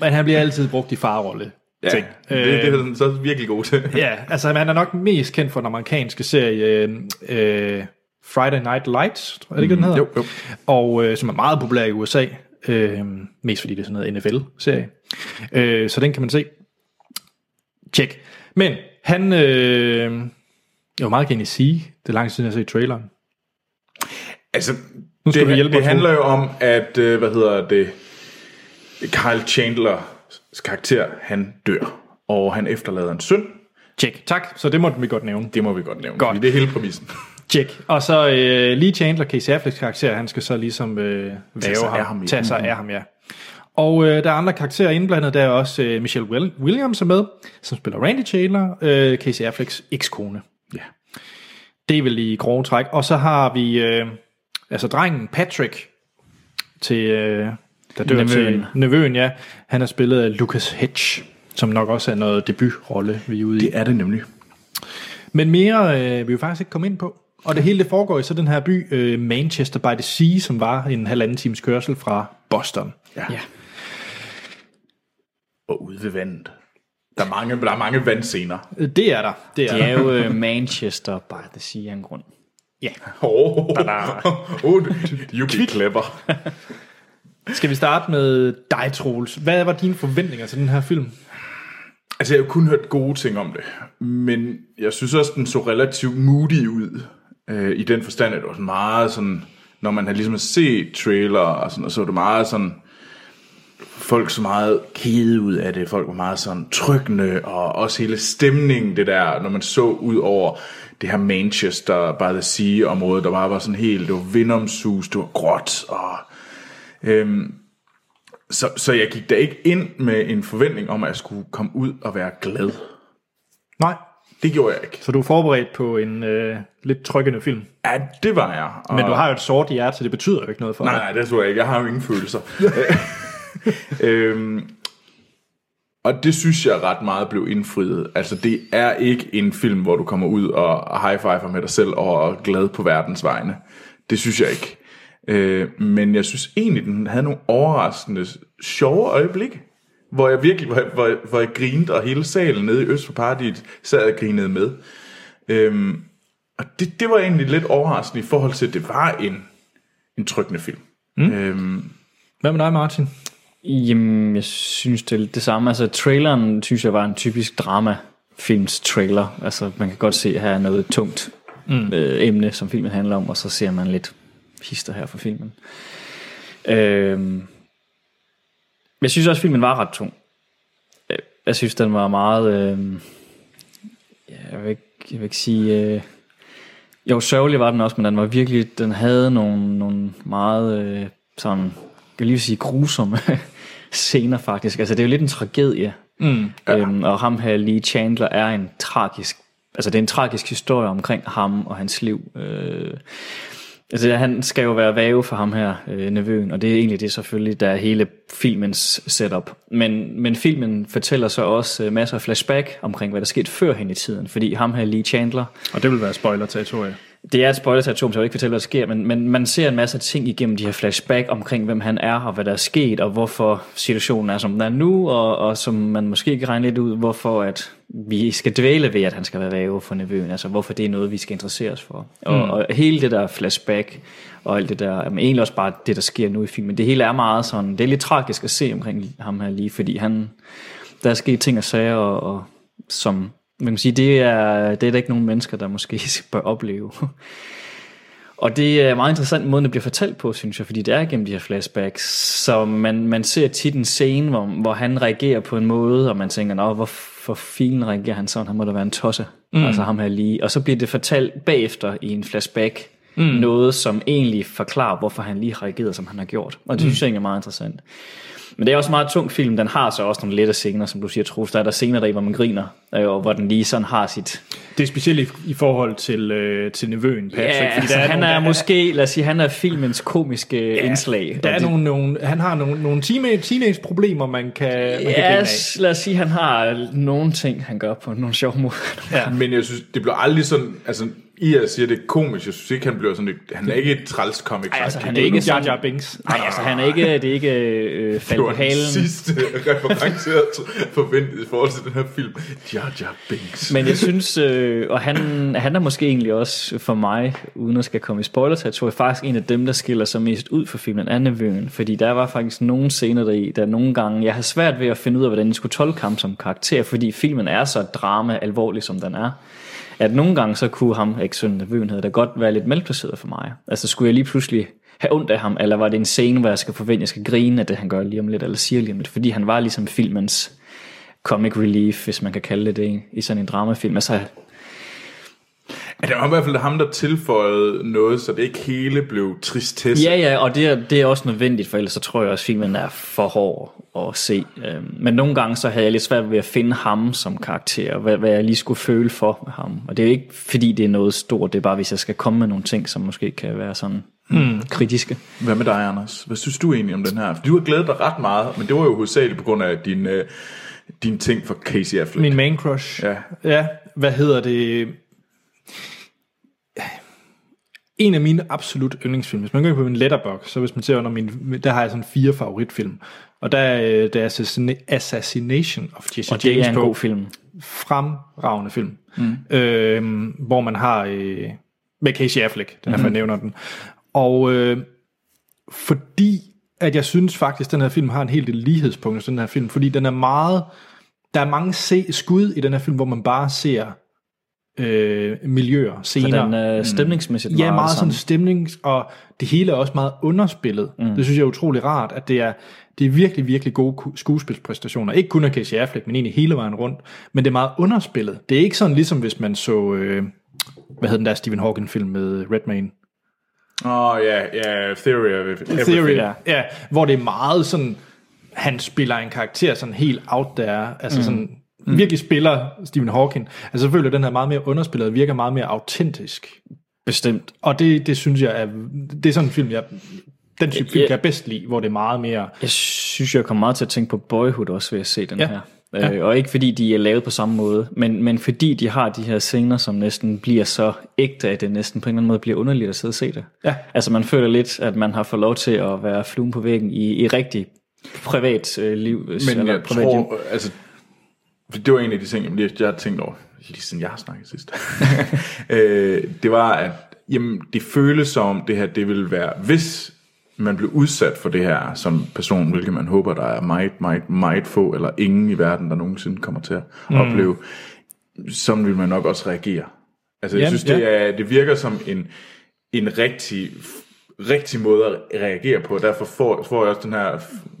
men han bliver altid brugt i farrolle.
ja,
ting. Øh,
det, det, er han så virkelig god til.
Ja, altså han er nok mest kendt for den amerikanske serie øh, øh, Friday Night Lights, tror jeg, er det ikke, den hedder?
Mm, jo, jo.
Og øh, som er meget populær i USA, øh, mest fordi det er sådan noget NFL-serie. Øh, så den kan man se. Tjek. Men han, øh, jeg vil meget gerne sige, det er lang tid siden, jeg har set traileren.
Altså,
Nu skal
det,
du hjælpe
det
os,
handler jo om, at, øh, hvad hedder det, Kyle Chandlers karakter, han dør. Og han efterlader en søn.
Tjek. Tak, så det måtte vi godt nævne.
Det må vi godt nævne,
Godt.
fordi det er hele præmissen.
Tjek. Og så øh, Lee Chandler, Casey Afflecks karakter, han skal så ligesom øh, tage
sig
ham.
af ham, ja.
tage sig af ham, ja. Og øh, der er andre karakterer indblandet, der er også øh, Michelle Will- Williams er med, som spiller Randy Chandler, øh, Casey Afflecks ekskone.
Ja.
Det er vel i grove træk. Og så har vi øh, altså drengen Patrick til, øh, der dør til
Nevøen.
Nevøen, ja. Han er spillet af Lucas Hedge, som nok også er noget debutrolle, vi er ude i.
Det er det nemlig.
Men mere øh, vil vi jo faktisk ikke komme ind på. Og det hele det foregår i så den her by, øh, Manchester by the Sea, som var en halvanden times kørsel fra Boston.
Ja. ja. Og ude ved vandet. Der er mange, der er mange vandscener.
Øh, Det er der. Det er
Det er
der.
jo øh, Manchester by the sea af en grund.
Oh, oh, you be clever.
Skal vi starte med dig, Troels? Hvad var dine forventninger til den her film?
Altså, jeg har jo kun hørt gode ting om det, men jeg synes også, den så relativt moody ud, øh, i den forstand, at det var sådan meget sådan, når man havde ligesom set trailer og sådan, og så var det meget sådan, folk så meget kede ud af det, folk var meget sådan trykkende, og også hele stemningen, det der, når man så ud over det her Manchester by the sea område, der bare var sådan helt, det var vindomsus, det var gråt, og så, så jeg gik da ikke ind med en forventning om, at jeg skulle komme ud og være glad.
Nej.
Det gjorde jeg ikke.
Så du er forberedt på en øh, lidt trykkende film.
Ja, det var jeg. Og...
Men du har jo et sort hjerte, så det betyder jo ikke noget for
Nej,
dig.
nej, det tror jeg ikke. Jeg har jo ingen følelser. øhm, og det synes jeg ret meget blev indfriet. Altså, det er ikke en film, hvor du kommer ud og high-fiver med dig selv og er glad på verdens vegne. Det synes jeg ikke. Øh, men jeg synes egentlig, den havde nogle overraskende sjove øjeblikke. Hvor jeg virkelig, hvor jeg, hvor jeg, hvor jeg grinede, og hele salen nede i Øst for Paradiet sad og grinede med. Øhm, og det, det var egentlig lidt overraskende i forhold til, at det var en, en trykkende film. Mm. Øhm,
Hvad med dig, Martin?
Jamen, jeg synes, det er lidt det samme. Altså, traileren, synes jeg, var en typisk dramafilms trailer. Altså, man kan godt se, at her er noget tungt mm. øh, emne, som filmen handler om, og så ser man lidt hister her fra filmen. Øh, jeg synes også, filmen var ret tung. Øh, Jeg synes, den var meget... Øh, ja, jeg, vil ikke, jeg vil ikke sige... Øh, jo, sørgelig var den også, men den var virkelig, den havde nogle, nogle meget, øh, sådan, jeg vil lige sige grusomme scener faktisk. Altså det er jo lidt en tragedie. Mm, ja. øhm, og ham her, Lee Chandler, er en tragisk, altså det er en tragisk historie omkring ham og hans liv. Øh, altså han skal jo være vave for ham her, øh, nevøen, og det er egentlig det selvfølgelig, der er hele filmens setup. Men, men filmen fortæller så også øh, masser af flashback omkring, hvad der skete før hen i tiden, fordi ham her, Lee Chandler,
Og det vil være spoiler-territorie.
Det er et spoiler-territorium, så jeg vil ikke fortælle, hvad der sker, men, men man ser en masse ting igennem de her flashback omkring, hvem han er, og hvad der er sket, og hvorfor situationen er, som den er nu, og, og som man måske kan regne lidt ud, hvorfor at vi skal dvæle ved, at han skal være værge for nevøen, altså hvorfor det er noget, vi skal interessere os for. Og, mm. og hele det der flashback, og alt det der, men egentlig også bare det, der sker nu i filmen, det hele er meget sådan, det er lidt tragisk at se omkring ham her lige, fordi han, der er sket ting og sager, og, og som man kan sige, det er, det er der ikke nogen mennesker, der måske bør opleve. Og det er meget interessant måden, det bliver fortalt på, synes jeg, fordi det er gennem de her flashbacks. Så man, man ser tit en scene, hvor, hvor han reagerer på en måde, og man tænker, Nå, hvorfor filen reagerer han sådan? Han må da være en tosse, mm. altså ham her lige. Og så bliver det fortalt bagefter i en flashback, mm. noget som egentlig forklarer, hvorfor han lige har reageret, som han har gjort. Og det synes jeg egentlig er meget interessant. Men det er også en meget tung film. Den har så også nogle lette scener, som du siger, Troels. Der er der scener der, hvor man griner, øh, og hvor den lige sådan har sit...
Det er specielt i, i forhold til, øh, til nevøen, Patrick.
Ja, altså,
der
han
nogle-
er
der-
måske, lad os sige, han er filmens komiske ja, indslag.
Der
og
er
det-
nogle, nogle, han har nogle, nogle teenage, teenage-problemer, man kan, man kan grine
Ja,
af.
s- lad os sige, han har nogle ting, han gør på nogle sjove måder.
Ja. Men jeg synes, det bliver aldrig sådan, altså, I jeg siger, det er komisk, jeg synes ikke, han bliver sådan, et, han er ikke et træls comic.
Ej, altså,
faktisk.
han er ikke
Jar
sådan...
Jar Binks.
Nej, altså, han er ikke, det er ikke øh, fald
det
på
var den
halen.
sidste reference, jeg tro- forventede i forhold til den her film. Jar Jar Binks.
Men jeg synes, øh, og han, han er måske egentlig også for mig, uden at skal komme i spoiler tror jeg faktisk en af dem, der skiller sig mest ud for filmen, er Nevøen. Fordi der var faktisk nogle scener deri, der nogle gange, jeg har svært ved at finde ud af, hvordan jeg skulle tolke ham som karakter, fordi filmen er så drama alvorlig, som den er. At nogle gange så kunne ham, ikke sådan Nevøen hedder, da godt være lidt malplaceret for mig. Altså skulle jeg lige pludselig have ondt af ham, eller var det en scene, hvor jeg skal forvente, at jeg skal grine af det, han gør lige om lidt, eller siger lige om lidt, fordi han var ligesom filmens comic relief, hvis man kan kalde det det, i sådan en dramafilm. Altså,
Ja, det var i hvert fald ham, der tilføjede noget, så det ikke hele blev tristesse.
ja, ja, og det er, det er også nødvendigt, for ellers så tror jeg også, at filmen er for hård at se. Øhm, Men nogle gange så havde jeg lidt svært ved at finde ham som karakter, og hvad, hvad jeg lige skulle føle for ham. Og det er jo ikke, fordi det er noget stort, det er bare, hvis jeg skal komme med nogle ting, som måske kan være sådan hmm. kritiske.
Hvad med dig, Anders? Hvad synes du egentlig om den her? For du har glædet dig ret meget, men det var jo hovedsageligt på grund af din, øh, din ting for Casey Affleck.
Min main crush.
Ja.
ja. Hvad hedder det? En af mine absolut yndlingsfilm. Hvis man går ind på min letterbox, så hvis man ser under min... Der har jeg sådan fire favoritfilm. Og der, er, øh, der er Assassina- Assassination of Jesse
Og det
James
er en
på.
god film.
fremragende film, mm. øhm, hvor man har øh, med Casey Affleck, det er derfor
Mhm.
jeg nævner den. Og øh, fordi at jeg synes faktisk, at den her film har en helt del lighedspunkter til den her film, fordi den er meget, der er mange se, skud i den her film, hvor man bare ser øh, miljøer,
Så
scener.
den øh, er stemningsmæssigt
Hmm. Ja, meget sådan
sammen.
stemning, og det hele er også meget underspillet. Mm. Det synes jeg er utrolig rart, at det er, det er virkelig, virkelig gode ku- skuespilspræstationer. Ikke kun af Casey Affleck, men egentlig hele vejen rundt. Men det er meget underspillet. Det er ikke sådan ligesom, hvis man så, øh, hvad hed den der Stephen Hawking-film med Redmayne?
Åh, oh, ja, ja, Theory of Everything.
Theory, ja. Hvor det er meget sådan, han spiller en karakter sådan helt out there, altså mm. sådan, virkelig spiller Stephen Hawking. Altså selvfølgelig er den her meget mere underspillet, og virker meget mere autentisk.
Bestemt.
Og det, det synes jeg er, det er sådan en film, jeg, den type film,
Ja.
jeg bedst lide, hvor det er meget mere,
Jeg synes, jeg kommer meget til at tænke på Boyhood også ved at se den
Ja.
her. Øh, og ikke fordi de er lavet på samme måde, men, men fordi de har de her scener, som næsten bliver så ægte, at det næsten på en eller anden måde bliver underligt at sidde og se det.
Ja.
Altså man føler lidt, at man har fået lov til at være fluen på væggen i, i rigtig privat øh, liv.
Men jeg
privat hjem.
tror, altså, for det var en af de ting, jeg, lige- jeg har tænkt over, lige siden jeg har snakket sidst. øh, det var, at jamen, det føles som, om det her, det ville være, hvis man blev udsat for det her som person, hvilket man håber, der er meget, meget, meget få, eller ingen i verden, der nogensinde kommer til at mm. opleve, sådan vil man nok også reagere. Altså, jeg
Ja,
synes, det, er, det virker som en, en rigtig, rigtig måde at reagere på, og derfor får, får jeg også den her,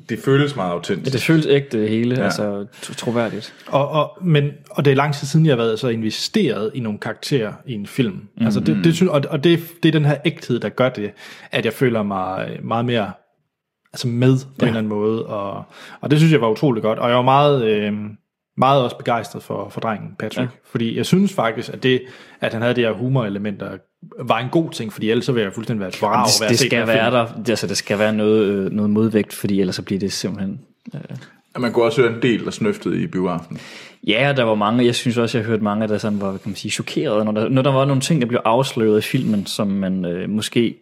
det føles meget autentisk.
Ja, det føles ægte det hele, ja. altså tro- troværdigt.
og, og, men, og det er lang tid siden, jeg har været så investeret i nogle karakterer i en film. Mm-hmm. Altså det, det, synes- og og det, det er den her ægthed, der gør det, at jeg føler mig øh, meget mere altså med på ja. en eller anden måde, og, og det synes jeg var utrolig godt, og jeg var meget, øh, meget også begejstret for, for drengen Patrick, ja. fordi jeg synes faktisk, at det, at han havde det her humorelementer, var en god ting, fordi ellers så ville jeg fuldstændig være et vrag over at
Det,
have
det
set den
skal
her film.
være der, altså det skal være noget, øh, noget modvægt, fordi ellers så bliver det simpelthen
At man kunne også høre en del, der snøftede i bioaften.
Ja, der var mange, jeg synes også, jeg hørte mange, der sådan var, hvad kan man sige, chokeret, når der, når der var nogle ting, der blev afsløret i filmen, som man øh, måske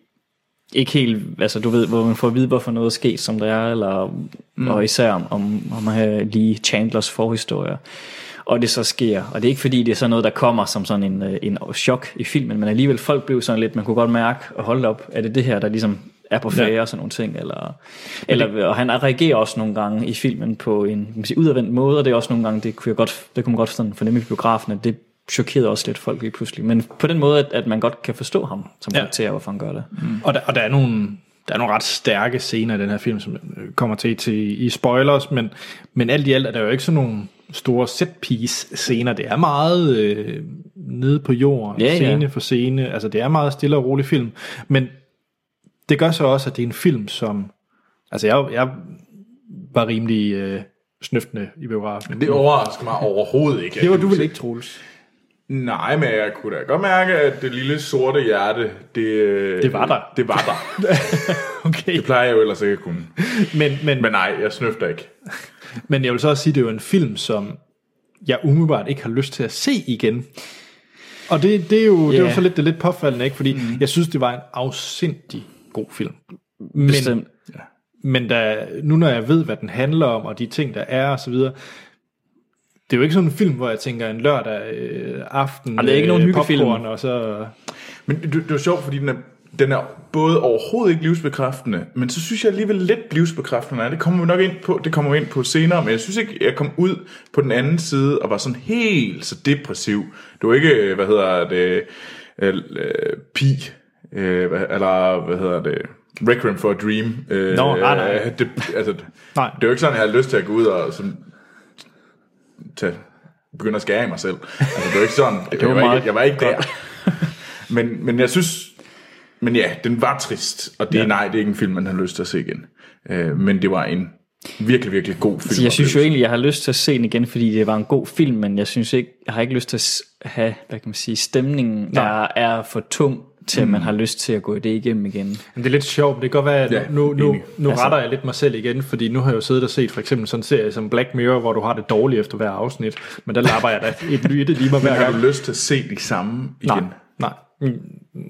ikke helt, altså du ved, hvor man får at vide, hvorfor noget er sket, som det er, eller, mm. og især om, om, om at have lige Chandlers forhistorier. Og det så sker, og det er ikke fordi, det er sådan noget, der kommer som sådan en, øh, en chok i filmen, men alligevel folk blev sådan lidt, man kunne godt mærke, og holde op, er det det her, der ligesom er på færre ja. og sådan nogle ting, eller, eller og han reagerer også nogle gange i filmen på en kan man sige, udadvendt måde, og det er også nogle gange, det kunne, jeg godt, det kunne man godt sådan fornemme i biografen, at det chokerede også lidt folk lige pludselig, men på den måde, at, at man godt kan forstå ham som
Ja.
karakter, hvorfor han gør det.
Og der, og der er nogle der er nogle ret stærke scener i den her film, som øh, kommer til, til i spoilers, men, men alt i alt er der jo ikke sådan nogle store set-piece scener. Det er meget øh, nede på jorden,
Ja, ja.
yeah, scene for scene. Altså det er meget stille og rolig film. Men det gør så også, at det er en film, som... Altså jeg, jeg var rimelig øh, snøftende i biografen.
Det overrasker mig overhovedet ikke.
Det var du vel ikke, Troels?
Nej, men jeg kunne da godt mærke, at det lille sorte hjerte, det... øh,
Det var der.
Det var der.
Okay.
Det plejer jeg jo ellers ikke at kunne.
Men, men,
Men nej, jeg snøfter ikke.
men jeg vil så også sige, det er jo en film, som jeg umiddelbart ikke har lyst til at se igen. Og det, det er jo yeah. det er jo
Ja.
så lidt, det er lidt påfaldende, ikke? Fordi mm. jeg synes, det var en afsindig god film. Men,
Bestemt.
men da, nu når jeg ved, hvad den handler om, og de ting, der er og så videre, det er jo ikke sådan en film, hvor jeg tænker en lørdag øh, aften,
Og det er ikke
øh,
nogen
popcorn,
hyggefilm.
og så...
Men det, det var sjovt, fordi den er, den er både overhovedet ikke livsbekræftende, men så synes jeg alligevel lidt livsbekræftende. er. Det kommer vi nok ind på, det kommer vi ind på senere, men jeg synes ikke, jeg kom ud på den anden side og var sådan helt så depressiv. Det var ikke, hvad hedder det, øh, øh, pi, øh, hvad- eller hvad hedder det, Requiem for a Dream. Øh,
Nå, nej, nej.
Det, altså,
Nej.
det er jo ikke sådan, jeg har lyst til at gå ud og sådan, tage, begynde at skære i mig selv. Altså, det er jo ikke sådan. det
var
jeg, var
meget
ikke, jeg var ikke der. men, men jeg synes... Men ja, den var trist, og det, ja. nej, det er ikke en film, man har lyst til at se igen. Øh, men det var en virkelig, virkelig god film.
Så Altså, jeg synes jo egentlig, jeg har lyst til at se den igen, fordi det var en god film, men jeg synes ikke, jeg har ikke lyst til at s- have, hvad kan man sige, stemningen, der er for tung til, at man har lyst til at gå det igennem igen.
Men det er lidt sjovt, det kan godt være, at
Ja,
ja, nu, nu,
enig. Altså-
nu retter jeg lidt mig selv igen, fordi nu har jeg jo siddet og set for eksempel sådan en serie som Black Mirror, hvor du har det dårligt efter hver afsnit, men der lapper jeg da et lytte lige mig hver
Har
gang.
du lyst til at se de samme igen?
Nej, nej, Mm,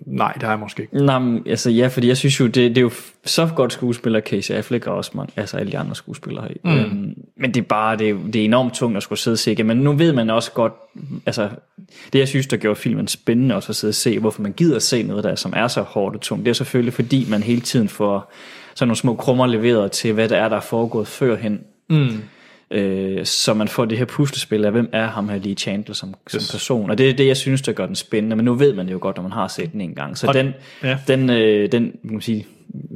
nej, det har jeg måske ikke.
Nej, men, altså ja, fordi jeg synes jo, det, det er jo f- så godt skuespiller Casey Affleck og også mange, altså alle de andre skuespillere her. Mm. Øhm, men det er bare, det er, jo- det er enormt tungt at skulle sidde og se igen. Men nu ved man også godt, altså det jeg synes, der gjorde filmen spændende også at sidde og se, hvorfor man gider at se noget der, som er så hårdt og tungt. Det er selvfølgelig fordi, man hele tiden får sådan nogle små krummer leveret til, hvad der er, der er foregået førhen. Mm. Øh, så man får det her puslespil af, hvem er ham her lige Chandler som, som person. Og det er det, jeg synes, der gør den spændende. Men nu ved man det jo godt, når man har set den en gang. Så den,
ja.
den, øh, den kan man sige,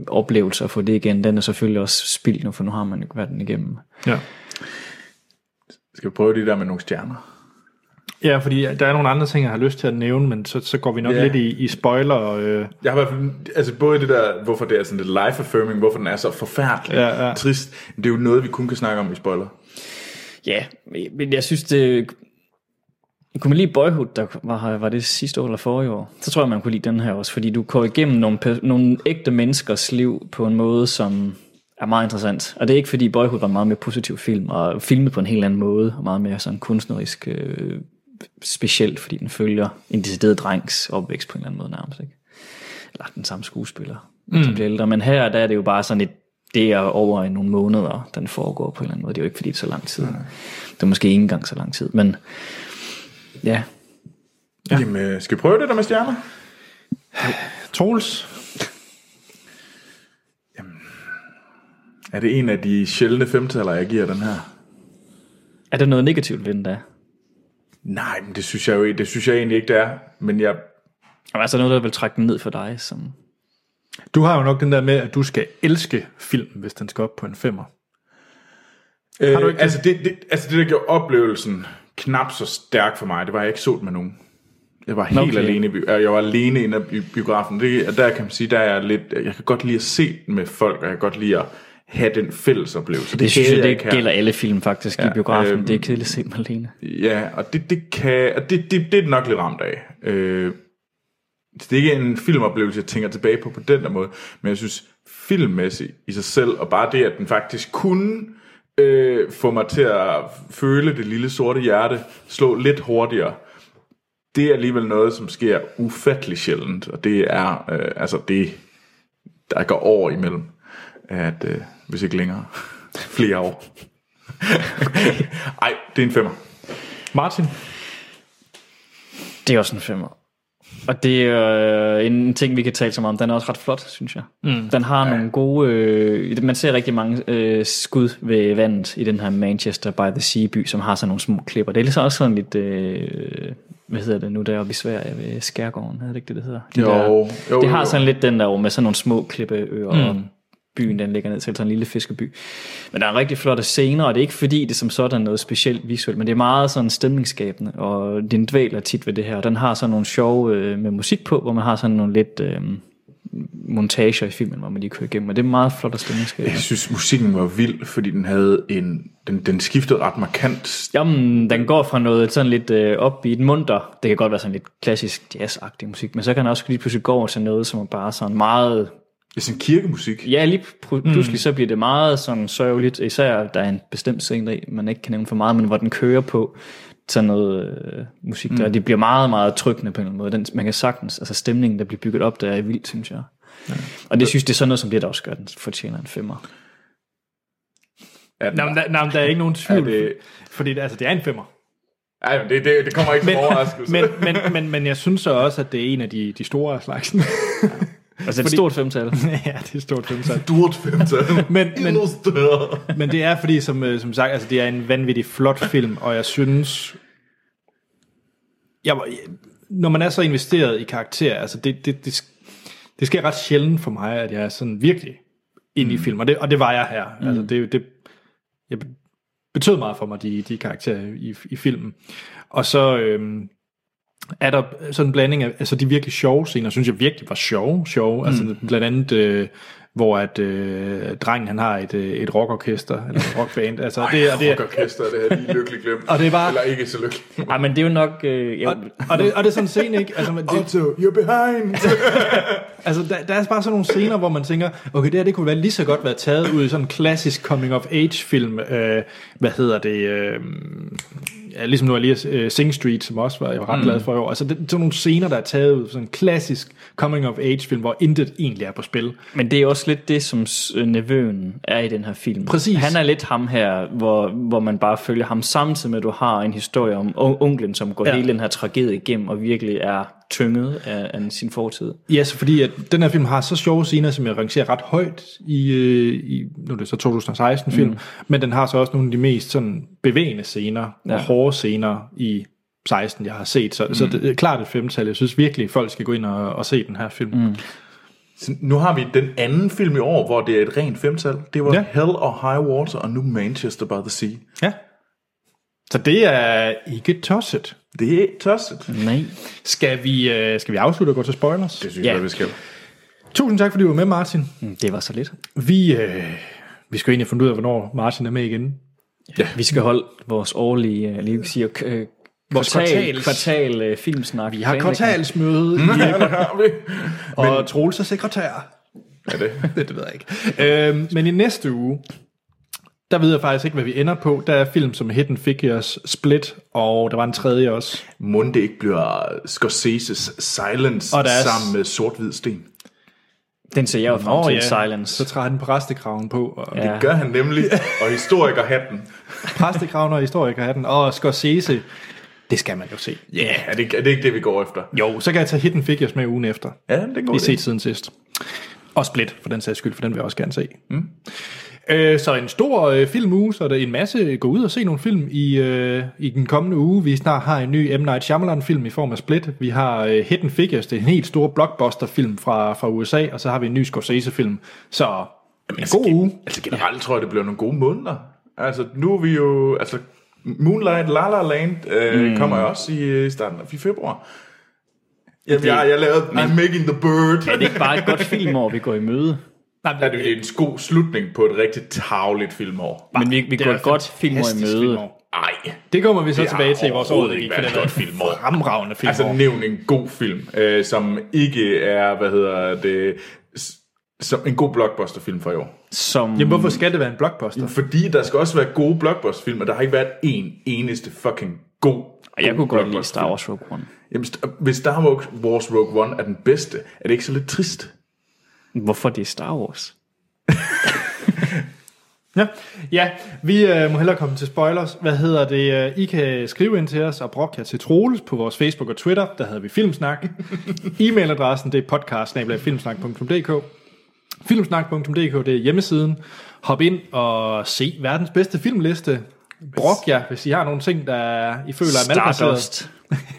oplevelse at få det igen, den er selvfølgelig også spildt nu, for nu har man jo været den igennem.
Ja.
Skal vi prøve det der med nogle stjerner?
ja, fordi der er nogle andre ting, jeg har lyst til at nævne, men så, så går vi nok
Ja.
lidt i, i spoiler. Og, øh,
Jeg har i hvert fald, altså både det der, hvorfor det er sådan lidt life-affirming, hvorfor den er så forfærdelig
Ja, ja.
trist, det er jo noget, vi kun kan snakke om i spoiler.
Ja, men jeg synes, det... Kunne man lide Boyhood, der var, var det sidste år eller forrige år? Så tror jeg, man kunne lide den her også, fordi du går igennem nogle, pe- nogle ægte menneskers liv på en måde, som er meget interessant. Og det er ikke, fordi Boyhood var en meget mere positiv film, og filmet på en helt anden måde, og meget mere sådan kunstnerisk øh, specielt, fordi den følger en decideret drengs opvækst på en eller anden måde nærmest. Ikke? Eller den samme skuespiller, mm. som bliver ældre. Men her der er det jo bare sådan et, det er over i nogle måneder, den foregår på en eller anden måde. Det er jo ikke, fordi det er så lang tid. Det er måske ikke engang så lang tid, men ja.
Ja. Jamen, øh, skal vi prøve det der med stjerner?
Troels,
Er det en af de sjældne femtaler, jeg giver den her?
Er der noget negativt ved den der?
Nej, men det synes jeg jo ikke- det synes jeg egentlig ikke, det er. Men jeg,
Jamen, Altså noget, der vil trække den ned for dig, som...
du har jo nok den der med, at du skal elske filmen, hvis den skal op på en femmer.
øh,
du ikke det?
altså, det, det, altså det, der gjorde oplevelsen knap så stærk for mig, det var, at jeg ikke så den med nogen. Jeg var helt
Okay.
okay. alene, i bi- øh, jeg var alene inde i biografen. Det, og der kan man sige, der er jeg lidt, jeg kan godt lide at se den med folk, og jeg kan godt lide at have den fælles oplevelse.
Det synes
havde
jeg, det
ikke her.
gælder alle film faktisk ja, i biografen.
øhm.
Øh, det er kedeligt at se dem alene.
Ja, og det, det kan, og det, det, det er den nok lidt ramt af. Øh, så det er ikke en filmoplevelse, jeg tænker tilbage på på den der måde, men jeg synes filmmæssigt i sig selv, og bare det, at den faktisk kunne øh, få mig til at føle det lille sorte hjerte slå lidt hurtigere. Det er alligevel noget, som sker ufattelig sjældent, og det er øh, altså det, der går år imellem, at, øh, hvis ikke længere, flere år. Ej, det er en femmer.
Martin,
Det er også en femmer. Og det er øh, en ting, vi kan tale så meget om. Den er også ret flot, synes jeg. Mm. Den har ja. nogle gode... Øh, man ser rigtig mange øh, skud ved vandet i den her Manchester by the Sea by, som har sådan nogle små klipper. Det er ligesom også sådan lidt... Øh, hvad hedder det nu deroppe i Sverige ved Skærgården? Hedder det ikke det, det hedder? De
Jo,
der,
jo,
det har
jo.
sådan lidt den der med sådan nogle små klippeøer mm. og byen, den ligger ned til sådan en lille fiskeby. Men der er rigtig flotte scener, og det er ikke fordi, det som sådan er noget specielt visuelt, men det er meget sådan stemningsskabende, og den dvæler tit ved det her. Og Den har sådan nogle sjove øh, med musik på, hvor man har sådan nogle lidt øh, montager i filmen, hvor man lige kører igennem, og det er meget flot og stemningsskabende.
Jeg synes, musikken var vild, fordi den havde en... Den, den skiftede ret markant.
Jamen, den går fra noget sådan lidt øh, op i et munter, det kan godt være sådan lidt klassisk jazzagtig musik, men så kan den også lige pludselig gå over til noget, som er bare sådan meget
Det er sådan kirkemusik.
Ja, lige pr- pludselig så bliver det meget sådan sørgeligt, især der er en bestemt scene, der man ikke kan nævne for meget, men hvor den kører på sådan noget øh, musik der, det bliver meget, meget trykkende på en eller anden måde. Den, man kan sagtens, altså stemningen, der bliver bygget op, der er vild, synes jeg. Og det synes det er sådan noget, som det der også gør, den fortjener en femmer.
Er den,
Nå, men der, nå, men der er ikke nogen tvivl,
Er
det...
det-
fordi det, altså, det er en femmer.
Ej, men det, det, det kommer ikke som
Men,
overraskelse.
men, men, men, men jeg synes så også, at det er en af de, de store af slagsen.
Altså et stort femtal.
ja, det er et stort femtal.
Stort femtal.
Men- men-
Illustreret.
Men det er fordi, som, øh, som sagt, altså, det er en vanvittig flot film, og jeg synes... Jeg, var- når man er så investeret i karakterer, altså det, det, det, sk- det sker ret sjældent for mig, at jeg er sådan virkelig ind i film, og det, og det var jeg her. Mm. Altså det, det jeg be- betød meget for mig, de, de karakterer i, i filmen. Og så øhm, er der sådan en blanding af, altså de virkelig sjove scener, synes jeg virkelig var sjove, sjove. Mm. Altså blandt andet, øh, hvor at øh, drengen han har et, øh, et rockorkester, eller et rockband. Altså, det, og, det,
Og orkester, det havde jeg lige lykkeligt glemt.
Og det er bare-
Eller ikke så lykkeligt.
Ej, men det er jo nok... Øh, jeg,
og, og, det, og det er sådan en scene, ikke? Altså, men det,
Otto, you're behind.
Altså, der, der er bare sådan nogle scener, hvor man tænker, okay, det her det kunne være lige så godt være taget ud i sådan en klassisk coming-of-age-film. Øh, hvad hedder det? Øh, ja, ligesom nu er lige øh, Sing Street, som også var, jeg var ret glad for i år. Altså, det, sådan nogle scener, der er taget ud i sådan en klassisk coming-of-age-film, hvor intet egentlig er på spil.
Men det er også lidt det, som s- øh, nevøen er i den her film.
Præcis.
Han er lidt ham her, hvor, hvor man bare følger ham samtidig med, at du har en historie om on- onklen, som går
Ja.
ja. hele den her tragedie igennem og virkelig er tynget af, af sin fortid.
Ja, så fordi at den her film har så sjove scener, som jeg rangerer ret højt i, øh, i nu er det så 2016-film, mm. men den har så også nogle af de mest sådan bevægende scener ja. og hårde scener i 16, jeg har set. Så, mm. så det er klart et femtal. Jeg synes virkelig, folk skal gå ind og, og se den her film. Mm.
Så nu har vi den anden film i år, hvor det er et rent femtal. Det var
Ja.
ja. Hell og High Water, og nu Manchester by the Sea.
Ja. Så det er ikke tosset.
Det er tosset.
Nej.
Skal vi, øh, skal vi afslutte og gå til spoilers?
Det synes
Ja.
jeg, vi skal.
Tusind tak, fordi du var med, Martin.
Det var så lidt.
Vi, øh, vi skal jo egentlig have fundet ud af, hvornår Martin er med igen.
Vi skal holde vores årlige, øh, lige vil sige, øh,
Vores
kvartal,
kvartals-
kvartal øh, filmsnak.
Vi har kvartalsmøde i
Ja, det har vi.
Og men... Troels er sekretær.
Er det?
det ved jeg ikke. Øhm, men i næste uge, der ved jeg faktisk ikke, hvad vi ender på. Der er film som Hidden Figures, Split, og der var en tredje også.
Mund det ikke bliver Scorsese's Silence
Og der er-
sammen med Sort-Hvid Sten.
Den ser jeg jo frem til, Silence.
Så træder han præstekraven på. Og ja.
Ja.
Gør han nemlig, og historikerhatten.
Præstekraven og historiker har den. Og Scorsese, det skal man jo se.
Ja, yeah, er, det, er det ikke det, vi går efter?
Jo, så kan jeg tage Hidden Figures med ugen efter.
Ja, det går
Vi set siden sidst. Og Split, for den sags skyld, for den vil jeg også gerne se. Mm. Øh, så en stor øh, filmuge, så er der en masse gå ud og se nogle film i, øh, i den kommende uge. Vi snart har en ny M. Night Shyamalan-film i form af Split. Vi har øh, Hidden Figures, det er en helt stor blockbuster-film fra, fra USA, og så har vi en ny Scorsese-film. Så Jamen, en
altså,
god
gen-
uge.
Altså generelt tror jeg, det bliver nogle gode måneder. Altså nu er vi jo... Altså Moonlight, La La Land øh, mm. kommer jo også i øh, starten af i februar. Jamen, det, jeg, jeg lavede I'm Making the Bird.
Er det ikke bare et godt filmår, vi går i møde?
Er det er en god slutning på et rigtig tavligt filmår?
Men vi, vi går et godt filmår i
Fantastisk
møde.
filmår.
Nej.
Det kommer vi så
Det har
tilbage til i vores år,
overhovedet
der gik,
ikke
for
været
det er
et
et
godt filmår.
fremragende filmår.
Altså nævn en god film, øh, som ikke er, hvad hedder det, s- som en god blockbusterfilm for i år.
som...
Jamen, hvorfor skal det være en blockbuster?
Fordi der skal også være gode blockbusterfilm, og der har ikke været en eneste fucking god
Og jeg
god
kunne godt lide
blockbusterfilm.
Star Wars Rogue One.
Jamen, st- hvis Star Wars Rogue One er den bedste, er det ikke så lidt trist?
Hvorfor det er Star Wars?
Ja, ja vi øh, må hellere komme til spoilers. Hvad hedder det? øh, I kan skrive ind til os og brokke jer til Troels på vores Facebook og Twitter. Der hedder vi Filmsnak. E-mailadressen det er podcast Filmsnak.dk det er hjemmesiden. Hop ind og se verdens bedste filmliste. Brok jer, hvis I har nogle ting, der I føler er malplaceret.
Stardust.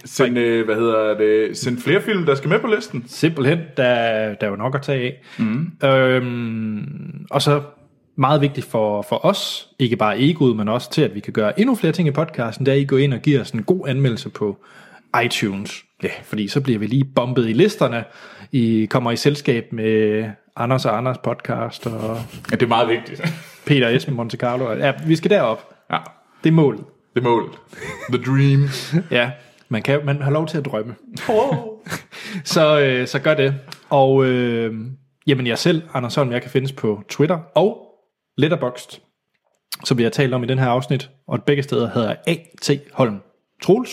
Send, øh, hvad hedder det, send flere film, der skal med på listen.
Simpelthen, der, der er jo nok at tage af. Mm. Øhm, og så meget vigtigt for, for os, ikke bare egoet, men også til, at vi kan gøre endnu flere ting i podcasten, der I går ind og giver os en god anmeldelse på iTunes. Ja, fordi så bliver vi lige bombet i listerne. I kommer i selskab med Anders og Anders podcast og
Ja, det er meget vigtigt.
Peter Esben Monte Carlo. Ja, vi skal derop.
Ja,
Det er målet.
det er målet. The dream.
Ja, man, kan, man har lov til at drømme. så, øh, så gør det. Og øh, jamen jeg selv, Anders Holm, jeg kan findes på Twitter og Letterboxd, som vi har talt om i den her afsnit. Og begge steder hedder jeg A.T. Holm Troels.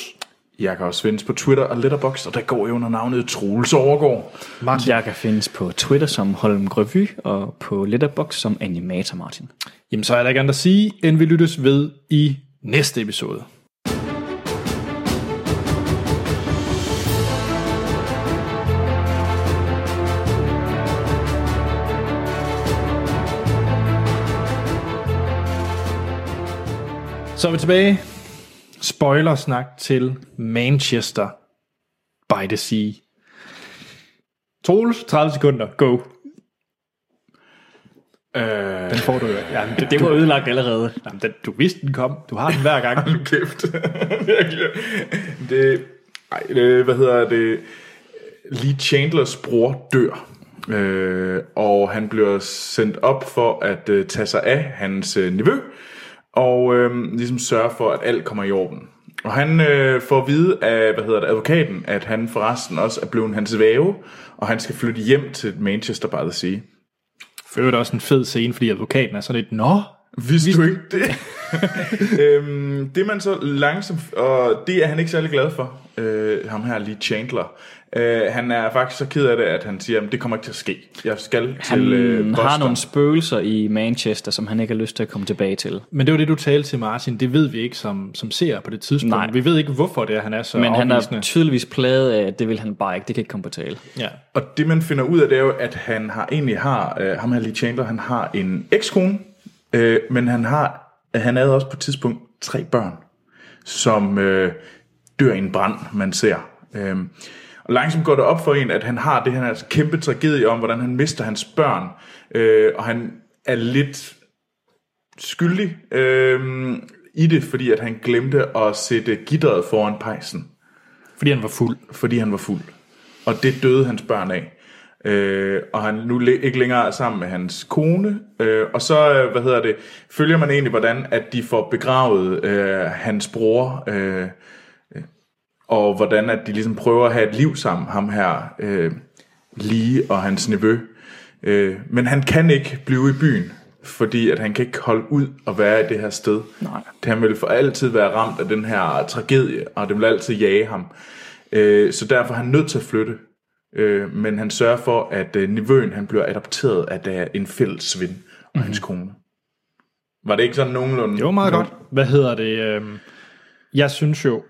Jeg kan også findes på Twitter og Letterboxd, og der går jeg under navnet Troels Overgaard.
Martin.
Jeg kan findes på Twitter som Holm Grevy og på Letterboxd som Animator Martin.
Jamen så er der ikke andet at sige, end vi lyttes ved i næste episode. Så er vi tilbage. Spoilersnak til Manchester by the Sea. Troels, 30 sekunder. Go.
Øh,
Den får du jo. Jamen, det,
Det var ødelagt allerede.
Jamen, den, du vidste, den kom. Du har den hver gang.
nu kæft. Virkelig. det, ej, øh, hvad hedder det? Lee Chandlers bror dør. Øh, og han bliver sendt op for at øh, tage sig af hans øh, nevø, og øh, ligesom sørge for, at alt kommer i orden. Og han øh, får at vide af hvad hedder det, advokaten, at han forresten også er blevet hans væve, og han skal flytte hjem til Manchester by the Sea.
For øvrigt også en fed scene, fordi advokaten er sådan lidt, Nå,
Vidste du ikke det? øhm, det er man så langsomt, og det er han ikke særlig glad for, øh, ham her Lee Chandler. Øh, han er faktisk så ked af det, at han siger, at det kommer ikke til at ske. Jeg skal
Han
til øh, Boston.
har nogle spøgelser i Manchester, som han ikke har lyst til at komme tilbage til.
men det var det, du talte til Martin. Det ved vi ikke som, som ser på det tidspunkt.
Nej.
Nej. Vi ved ikke, hvorfor det er, han er så
Men han er
afvisende.
tydeligvis plaget af, at det vil han bare ikke. Det kan ikke komme på tale.
ja.
Og det man finder ud af, det er jo, at han har egentlig har, øh, ham her Lee Chandler, han har en ekskone, øh, men han har, han havde også på et tidspunkt tre børn, som øh, dør i en brand, man ser. Øh, og langsomt går det op for en, at han har det her altså kæmpe tragedie om, hvordan han mister hans børn, øh, og han er lidt skyldig øh, i det, fordi at han glemte at sætte gitteret foran pejsen
Fordi han var fuld.
fordi han var fuld. Og det døde hans børn af. Øh, og han nu le- ikke længere er sammen med hans kone. Øh, og så, øh, hvad hedder det, følger man egentlig, hvordan at de får begravet øh, hans bror, øh, øh, og hvordan at de ligesom prøver at have et liv sammen, ham her, øh, Lige og hans nevø. Øh, men han kan ikke blive i byen, fordi at han kan ikke holde ud og være i det her sted.
Nej.
Han vil for altid være ramt af den her tragedie, og det vil altid jage ham. Øh, så derfor er han nødt til at flytte. Øh, men han sørger for, at øh, nevøen han bliver adopteret af der en fælles ven og mm-hmm.
Mhm.
hans kone. Var det ikke sådan nogenlunde?
Det var meget godt. Hvad hedder det? øhm, Jeg synes jo,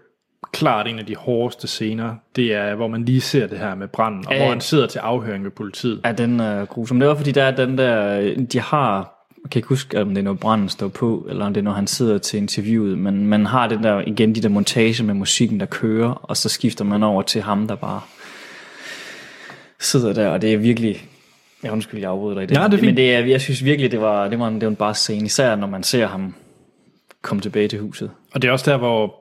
klart en af de hårdeste scener, det er, hvor man lige ser det her med branden, og
Ja.
hvor han sidder til afhøring ved politiet.
Ja, den er grusom. Det var fordi, der er den der, øh, de har, jeg kan ikke huske, om det er, når branden står på, eller om det er, når han sidder til interviewet, men man har den der, igen, de der montage med musikken, der kører, og så skifter man over til ham, der bare sidder der, og det er virkelig, jeg undskyld, jeg afbryder dig i det,
Ja, det er fint.
men det er, jeg synes virkelig, det var, det var, en, det var en bare scene, især når man ser ham komme tilbage til huset.
Og det er også der, hvor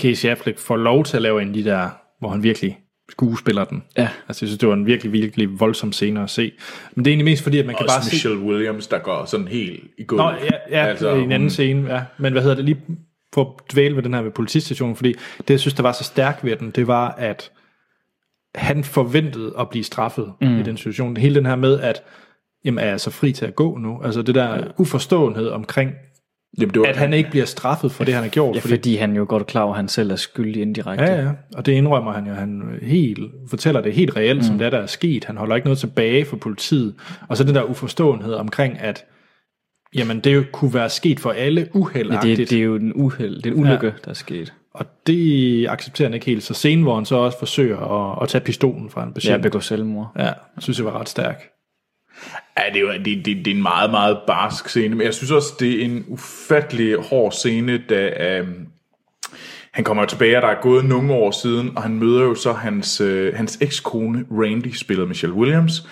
Casey Affleck får lov til at lave en af de der, hvor han virkelig skuespiller den.
Ja.
Altså, jeg synes, det var en virkelig, virkelig voldsom scene at se. Men det er egentlig mest fordi, at man kan
Også
bare se...
Michelle Williams, der går sådan helt i gulvet.
Nå, ja, ja altså, i en anden scene, ja. Men hvad hedder det lige for at dvæle ved den her ved politistationen, fordi det, jeg synes, der var så stærkt ved den, det var, at han forventede at blive straffet mm. i den situation. Hele den her med, at jamen er jeg så fri til at gå nu? Altså det der uforståenhed omkring,
Jamen, det var,
at han ikke bliver straffet for det, han har gjort.
Ja, fordi han jo godt er klar over, at han selv er skyldig indirekte.
Ja, ja, og det indrømmer han jo. Han helt, fortæller det helt reelt, mm. som det er, der er sket. Han holder ikke noget tilbage for politiet. Og så den der uforståenhed omkring, at jamen, det jo kunne være sket for alle
Men det,
uheldagtigt.
det, er jo en uheld, det er en ulykke, ja. der er sket.
Og det accepterer han ikke helt. Så scenen, hvor han så også forsøger at, at tage pistolen fra en
Ja,
patient.
begå selvmord.
ja, synes jeg var ret stærk.
Ja, det, er jo, det, det, det er en meget, meget barsk scene, men jeg synes også, det er en ufattelig hård scene, da øhm, han kommer jo tilbage, og der er gået nogle år siden, og han møder jo så hans, øh, hans ekskone Randy, spillet af Michelle Williams,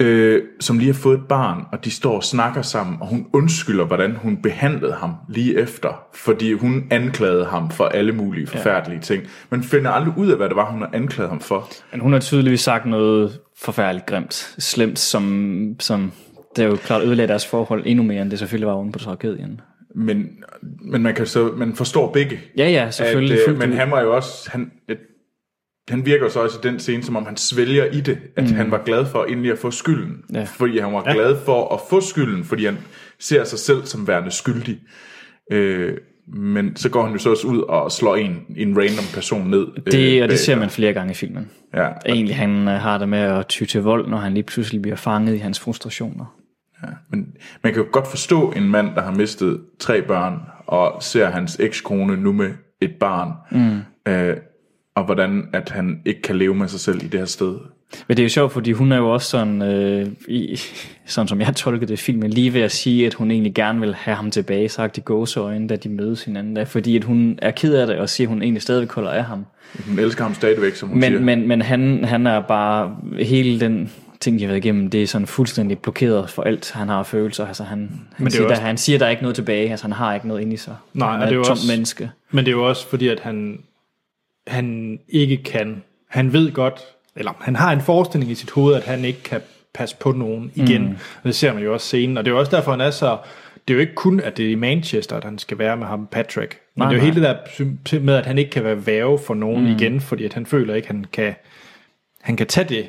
øh, som lige har fået et barn, og de står og snakker sammen, og hun undskylder, hvordan hun behandlede ham lige efter, fordi hun anklagede ham for alle mulige forfærdelige ja. ting, men finder aldrig ud af, hvad det var, hun har anklaget ham for.
Men hun har tydeligvis sagt noget forfærdeligt grimt, slemt, som, som det er jo klart ødelagde deres forhold endnu mere, end det selvfølgelig var oven på tragedien.
Men, men man, kan så, man forstår begge,
Ja, ja, selvfølgelig.
At, øh,
fuldt
men
ud.
han var jo også... Han, at, han virker jo så også i den scene, som om han svælger i det, at mm. han var glad for endelig at få skylden.
Ja.
Fordi han var ja. glad for at få skylden, fordi han ser sig selv som værende skyldig. Øh, men så går han jo så også ud og slår en, en random person ned. øh,
Det, og
bag-
det ser man flere gange i filmen.
Ja,
Egentlig han øh, har det med at ty til vold, når han lige pludselig bliver fanget i hans frustrationer.
men man kan jo godt forstå en mand, der har mistet tre børn, og ser hans ekskone nu med et barn, mm. øh, og hvordan at han ikke kan leve med sig selv i det her sted.
Men det er jo sjovt, fordi hun er jo også sådan, øh, i, sådan som jeg tolkede det i filmen, lige ved at sige, at hun egentlig gerne vil have ham tilbage, sagt i gåseøjne, da de mødes hinanden. Der, fordi at hun er ked af det, og siger, at hun egentlig stadigvæk holder af ham.
Hun elsker ham stadigvæk, som hun siger.
Men, men, men han, han er bare, hele den ting, de har været igennem, det er sådan fuldstændig blokeret for alt, han har af følelser. Altså, han, han,
er
siger,
jo
der,
også-
han siger, der er ikke noget tilbage, altså han har ikke noget inde i sig.
Nej,
han
og
er
det er jo
et tomt
også-
menneske.
Men det er jo også fordi, at han, han ikke kan, han ved godt, eller han har en forestilling i sit hoved, at han ikke kan passe på nogen igen. Mm. Og det ser man jo også scenen, og det er jo også derfor, han er så, det er jo ikke kun, at det er i Manchester, at han skal være med ham, Patrick. Men
Nej,
det er jo
nej.
hele det der sym- med, at han ikke kan være værve for nogen mm. igen, fordi at han føler ikke, han kan, han kan tage det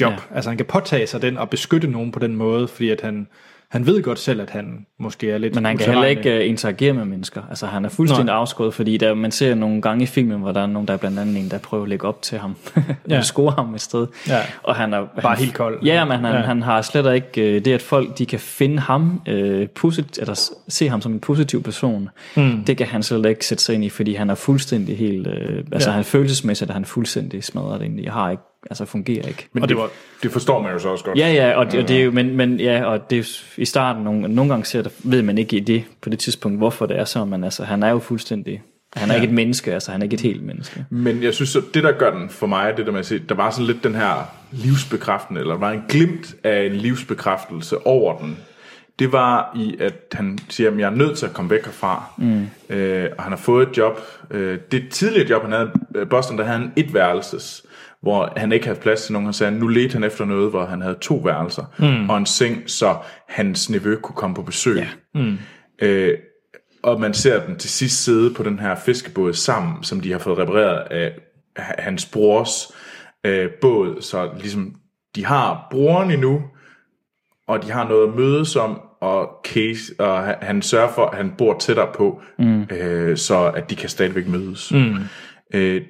job. Ja. Altså han kan påtage sig den og beskytte nogen på den måde, fordi at han, han ved godt selv, at han måske er lidt
Men han kan heller
utilregnelig.
ikke uh, interagere med mennesker. Altså, han er fuldstændig
Nej.
afskåret, fordi der, man ser nogle gange i filmen, hvor der er nogen, der er blandt andet en, der prøver at lægge op til ham.
Ja.
ja. score ham et sted.
Ja.
Og han er
Bare
han,
helt kold.
Ja, men han,
Ja.
ja. han har slet ikke uh, det, at folk de kan finde ham, uh, posit, eller s- se ham som en positiv person.
Hmm.
Mm. Det kan han slet ikke sætte sig ind i, fordi han er fuldstændig helt... Uh, altså,
Ja.
ja. han er følelsesmæssigt, at han er fuldstændig smadret ind i. Har ikke, altså, fungerer ikke.
Men
Og det
det,
var-
det forstår man jo så også godt.
Ja, ja, og det, og det er jo, men, men ja, og det er jo i starten, nogle, nogle gange ser der, ved man ikke i det, på det tidspunkt, hvorfor det er så, men altså, han er jo fuldstændig, han er ja. ikke et menneske, altså, han er ikke et helt menneske.
Men jeg synes, at det der gør den for mig, det der med at se, der var sådan lidt den her livsbekræftende, eller der var en glimt af en livsbekræftelse over den. Det var i, at han siger, at jeg er nødt til at komme væk herfra. Mm. Øh, og han har fået et job. Øh, det tidligere job, han havde i øh, Boston, der havde han et værelses, hvor han ikke havde plads til nogen. Han sagde, at nu ledte han efter noget, hvor han havde to værelser mm. og en seng, så hans nevø kunne komme på besøg. Yeah. Mm. Øh, og man ser dem til sidst sidde på den her fiskebåd sammen, som de har fået repareret af h- hans brors øh, båd. Så ligesom, de har broren endnu, og de har noget at mødes om, og, case, og han- han sørger for, at han bor tættere på, mm. øh, så at de kan stadigvæk mødes. Mm. Øh,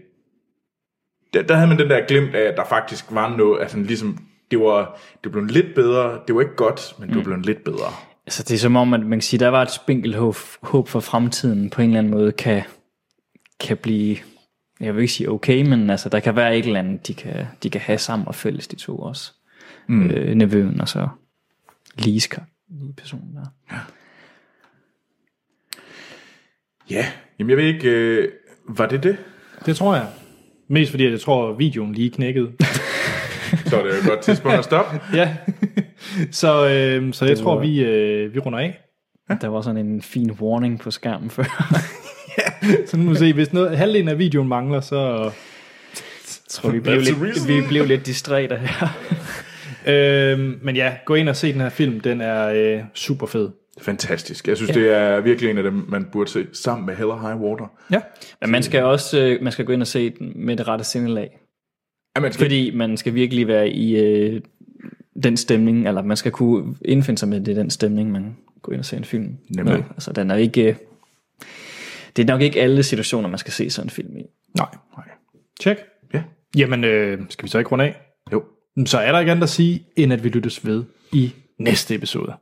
der, der havde man den der glimt af, at der faktisk var noget, at han ligesom, det var, det blev lidt bedre, det var ikke godt, men det var blevet lidt bedre.
Altså, det er som om, at man kan sige, der var et spinkelt håb, håb for fremtiden, på en eller anden måde, kan, kan blive, jeg vil ikke sige okay, men altså, der kan være et eller andet, de kan, de kan have sammen og fælles, de to også. Mm. Øh, nevøen og så Lise, lige personen der.
Ja, jamen jeg ved ikke, øh, var det det?
Det tror jeg. Mest fordi, at jeg tror, at videoen lige knækkede.
Så er det jo et godt tidspunkt at stoppe.
ja. Så, øh, så jeg tror, vi, øh, vi runder af.
Der var sådan en fin warning på skærmen før.
Så nu må vi se, hvis noget, halvdelen af videoen mangler, så...
tror, vi blev,
That's the
lidt,
reason.
vi blev lidt distræte her.
Øh, men ja, gå ind og se den her film. Den er øh, super fed.
Fantastisk. Jeg synes, ja. det er virkelig en af dem, man burde se sammen med Hell or High Water.
Ja.
Men man skal også øh, man skal gå ind og se den med det rette sindelag.
Ja, man skal,
Fordi man skal virkelig være i øh, den stemning, eller man skal kunne indfinde sig med, at det er den stemning, man går ind og ser en film.
Nemlig.
med. Altså, den er ikke... øh, Det er nok ikke alle situationer, man skal se sådan en film i.
Nej. Nej. Tjek.
Ja.
Jamen, øh, skal vi så ikke runde af?
Jo.
Så er der ikke andet at sige, end at vi lyttes ved i næste episode.